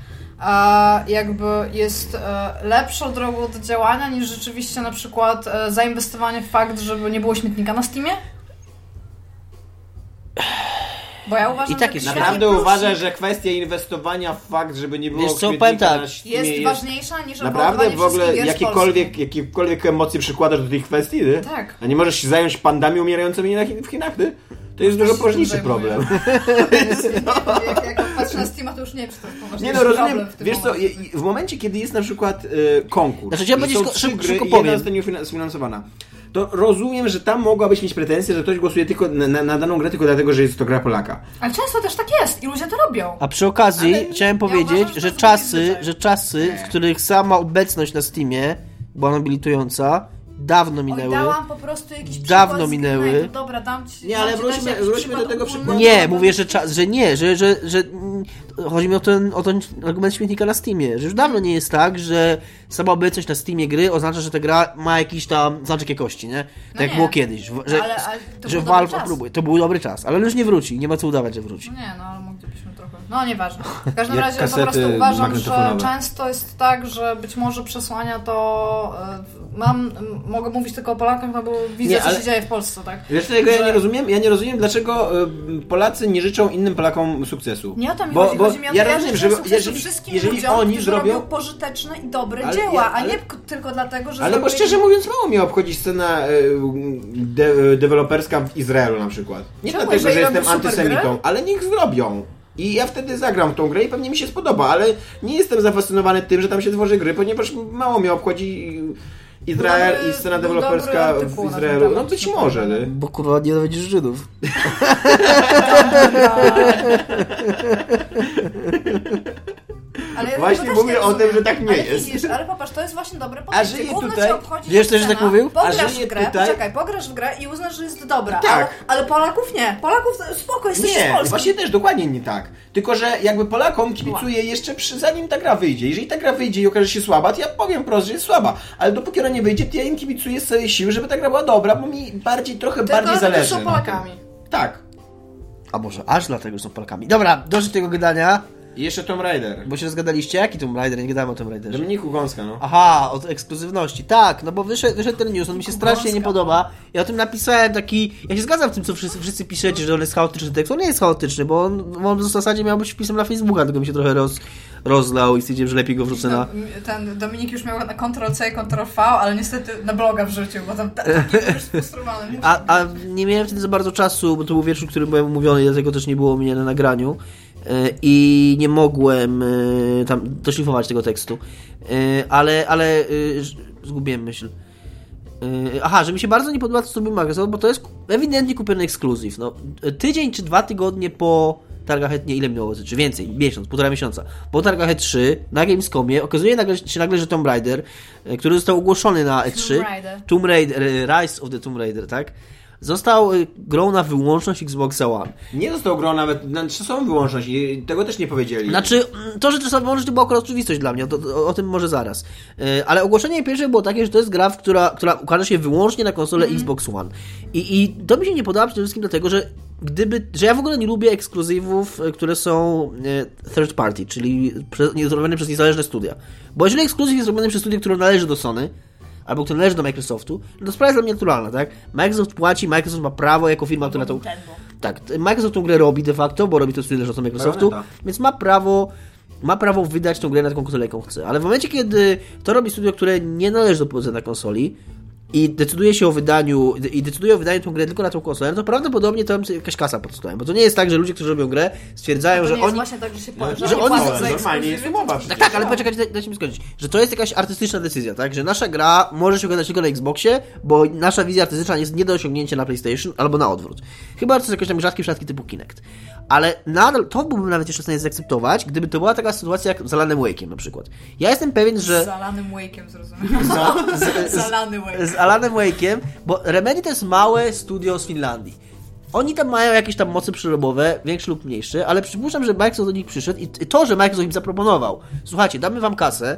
[SPEAKER 3] A jakby jest e, lepszą drogą do działania niż rzeczywiście na przykład e, zainwestowanie w fakt, żeby nie było śmietnika na Steamie? Bo ja uważam,
[SPEAKER 2] I tak
[SPEAKER 3] że
[SPEAKER 2] jest.
[SPEAKER 3] jakiś
[SPEAKER 4] Naprawdę
[SPEAKER 3] śmietnik
[SPEAKER 4] uważasz, że kwestia inwestowania w fakt, żeby nie było
[SPEAKER 2] Wiesz co,
[SPEAKER 4] śmietnika
[SPEAKER 2] powiem tak,
[SPEAKER 4] na ścimie
[SPEAKER 3] jest,
[SPEAKER 4] jest-
[SPEAKER 3] ważniejsza niż
[SPEAKER 4] Naprawdę
[SPEAKER 3] obowiązywanie
[SPEAKER 4] w ogóle
[SPEAKER 3] wszystkich gier z
[SPEAKER 4] jakiekolwiek, jakiekolwiek emocje przykładasz do tej kwestii, ty?
[SPEAKER 3] Tak.
[SPEAKER 4] A nie możesz się zająć pandami umierającymi na Chin, w Chinach, ty? To jest dużo
[SPEAKER 3] się
[SPEAKER 4] poważniejszy
[SPEAKER 3] tym zajmuję.
[SPEAKER 4] problem.
[SPEAKER 3] Polski. Jak, jak patrzę na Steama, to już nie wiem, czy to jest poważny
[SPEAKER 4] Nie no, rozumiem.
[SPEAKER 3] problem w tym
[SPEAKER 4] Wiesz co,
[SPEAKER 3] momencie.
[SPEAKER 4] je- je- w momencie, kiedy jest na przykład e, konkurs,
[SPEAKER 2] Znaczy, chciałem
[SPEAKER 4] i
[SPEAKER 2] powiedzieć,
[SPEAKER 4] są
[SPEAKER 2] szybko-
[SPEAKER 4] trzy
[SPEAKER 2] szybko-
[SPEAKER 4] gry
[SPEAKER 2] szybko
[SPEAKER 4] i jedna
[SPEAKER 2] powiem.
[SPEAKER 4] zostanie ufina- sfinansowana, to rozumiem, że tam mogłabyś mieć pretensję, że ktoś głosuje tylko na, na, na daną grę tylko dlatego, że jest to gra Polaka.
[SPEAKER 3] Ale często też tak jest i ludzie to robią.
[SPEAKER 2] A przy okazji
[SPEAKER 4] Ale
[SPEAKER 2] chciałem powiedzieć,
[SPEAKER 3] uważam, że to
[SPEAKER 2] że
[SPEAKER 3] jest
[SPEAKER 2] czasy,
[SPEAKER 3] zwyczaj.
[SPEAKER 2] że czasy, w których sama obecność na Steamie była nobilitująca, dawno
[SPEAKER 3] Oj,
[SPEAKER 2] minęły.
[SPEAKER 3] dałam po prostu jakiś
[SPEAKER 2] Dawno
[SPEAKER 3] przykład z
[SPEAKER 2] minęły.
[SPEAKER 3] Greenlightu. Dobra, dam ci.
[SPEAKER 4] Nie,
[SPEAKER 3] dam
[SPEAKER 4] ale
[SPEAKER 3] ci
[SPEAKER 4] wróćmy-
[SPEAKER 3] też jakiś
[SPEAKER 4] wróćmy do tego
[SPEAKER 3] ogólny.
[SPEAKER 4] przykładu.
[SPEAKER 2] Nie, mówię, że, czas, że nie, że, że, że mm, chodzi mi o ten, o ten argument śmietnika na Steamie, że już dawno nie jest tak, że sama obecność na Steamie gry oznacza, że ta gra ma jakiś tam znaczek jakości, nie? Tak
[SPEAKER 3] No
[SPEAKER 2] jak
[SPEAKER 3] nie.
[SPEAKER 2] było kiedyś, w- że,
[SPEAKER 3] Ale- ale to
[SPEAKER 2] że
[SPEAKER 3] był dobry
[SPEAKER 2] Valve
[SPEAKER 3] czas.
[SPEAKER 2] próbuje. To był dobry czas, ale już nie wróci, nie ma co udawać, że wróci.
[SPEAKER 3] No Nie, no ale moglibyśmy trochę. No nieważne. W każdym
[SPEAKER 4] Jak
[SPEAKER 3] razie po prostu
[SPEAKER 4] kasety
[SPEAKER 3] uważam, że
[SPEAKER 4] magnetofonowe.
[SPEAKER 3] często jest tak, że być może przesłania to. e, Mam, m- mogę mówić tylko o Polakach, no bo widzę,
[SPEAKER 4] Nie,
[SPEAKER 3] co
[SPEAKER 4] ale-
[SPEAKER 3] się dzieje w Polsce, tak?
[SPEAKER 4] Wiesz, czego ja
[SPEAKER 3] Że-
[SPEAKER 4] nie rozumiem? Ja nie rozumiem, dlaczego y, Polacy nie życzą innym Polakom sukcesu.
[SPEAKER 5] Nie o to mi
[SPEAKER 4] Bo-
[SPEAKER 5] chodzi,
[SPEAKER 4] bo
[SPEAKER 5] chodzi mi o to,
[SPEAKER 4] ja
[SPEAKER 5] że
[SPEAKER 4] rozumiem,
[SPEAKER 5] życzę
[SPEAKER 4] że-
[SPEAKER 5] sukcesu
[SPEAKER 4] jeżeli-
[SPEAKER 5] wszystkim
[SPEAKER 4] jeżeli
[SPEAKER 5] ludziom,
[SPEAKER 4] oni
[SPEAKER 5] którzy
[SPEAKER 4] zrobią-
[SPEAKER 5] robią pożyteczne i dobre
[SPEAKER 4] Ale
[SPEAKER 5] dzieła,
[SPEAKER 4] ja-
[SPEAKER 5] a nie
[SPEAKER 4] ale-
[SPEAKER 5] k- tylko dlatego, że
[SPEAKER 4] Ale bo
[SPEAKER 5] zrobili-
[SPEAKER 4] szczerze mówiąc, mało mnie obchodzi scena y, de, e, deweloperska w Izraelu na przykład. Nie
[SPEAKER 3] Czemu?
[SPEAKER 4] dlatego, że
[SPEAKER 3] Jeżeli
[SPEAKER 4] jestem
[SPEAKER 3] robią super
[SPEAKER 4] antysemitą, ale niech zrobią. I ja wtedy zagram w tą grę i pewnie mi się spodoba, ale nie jestem zafascynowany tym, że tam się tworzy gry, ponieważ mało mnie obchodzi Izrael
[SPEAKER 3] Dobry-
[SPEAKER 4] i scena
[SPEAKER 3] dobry
[SPEAKER 4] deweloperska
[SPEAKER 3] artykuł
[SPEAKER 4] w
[SPEAKER 3] na ten
[SPEAKER 4] Izraelu.
[SPEAKER 3] temat,
[SPEAKER 4] No być
[SPEAKER 3] na
[SPEAKER 4] może,
[SPEAKER 3] pewno.
[SPEAKER 4] ty.
[SPEAKER 2] Bo kurwa nienawidzisz Żydów.
[SPEAKER 5] Ale ja
[SPEAKER 4] Właśnie
[SPEAKER 5] tego też
[SPEAKER 4] mówię
[SPEAKER 5] nie
[SPEAKER 4] o tym,
[SPEAKER 5] rozumiem.
[SPEAKER 4] że tak nie
[SPEAKER 5] ale
[SPEAKER 4] jest.
[SPEAKER 5] Widzisz, ale popatrz, to jest właśnie dobre
[SPEAKER 4] A
[SPEAKER 5] podejście.
[SPEAKER 4] żyje
[SPEAKER 5] Gówno
[SPEAKER 4] tutaj-
[SPEAKER 5] cię obchodzi
[SPEAKER 2] wiesz też, że
[SPEAKER 5] cena,
[SPEAKER 2] tak mówił? A
[SPEAKER 5] Pograsz
[SPEAKER 4] żyje
[SPEAKER 5] w grę,
[SPEAKER 4] tutaj-
[SPEAKER 5] poczekaj, pograsz w grę i uznasz, że jest dobra.
[SPEAKER 4] Tak.
[SPEAKER 5] Ale, ale Polaków nie. Polaków, spoko, jesteście z
[SPEAKER 4] Nie,
[SPEAKER 5] Polski.
[SPEAKER 4] właśnie też dokładnie nie tak. Tylko, że jakby Polakom kibicuję jeszcze przy, zanim ta gra wyjdzie. Jeżeli ta gra wyjdzie i okaże się słaba, to ja powiem prosto, że jest słaba. Ale dopóki ona nie wyjdzie, to ja im kibicuję z całej siły, żeby ta gra była dobra, bo mi bardziej, trochę bardziej
[SPEAKER 3] dlatego, że
[SPEAKER 4] zależy.
[SPEAKER 3] są
[SPEAKER 4] na tym.
[SPEAKER 3] Polakami.
[SPEAKER 4] Tak.
[SPEAKER 2] A może aż dlatego, że są Polakami. Dobra, dość tego gadania,
[SPEAKER 4] I jeszcze Tomb Raider.
[SPEAKER 2] bo się rozgadaliście. Jaki Tomb Raider? Nie gadamy o Tomb Raiderze.
[SPEAKER 4] Dominiku Gąska, no.
[SPEAKER 2] Aha, od ekskluzywności. Tak, no bo wyszedł, wyszedł ten news, on mi się strasznie nie podoba. Ja o tym napisałem taki. Ja się zgadzam w tym, co wszyscy, wszyscy piszecie, że on jest chaotyczny tekst. On nie jest chaotyczny, bo on, bo on w zasadzie miał być wpisem na Facebooka, tylko mi się trochę roz, rozlał i stwierdziłem, że lepiej go
[SPEAKER 5] No.
[SPEAKER 2] wrzucę na.
[SPEAKER 3] Ten Dominik już miał na Ctrl-C, Ctrl-V, ale niestety na bloga wrzucił, bo tam ta- taki był już sfrustrowany.
[SPEAKER 2] A, a nie miałem wtedy za bardzo czasu, bo to był wieczór, który byłem umówiony, dlatego też nie było mnie na nagraniu. E, I nie mogłem e, tam doszlifować tego tekstu. E, Ale, ale e, ż- zgubiłem myśl. E, Aha, że mi się bardzo nie podoba, co robił Microsoft, bo to jest ewidentnie kupiony ekskluzyw. No, tydzień czy dwa tygodnie po targach E3, nie ile minęło, czy więcej, miesiąc, półtora miesiąca, po targach E3 na Gamescomie okazuje nagle, się nagle, że Tomb Raider, e, który został ogłoszony na E3,
[SPEAKER 3] Tomb Raider.
[SPEAKER 2] Tomb Raider, e, Rise of the Tomb Raider, tak? Został e, grą na wyłączność Xboxa One.
[SPEAKER 4] Nie został grą nawet, znaczy są wyłączność i tego też nie powiedzieli.
[SPEAKER 2] Znaczy, mm, to, że to sobie może to była akurat oczywistość dla mnie, o, to, o, o tym może zaraz. E, ale ogłoszenie pierwsze było takie, że to jest gra, w która, która ukaże się wyłącznie na konsolę Xbox One. I, I to mi się nie podoba przede wszystkim dlatego, że gdyby, że ja w ogóle nie lubię ekskluzywów, e, które są e, third party, czyli prze, nie, zrobione przez niezależne studia. Bo jeżeli ekskluzyw jest zrobiony przez studio, które należy do Sony, albo które należy do Microsoftu, no to sprawa jest dla mnie naturalna, tak? Microsoft płaci, Microsoft ma prawo jako firma, która to... Tak, t- Microsoft tą grę robi de facto, bo robi to studio leżące Microsoftu,
[SPEAKER 4] Bayonetta.
[SPEAKER 2] więc ma prawo, ma prawo wydać tą grę na taką konsolę, jaką chce. Ale w momencie, kiedy to robi studio, które nie należy do producenta konsoli i decyduje się o wydaniu, i decyduje o wydaniu tą grę tylko na tą konsolę, no to prawdopodobnie tam jakaś kasa pod stołem, bo to nie jest tak, że ludzie, którzy robią grę,
[SPEAKER 5] To
[SPEAKER 2] stwierdzają,
[SPEAKER 5] nie
[SPEAKER 2] że
[SPEAKER 5] jest
[SPEAKER 2] oni...
[SPEAKER 5] właśnie tak, że się po,
[SPEAKER 4] No,
[SPEAKER 5] że
[SPEAKER 2] że
[SPEAKER 5] oni
[SPEAKER 2] oni-
[SPEAKER 5] płacą
[SPEAKER 4] Ale
[SPEAKER 5] za
[SPEAKER 4] normalnie jest
[SPEAKER 5] ekskluzywy,
[SPEAKER 4] umowa.
[SPEAKER 2] Tak, tak, ale poczekajcie, daj- dajcie mi skończyć. Że to jest jakaś artystyczna decyzja, tak? Że nasza gra może się okazać tylko na Xboxie, bo nasza wizja artystyczna jest nie do osiągnięcia na PlayStation albo na odwrót. Chyba to są jakieś tam rzadkie przypadki typu Kinect. Ale nadal to byłbym nawet jeszcze w stanie zaakceptować, gdyby to była taka sytuacja jak z Alanem Wake'iem na przykład. Ja jestem pewien, że
[SPEAKER 3] Zalanym Wake'iem zrozumiałem. Zalany Wake.
[SPEAKER 2] z Alanem Wake'iem, bo Remedy to jest małe studio z Finlandii. Oni tam mają jakieś tam mocy przerobowe, większe lub mniejsze, ale przypuszczam, że Microsoft do nich przyszedł i i to, że Microsoft im zaproponował, słuchajcie, damy wam kasę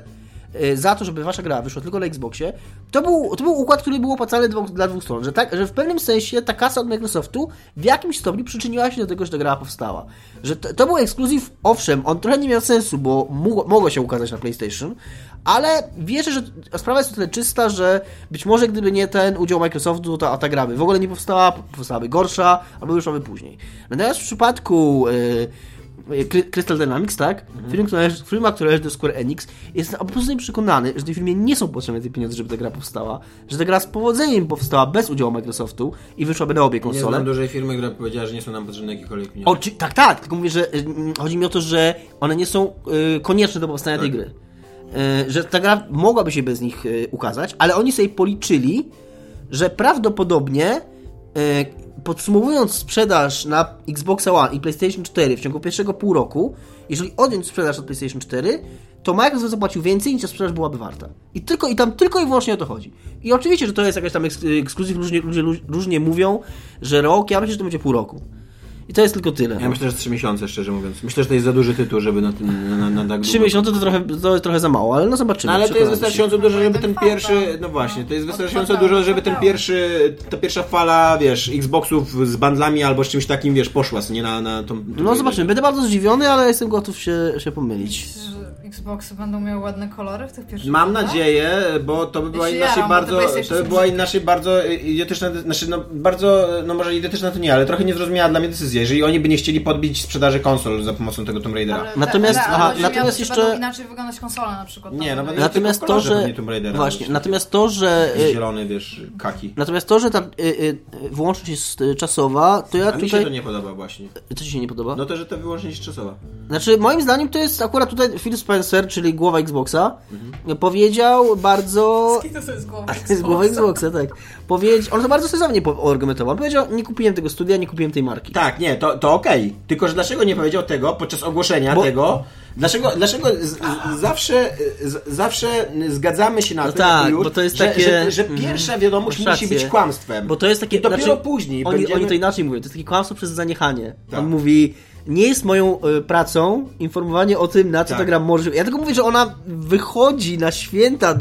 [SPEAKER 2] y, za to, żeby wasza gra wyszła tylko na Xboxie, to był, to był układ, który był opłacalny dwóch- dla dwóch stron, że, tak, że w pewnym sensie ta kasa od Microsoftu w jakimś stopniu przyczyniła się do tego, że ta gra powstała. Że to, to był ekskluzyw, owszem, on trochę nie miał sensu, bo mógł, mogło się ukazać na PlayStation, ale wierzę, że sprawa jest o tyle czysta, że być może gdyby nie ten udział Microsoftu, to ta gra by w ogóle nie powstała, powstałaby gorsza, albo wyszłaby później. Natomiast w przypadku y, y, Cry- Crystal Dynamics, tak?
[SPEAKER 4] Mhm.
[SPEAKER 2] Firma, która należy, firma, która należy do Square Enix, jestem absolutnie przekonany, że tej firmie nie są potrzebne te pieniądze, żeby ta gra powstała, że ta gra z powodzeniem powstała bez udziału Microsoftu i wyszłaby na obie
[SPEAKER 4] Nie
[SPEAKER 2] konsole.
[SPEAKER 4] znam dużej firmy, która powiedziała, że nie są nam potrzebne jakiekolwiek pieniądze.
[SPEAKER 2] Oczy, tak, tak, tylko mówię, że mm, chodzi mi o to, że one nie są y, konieczne do powstania tej gry. Y, że ta gra mogłaby się bez nich y, ukazać, ale oni sobie policzyli, że prawdopodobnie y, podsumowując sprzedaż na Xbox One i PlayStation 4 w ciągu pierwszego pół roku, jeżeli odjąć sprzedaż od PlayStation 4, to Microsoft zapłacił więcej niż ta sprzedaż byłaby warta. I tylko i tam tylko i wyłącznie o to chodzi. I oczywiście, że to jest jakaś tam eks- ekskluzyw, różnie, ludzie lu- różnie mówią, że rok, ja myślę, że to będzie pół roku. I to jest tylko tyle.
[SPEAKER 4] Ja myślę, że 3 miesiące, szczerze mówiąc. Myślę, że to jest za duży tytuł, żeby na tym na, na, na tak
[SPEAKER 2] Trzy
[SPEAKER 4] długo-
[SPEAKER 2] miesiące to trochę, to jest trochę za mało, ale no zobaczymy.
[SPEAKER 4] No, ale to jest
[SPEAKER 2] przekonamy się.
[SPEAKER 4] wystarczająco dużo, żeby ten
[SPEAKER 5] Fanta.
[SPEAKER 4] pierwszy. No właśnie, to jest wystarczająco
[SPEAKER 3] Fanta,
[SPEAKER 4] dużo, żeby ten
[SPEAKER 3] Fanta.
[SPEAKER 4] pierwszy. Ta pierwsza fala, wiesz, Xboxów z bandlami albo z czymś takim, wiesz, poszła, co nie na, na tą.
[SPEAKER 2] No zobaczymy, będę bardzo zdziwiony, ale jestem gotów się, się pomylić.
[SPEAKER 3] Że Xboxy będą miały ładne kolory w tych pierwszych
[SPEAKER 4] Mam
[SPEAKER 3] latach?
[SPEAKER 4] nadzieję, bo to by była
[SPEAKER 3] się
[SPEAKER 4] inaczej
[SPEAKER 3] jaram, bo
[SPEAKER 4] bardzo.
[SPEAKER 3] Znaczy, to PlayStation
[SPEAKER 4] To
[SPEAKER 3] są
[SPEAKER 4] by była
[SPEAKER 3] brzydkie.
[SPEAKER 4] inaczej bardzo y, idiotyczna. de- Znaczy, no bardzo. No może idiotyczna to nie, ale trochę niezrozumiała dla mnie decyzja. Jeżeli oni by nie chcieli podbić sprzedaży konsol za pomocą tego Tomb Raidera.
[SPEAKER 3] Ale te-
[SPEAKER 2] Natomiast-
[SPEAKER 3] ale- ale
[SPEAKER 2] aha,
[SPEAKER 3] się
[SPEAKER 2] natomiast
[SPEAKER 3] miało-
[SPEAKER 2] jeszcze-
[SPEAKER 3] Będą inaczej wyglądać konsola na przykład.
[SPEAKER 4] Nie,
[SPEAKER 3] tam.
[SPEAKER 4] no będą-
[SPEAKER 2] Natomiast
[SPEAKER 4] tylko
[SPEAKER 2] to,
[SPEAKER 4] kolorze
[SPEAKER 2] że.
[SPEAKER 4] pewnie Tomb Raidera
[SPEAKER 2] Właśnie,
[SPEAKER 4] robisz.
[SPEAKER 2] natomiast to, że.
[SPEAKER 4] Jakiś
[SPEAKER 2] y,
[SPEAKER 4] Zielony, wiesz, kaki.
[SPEAKER 2] Natomiast to, że ta y, y, y, wyłączność jest y, czasowa, to ja
[SPEAKER 4] A mi się to
[SPEAKER 2] tutaj.
[SPEAKER 4] nie podoba właśnie.
[SPEAKER 2] Co ci się nie podoba?
[SPEAKER 4] No to, że to wyłącznie jest czasowa.
[SPEAKER 2] Znaczy, moim zdaniem to jest akurat tutaj Phil Spencer, czyli głowa Xboxa,
[SPEAKER 4] Mhm.
[SPEAKER 2] powiedział bardzo.
[SPEAKER 5] I to sobie z głowy.
[SPEAKER 2] Z głowy Xboxa, tak. Powiedział, on to bardzo sensownie po- argumentował. On powiedział, nie kupiłem tego studia, nie kupiłem tej marki.
[SPEAKER 4] Tak, nie, to, to okej. Tylko, że dlaczego nie powiedział tego podczas ogłoszenia
[SPEAKER 2] Bo-
[SPEAKER 4] tego? Dlaczego, dlaczego z, z, zawsze, z, zawsze zgadzamy się na
[SPEAKER 2] No
[SPEAKER 4] to,
[SPEAKER 2] tak,
[SPEAKER 4] już,
[SPEAKER 2] bo to jest
[SPEAKER 4] że,
[SPEAKER 2] takie-
[SPEAKER 4] że, że
[SPEAKER 2] mhm.
[SPEAKER 4] pierwsza wiadomość
[SPEAKER 2] Masz
[SPEAKER 4] musi
[SPEAKER 2] rację.
[SPEAKER 4] być kłamstwem.
[SPEAKER 2] Bo to jest takie.
[SPEAKER 4] I dopiero
[SPEAKER 2] znaczy,
[SPEAKER 4] później
[SPEAKER 2] Oni,
[SPEAKER 4] będziemy...
[SPEAKER 2] oni to inaczej mówią. To jest takie kłamstwo przez zaniechanie.
[SPEAKER 4] Tak.
[SPEAKER 2] On mówi, nie jest moją y, pracą informowanie o tym, na co
[SPEAKER 4] Tak.
[SPEAKER 2] ta gra może. Ja tylko mówię, że ona wychodzi na święta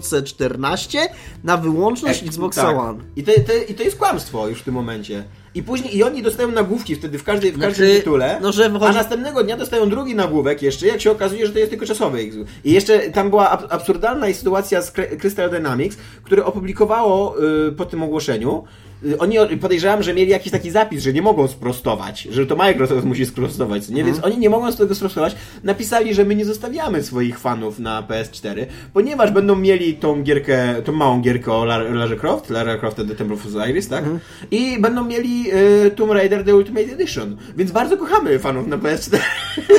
[SPEAKER 2] 2014 na wyłączność
[SPEAKER 4] E,
[SPEAKER 2] Xboxa
[SPEAKER 4] tak.
[SPEAKER 2] One.
[SPEAKER 4] I to, to, I to jest kłamstwo już w tym momencie. I później i oni dostają nagłówki wtedy w, każdej, w każdym
[SPEAKER 2] Znaczy,
[SPEAKER 4] tytule.
[SPEAKER 2] no, że wychodzi-
[SPEAKER 4] A następnego dnia dostają drugi nagłówek jeszcze, jak się okazuje, że to jest tylko czasowy. X. I jeszcze tam była ab absurdalna sytuacja z Cry- Crystal Dynamics, które opublikowało y, po tym ogłoszeniu. y, Oni o- podejrzewam, że mieli jakiś taki zapis, że nie mogą sprostować, że to Microsoft musi sprostować, co nie?
[SPEAKER 2] Mhm.
[SPEAKER 4] Więc oni nie mogą z tego sprostować. Napisali, że my nie zostawiamy swoich fanów na PS4, ponieważ będą mieli tą gierkę, tą małą gierkę o Lar- Larze Croft, Lara Croft and the Temple of Osiris, tak? I będą mieli y, Tomb Raider The Ultimate Edition, więc bardzo kochamy fanów na PS4.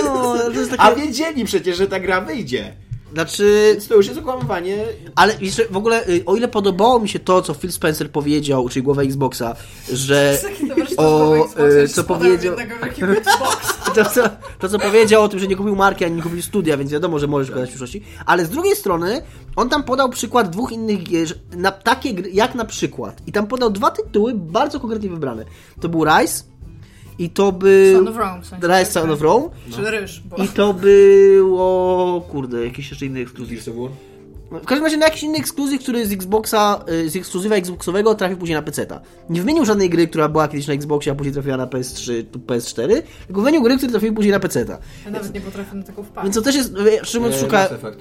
[SPEAKER 2] No, to jest takie...
[SPEAKER 4] A wiedzieli przecież, że ta gra wyjdzie.
[SPEAKER 2] Znaczy,
[SPEAKER 4] Więc to już jest okłamywanie.
[SPEAKER 2] ale jeszcze w ogóle, y, o ile podobało mi się to, co Phil Spencer powiedział, czyli głowa Xboxa, że o, y, co powiedział, to co, to, co powiedział o tym, że nie kupił marki, ani nie kupił studia, więc wiadomo, że możesz gadać w przyszłości. Ale z drugiej strony, on tam podał przykład dwóch innych gier, że- na, takie gry, jak na przykład. I tam podał dwa tytuły bardzo konkretnie wybrane. To był Rise i to był...
[SPEAKER 3] Son of Rome, w sensie.
[SPEAKER 2] Rise Son of Rome.
[SPEAKER 3] Czy ryż, bo...
[SPEAKER 2] No. I to było... kurde, jakiś jeszcze inny ekskluzyw.
[SPEAKER 4] Gears of War.
[SPEAKER 2] W każdym razie na jakiś inny ekskluzyw, który z Xboxa, y, z ekskluzywa Xboxowego trafił później na PC. Nie wymienił żadnej gry, która była kiedyś na Xboxie, a później trafiła na PS3 lub PS4, tylko wymienił gry, które trafiły później na PC.
[SPEAKER 3] Ja nawet nie potrafię na tego wpaść.
[SPEAKER 2] Więc to też jest. y, Szymon
[SPEAKER 4] E,
[SPEAKER 2] szuka.
[SPEAKER 4] Mass Effect.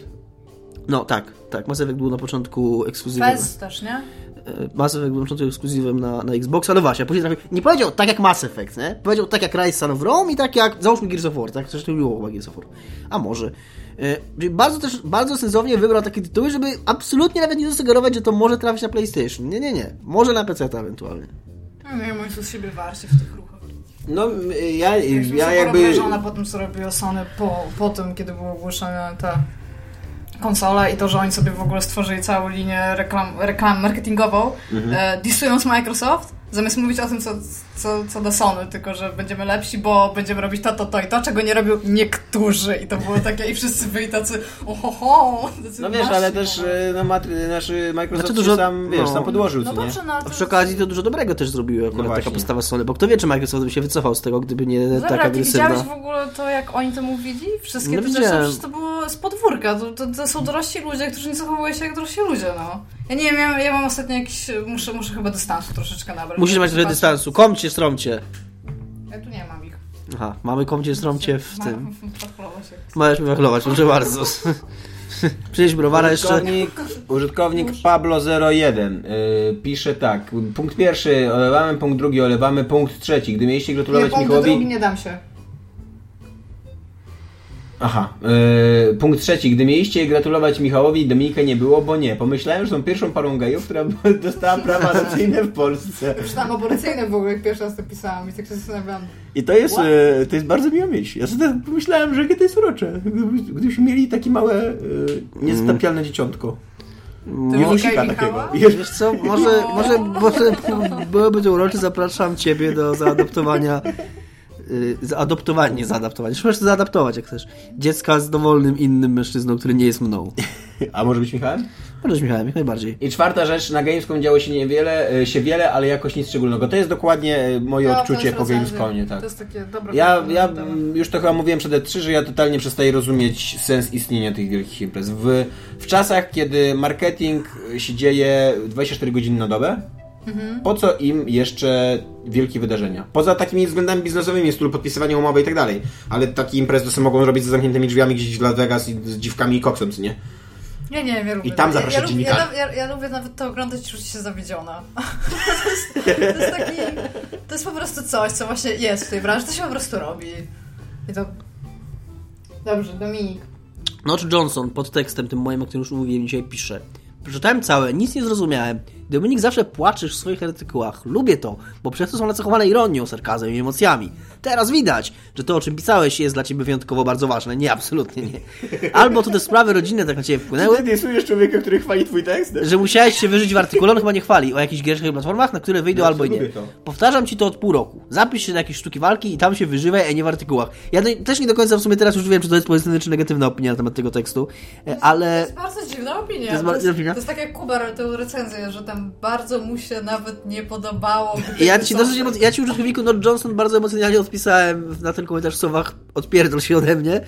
[SPEAKER 2] No tak, tak. Mass Effect był na początku ekskluzywem.
[SPEAKER 3] Fez też, nie?
[SPEAKER 2] E, Mass Effect był na początku ekskluzywem na, na Xboxa, no właśnie, a później trafił. Nie powiedział tak jak Mass Effect, nie? Powiedział tak jak Rise Son of Rome i tak jak. Załóżmy Gears of War, tak? Coś to było chyba Gears of War. A może. E, czyli bardzo też, bardzo sensownie wybrał takie tytuły, żeby absolutnie nawet nie zasugerować, że to może trafić na PlayStation. Nie, nie, nie. Może na PC ewentualnie.
[SPEAKER 3] No, Nie wiem, oni z siebie warcie w tych ruchach.
[SPEAKER 4] No, m, ja,
[SPEAKER 3] Jakby
[SPEAKER 4] ja
[SPEAKER 3] się
[SPEAKER 4] jakby...
[SPEAKER 3] porównasz, że ona potem zrobiła Sony po, po tym, kiedy była ogłoszona ta konsola i to, że oni sobie w ogóle stworzyli całą linię reklam, reklam marketingową,
[SPEAKER 4] Mhm.
[SPEAKER 3] e, disując Microsoft, zamiast mówić o tym, co, co, co do Sony, tylko, że będziemy lepsi, bo będziemy robić to, to, to i to, czego nie robią niektórzy. I to było takie, i wszyscy byli tacy, ohoho, tacy
[SPEAKER 4] No wiesz,
[SPEAKER 3] nasi
[SPEAKER 4] ale też
[SPEAKER 3] po prostu.
[SPEAKER 4] e, no, matry, nasz e, Microsoft
[SPEAKER 2] Znaczy dużo-
[SPEAKER 4] się sam, wiesz,
[SPEAKER 2] no.
[SPEAKER 4] sam podłożył,
[SPEAKER 5] No
[SPEAKER 4] co nie?
[SPEAKER 5] dobrze, no ale
[SPEAKER 2] A
[SPEAKER 5] to
[SPEAKER 2] przy okazji to dużo dobrego też zrobiły akurat taka
[SPEAKER 4] właśnie.
[SPEAKER 2] postawa Sony, bo kto wie, czy Microsoft by się wycofał z tego, gdyby nie
[SPEAKER 3] No
[SPEAKER 2] tak
[SPEAKER 3] Dobra, ty
[SPEAKER 2] agresywna.
[SPEAKER 3] widziałeś w ogóle to, jak oni to mówili? Wszystkie
[SPEAKER 2] No
[SPEAKER 3] te rzeczy,
[SPEAKER 2] widziałem.
[SPEAKER 3] przecież to było z podwórka. To, to, to są dorośli ludzie, którzy nie zachowują się jak dorośli ludzie, no. Ja nie wiem, ja, ja mam ostatnio jakiś... Muszę, muszę chyba dystansu troszeczkę nabrać.
[SPEAKER 2] Musisz mieć trochę
[SPEAKER 3] Patrzę-
[SPEAKER 2] dystansu. Komcie, stromcie.
[SPEAKER 3] Ja tu nie mam ich.
[SPEAKER 2] Aha, mamy komcie, stromcie w
[SPEAKER 3] Ma-
[SPEAKER 2] tym.
[SPEAKER 3] podpalowo się.
[SPEAKER 2] Możesz mi wachlować, proszę bardzo. Przynieś browara jeszcze.
[SPEAKER 4] Użytkownik, użytkownik Pablo01 y, pisze tak. Punkt pierwszy olewamy, punkt drugi olewamy, punkt trzeci. Gdy mieliście
[SPEAKER 3] Nie,
[SPEAKER 4] gratulować
[SPEAKER 3] bo do
[SPEAKER 4] Michałowi...
[SPEAKER 3] drugi nie dam się.
[SPEAKER 4] Aha. y, punkt trzeci. Gdy mieliście gratulować Michałowi, Dominika nie było, bo nie. Pomyślałem, że są pierwszą parą gejów, która dostała prawa adopcyjne w Polsce.
[SPEAKER 3] Czytam aborcyjne w ogóle, jak pierwszy raz to pisałam i tak się zastanawiam.
[SPEAKER 4] I to jest, y, to jest bardzo miło mieć. Ja sobie tak pomyślałem, że jakie to jest urocze. Gdyby- Gdybyśmy mieli takie małe, e, niezatapialne dzieciątko.
[SPEAKER 3] Ty
[SPEAKER 4] Jezusika takiego.
[SPEAKER 3] Michała?
[SPEAKER 4] Jezu-
[SPEAKER 2] Wiesz co, może, może, może byłoby to uroczy, zapraszam ciebie do zaadoptowania. y, Zaadoptowanie, nie zaadaptowanie. Możesz zaadaptować, jak chcesz. Dziecka z dowolnym innym mężczyzną, który nie jest mną.
[SPEAKER 4] A może być Michałem?
[SPEAKER 2] Możesz Michałem, jak najbardziej.
[SPEAKER 4] I czwarta rzecz, na Gamescom działo się niewiele, e, się wiele, ale jakoś nic szczególnego. To jest dokładnie e, moje
[SPEAKER 3] No, to
[SPEAKER 4] odczucie
[SPEAKER 3] jest
[SPEAKER 4] po
[SPEAKER 3] rozwiązanie.
[SPEAKER 4] Gamescomie, tak.
[SPEAKER 3] To jest takie dobre.
[SPEAKER 4] Ja,
[SPEAKER 3] pytanie,
[SPEAKER 4] ja
[SPEAKER 3] dobra.
[SPEAKER 4] mm, już to chyba mówiłem przed E3, że ja totalnie przestaję rozumieć sens istnienia tych wielkich imprez. W, w czasach, kiedy marketing y, się dzieje 24 godziny na dobę,
[SPEAKER 3] Mhm.
[SPEAKER 4] po co im jeszcze wielkie wydarzenia? Poza takimi względami biznesowymi, z których podpisywanie umowy i tak dalej. Ale takie imprezy to sobie mogą robić za zamkniętymi drzwiami gdzieś w Las Vegas i z dziwkami i koksem, co nie?
[SPEAKER 3] Nie, nie, ja lubię.
[SPEAKER 4] I tam
[SPEAKER 3] Ja-
[SPEAKER 4] zapraszać
[SPEAKER 3] ja, lubię-
[SPEAKER 4] dziennikarzy.
[SPEAKER 3] Ja, ja, ja lubię nawet to oglądać i czuć się zawiedziona. to, jest, to jest taki... To jest po prostu coś, co właśnie jest w tej branży. To się po prostu robi. I to... Dobrze, Dominik.
[SPEAKER 2] Notch Johnson pod tekstem tym moim, o którym już mówiłem dzisiaj, pisze. Przeczytałem całe, nic nie zrozumiałem. Dominik zawsze płaczesz w swoich artykułach. Lubię to, bo przez to są nacechowane ironią, sarkazmem i emocjami. Teraz widać, że to, o czym pisałeś, jest dla ciebie wyjątkowo bardzo ważne. Nie, absolutnie nie. Albo to te sprawy rodzinne tak na ciebie wpłynęły,
[SPEAKER 4] dysujesz człowieka, który chwali twój tekst?
[SPEAKER 2] że musiałeś się wyżyć w artykule, on chyba nie chwali o jakichś gierszych platformach, na które wyjdą
[SPEAKER 4] Ja
[SPEAKER 2] albo i nie.
[SPEAKER 4] lubię to.
[SPEAKER 2] Powtarzam ci to od pół roku. Zapisz się na jakieś sztuki walki i tam się wyżywaj, a nie w artykułach. Ja do, też nie do końca w sumie teraz już wiem, czy to jest pozytywna czy negatywna opinia na temat tego tekstu, e, ale...
[SPEAKER 3] To jest bardzo dziwna opinia.
[SPEAKER 2] To jest bardzo dziwna opinia?
[SPEAKER 3] To jest tak jak Kubar tę recenzję, że tam bardzo mu się nawet nie podobało. gdy
[SPEAKER 2] Ja
[SPEAKER 3] to
[SPEAKER 2] ci
[SPEAKER 3] są-
[SPEAKER 2] dosyć emoc- ja ci użytkowniku Nord Johnson bardzo emocjonalnie odpisałem na ten komentarz w słowach odpierdol się ode mnie.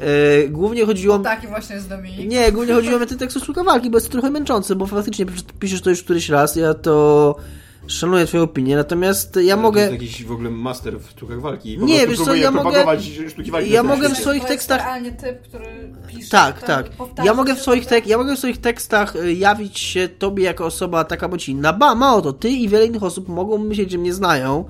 [SPEAKER 2] E, głównie chodziło...
[SPEAKER 3] Taki właśnie jest Dominik.
[SPEAKER 2] Nie, głównie chodziło mi o ten tekst o sztuka walki, bo jest to trochę męczące, bo faktycznie piszesz to już któryś raz, ja to szanuję twoją opinię, natomiast ja
[SPEAKER 4] No,
[SPEAKER 2] mogę...
[SPEAKER 4] jakiś w ogóle master w sztukach walki.
[SPEAKER 2] Po Nie, prostu wiesz co, próbuje ja mogę- propagować
[SPEAKER 4] Sztuki
[SPEAKER 2] walki ja na mogę Twitterze. w swoich
[SPEAKER 3] To jest
[SPEAKER 2] tekstach-
[SPEAKER 3] realnie typ, który pisze.
[SPEAKER 2] Tak,
[SPEAKER 3] to
[SPEAKER 2] tak.
[SPEAKER 3] powtarza
[SPEAKER 2] Ja mogę, w
[SPEAKER 3] się,
[SPEAKER 2] swoich
[SPEAKER 3] tak?
[SPEAKER 2] tek- ja mogę w swoich tekstach y, jawić się tobie jako osoba taka bądź inna. Ba, mało to, ty i wiele innych osób mogą myśleć, że mnie znają,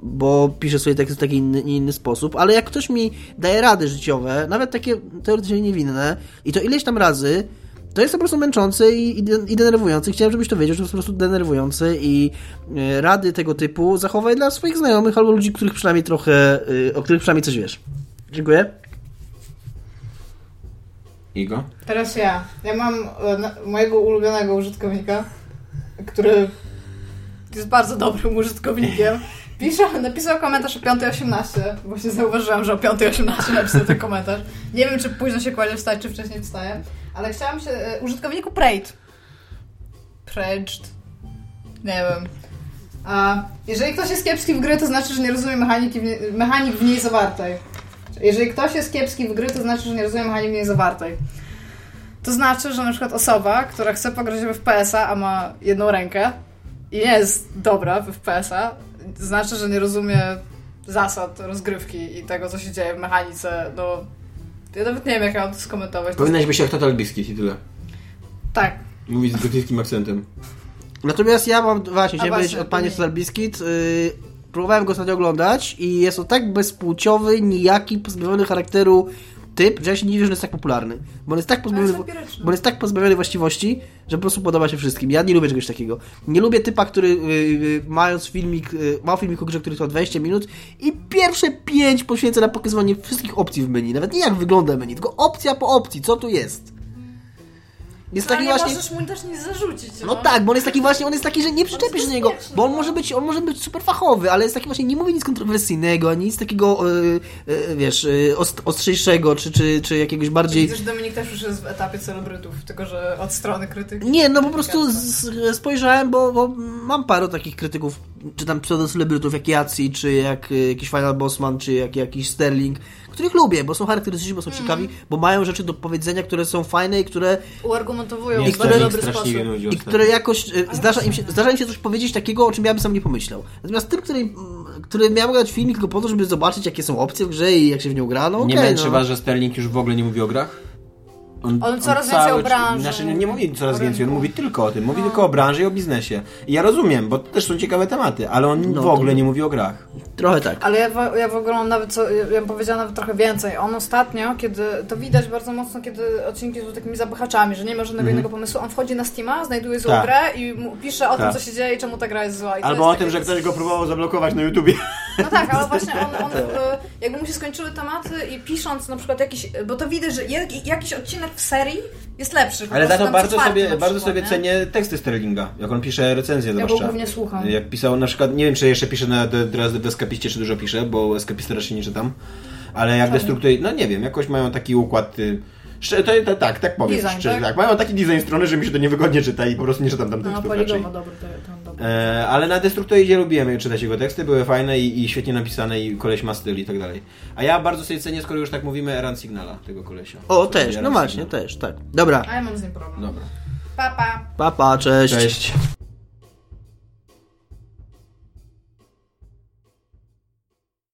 [SPEAKER 2] bo piszę swoje teksty w taki inny, inny sposób, ale jak ktoś mi daje rady życiowe, nawet takie teoretycznie niewinne, i to ileś tam razy, to jest po prostu męczące i, i, de- i denerwujące. Chciałem, żebyś to wiedział, że to jest po prostu denerwujące i y, rady tego typu zachowaj dla swoich znajomych albo ludzi, których przynajmniej trochę, y, o których przynajmniej coś wiesz. Dziękuję.
[SPEAKER 4] Igo?
[SPEAKER 3] Teraz ja. Ja mam e, na- mojego ulubionego użytkownika, który jest bardzo dobrym użytkownikiem. Pisze, napisał komentarz o 5.18. Właśnie zauważyłam, że o 5.18 napisał ten komentarz. Nie wiem, czy późno się kładzie wstać, czy wcześniej wstaje. Ale chciałam się... e, Użytkowniku Prejt. Prejt. Nie wiem. A jeżeli ktoś jest kiepski w gry, to znaczy, że nie rozumie mechaniki w nie, mechanik w niej zawartej. Jeżeli ktoś jest kiepski w gry, to znaczy, że nie rozumie mechanik w niej zawartej. To znaczy, że na przykład osoba, która chce pograć w FPS-a, a ma jedną rękę i nie jest dobra w FPS-a, to znaczy, że nie rozumie zasad rozgrywki i tego, co się dzieje w mechanice. No, ja nawet nie wiem, jak ja mam to skomentować.
[SPEAKER 4] Powinnaś być jak Total Biscuit i tyle.
[SPEAKER 3] Tak.
[SPEAKER 4] Mówić z brytyjskim akcentem.
[SPEAKER 2] Natomiast ja mam, właśnie, chciałem powiedzieć
[SPEAKER 3] właśnie,
[SPEAKER 2] o
[SPEAKER 3] to
[SPEAKER 2] panie
[SPEAKER 3] nie.
[SPEAKER 2] Solar Biscuit. Yy, próbowałem go ostatnio oglądać i jest to tak bezpłciowy, nijaki, pozbawiony charakteru typ, że ja się nie dziwię, że jest tak popularny. Bo on jest tak pozbawiony,
[SPEAKER 5] jest empiryczny.
[SPEAKER 2] bo on jest tak pozbawiony właściwości, że po prostu podoba się wszystkim. Ja nie lubię czegoś takiego. Nie lubię typa, który yy, yy, mając filmik, yy, ma filmik o grze, który trwa 20 minut i pierwsze 5 poświęca na pokazywanie wszystkich opcji w menu. Nawet nie jak wygląda menu, tylko opcja po opcji, co tu jest. Jest
[SPEAKER 5] Ale
[SPEAKER 2] taki
[SPEAKER 5] nie
[SPEAKER 2] właśnie...
[SPEAKER 5] możesz mu też nic zarzucić.
[SPEAKER 2] No tak, bo on jest taki właśnie, on jest taki, że nie przyczepisz się do niego,
[SPEAKER 5] bezpieczny,
[SPEAKER 2] bo on
[SPEAKER 5] no.
[SPEAKER 2] może być, on może być super fachowy, ale jest taki właśnie, nie mówi nic kontrowersyjnego, ani nic takiego, e, e, wiesz, e, ost- ostrzejszego, czy, czy, czy jakiegoś bardziej...
[SPEAKER 3] Widzę, że Dominik też już jest w etapie celebrytów, tylko że od strony krytyki.
[SPEAKER 2] Nie, no po prostu z- spojrzałem, bo, bo mam parę takich krytyków, czy tam pseudocelebrytów, jak Jacji, czy jak e, jakiś Final Bossman, czy jak jakiś Sterling, których lubię, bo są charakterystyczni, bo są ciekawi, bo mają rzeczy do powiedzenia, które są fajne i które
[SPEAKER 3] Uargumentowują
[SPEAKER 2] Nie,
[SPEAKER 3] w bardzo
[SPEAKER 2] które-
[SPEAKER 3] dobry sposób.
[SPEAKER 4] straszliwie nudzi
[SPEAKER 2] I które jakoś e, zdarza im, się, zdarza im się coś powiedzieć takiego, o czym ja bym sam nie pomyślał. Natomiast tym, który, mm, który miał grać filmik tylko po to, żeby zobaczyć, jakie są opcje w grze i jak się w nią gra, no okej.
[SPEAKER 4] nie męczy
[SPEAKER 2] no.
[SPEAKER 4] was, że Sterling już w ogóle nie mówi o grach?
[SPEAKER 3] On coraz więcej o branży.
[SPEAKER 4] Znaczy, nie mówi coraz więcej, on mówi tylko o tym.
[SPEAKER 2] No.
[SPEAKER 4] Mówi tylko o branży i o biznesie. I ja rozumiem, bo to też są ciekawe tematy, ale on
[SPEAKER 2] No,
[SPEAKER 4] w
[SPEAKER 2] to-
[SPEAKER 4] ogóle nie mówi o grach.
[SPEAKER 2] Trochę tak.
[SPEAKER 3] Ale ja w, ja w ogóle mam nawet, co, ja bym powiedziała nawet trochę więcej. On ostatnio, kiedy, to widać bardzo mocno, kiedy odcinki są takimi zapychaczami, że nie ma żadnego innego pomysłu, on wchodzi na Steama, znajduje złą
[SPEAKER 4] Mhm. Tak.
[SPEAKER 3] grę i mu, pisze o
[SPEAKER 4] Tak.
[SPEAKER 3] tym, co się dzieje i czemu ta gra jest zła. I to
[SPEAKER 4] Albo o
[SPEAKER 3] jest
[SPEAKER 4] tym, że
[SPEAKER 3] takie-
[SPEAKER 4] ktoś go próbował zablokować na YouTubie.
[SPEAKER 3] No tak, ale właśnie on, on e, jakby mu się skończyły tematy i pisząc na przykład jakiś, bo to widać, że jak- jakiś odcinek w serii jest lepszy. po
[SPEAKER 4] Ale za
[SPEAKER 3] prostu
[SPEAKER 4] to
[SPEAKER 3] tam co
[SPEAKER 4] bardzo
[SPEAKER 3] czwarty
[SPEAKER 4] sobie,
[SPEAKER 3] na
[SPEAKER 4] bardzo
[SPEAKER 3] przykład,
[SPEAKER 4] sobie
[SPEAKER 3] nie?
[SPEAKER 4] cenię teksty Sterlinga, jak on pisze recenzje
[SPEAKER 3] Ja go
[SPEAKER 4] zwłaszcza.
[SPEAKER 3] głównie słucham.
[SPEAKER 4] Jak pisał na przykład, nie wiem czy jeszcze pisze na, de- teraz w Eskapiście, czy dużo pisze, bo Eskapisty raczej nie czytam, ale jak Destruktor, no nie wiem, jakoś mają taki układ y, Szczerze, to, to, tak, tak powiem.
[SPEAKER 3] Design,
[SPEAKER 4] szczerze,
[SPEAKER 3] tak?
[SPEAKER 4] tak? Mają taki design strony, że mi się to niewygodnie czyta i po prostu nie czytam tam
[SPEAKER 3] No,
[SPEAKER 4] tekstów raczej.
[SPEAKER 3] poligowo dobry, to, to dobry.
[SPEAKER 4] E, ale na Destructoidzie lubiłem czytać jego teksty, były fajne i, i świetnie napisane i koleś ma styl i tak dalej. A ja bardzo sobie cenię, skoro już tak mówimy, Eran Signala, tego kolesia.
[SPEAKER 2] O, też,
[SPEAKER 4] Eran
[SPEAKER 2] no właśnie,
[SPEAKER 4] Signal.
[SPEAKER 2] też, tak. Dobra,
[SPEAKER 4] No.
[SPEAKER 3] A ja mam z nim problem.
[SPEAKER 4] Dobra.
[SPEAKER 5] Papa. Pa.
[SPEAKER 2] papa,
[SPEAKER 4] Cześć.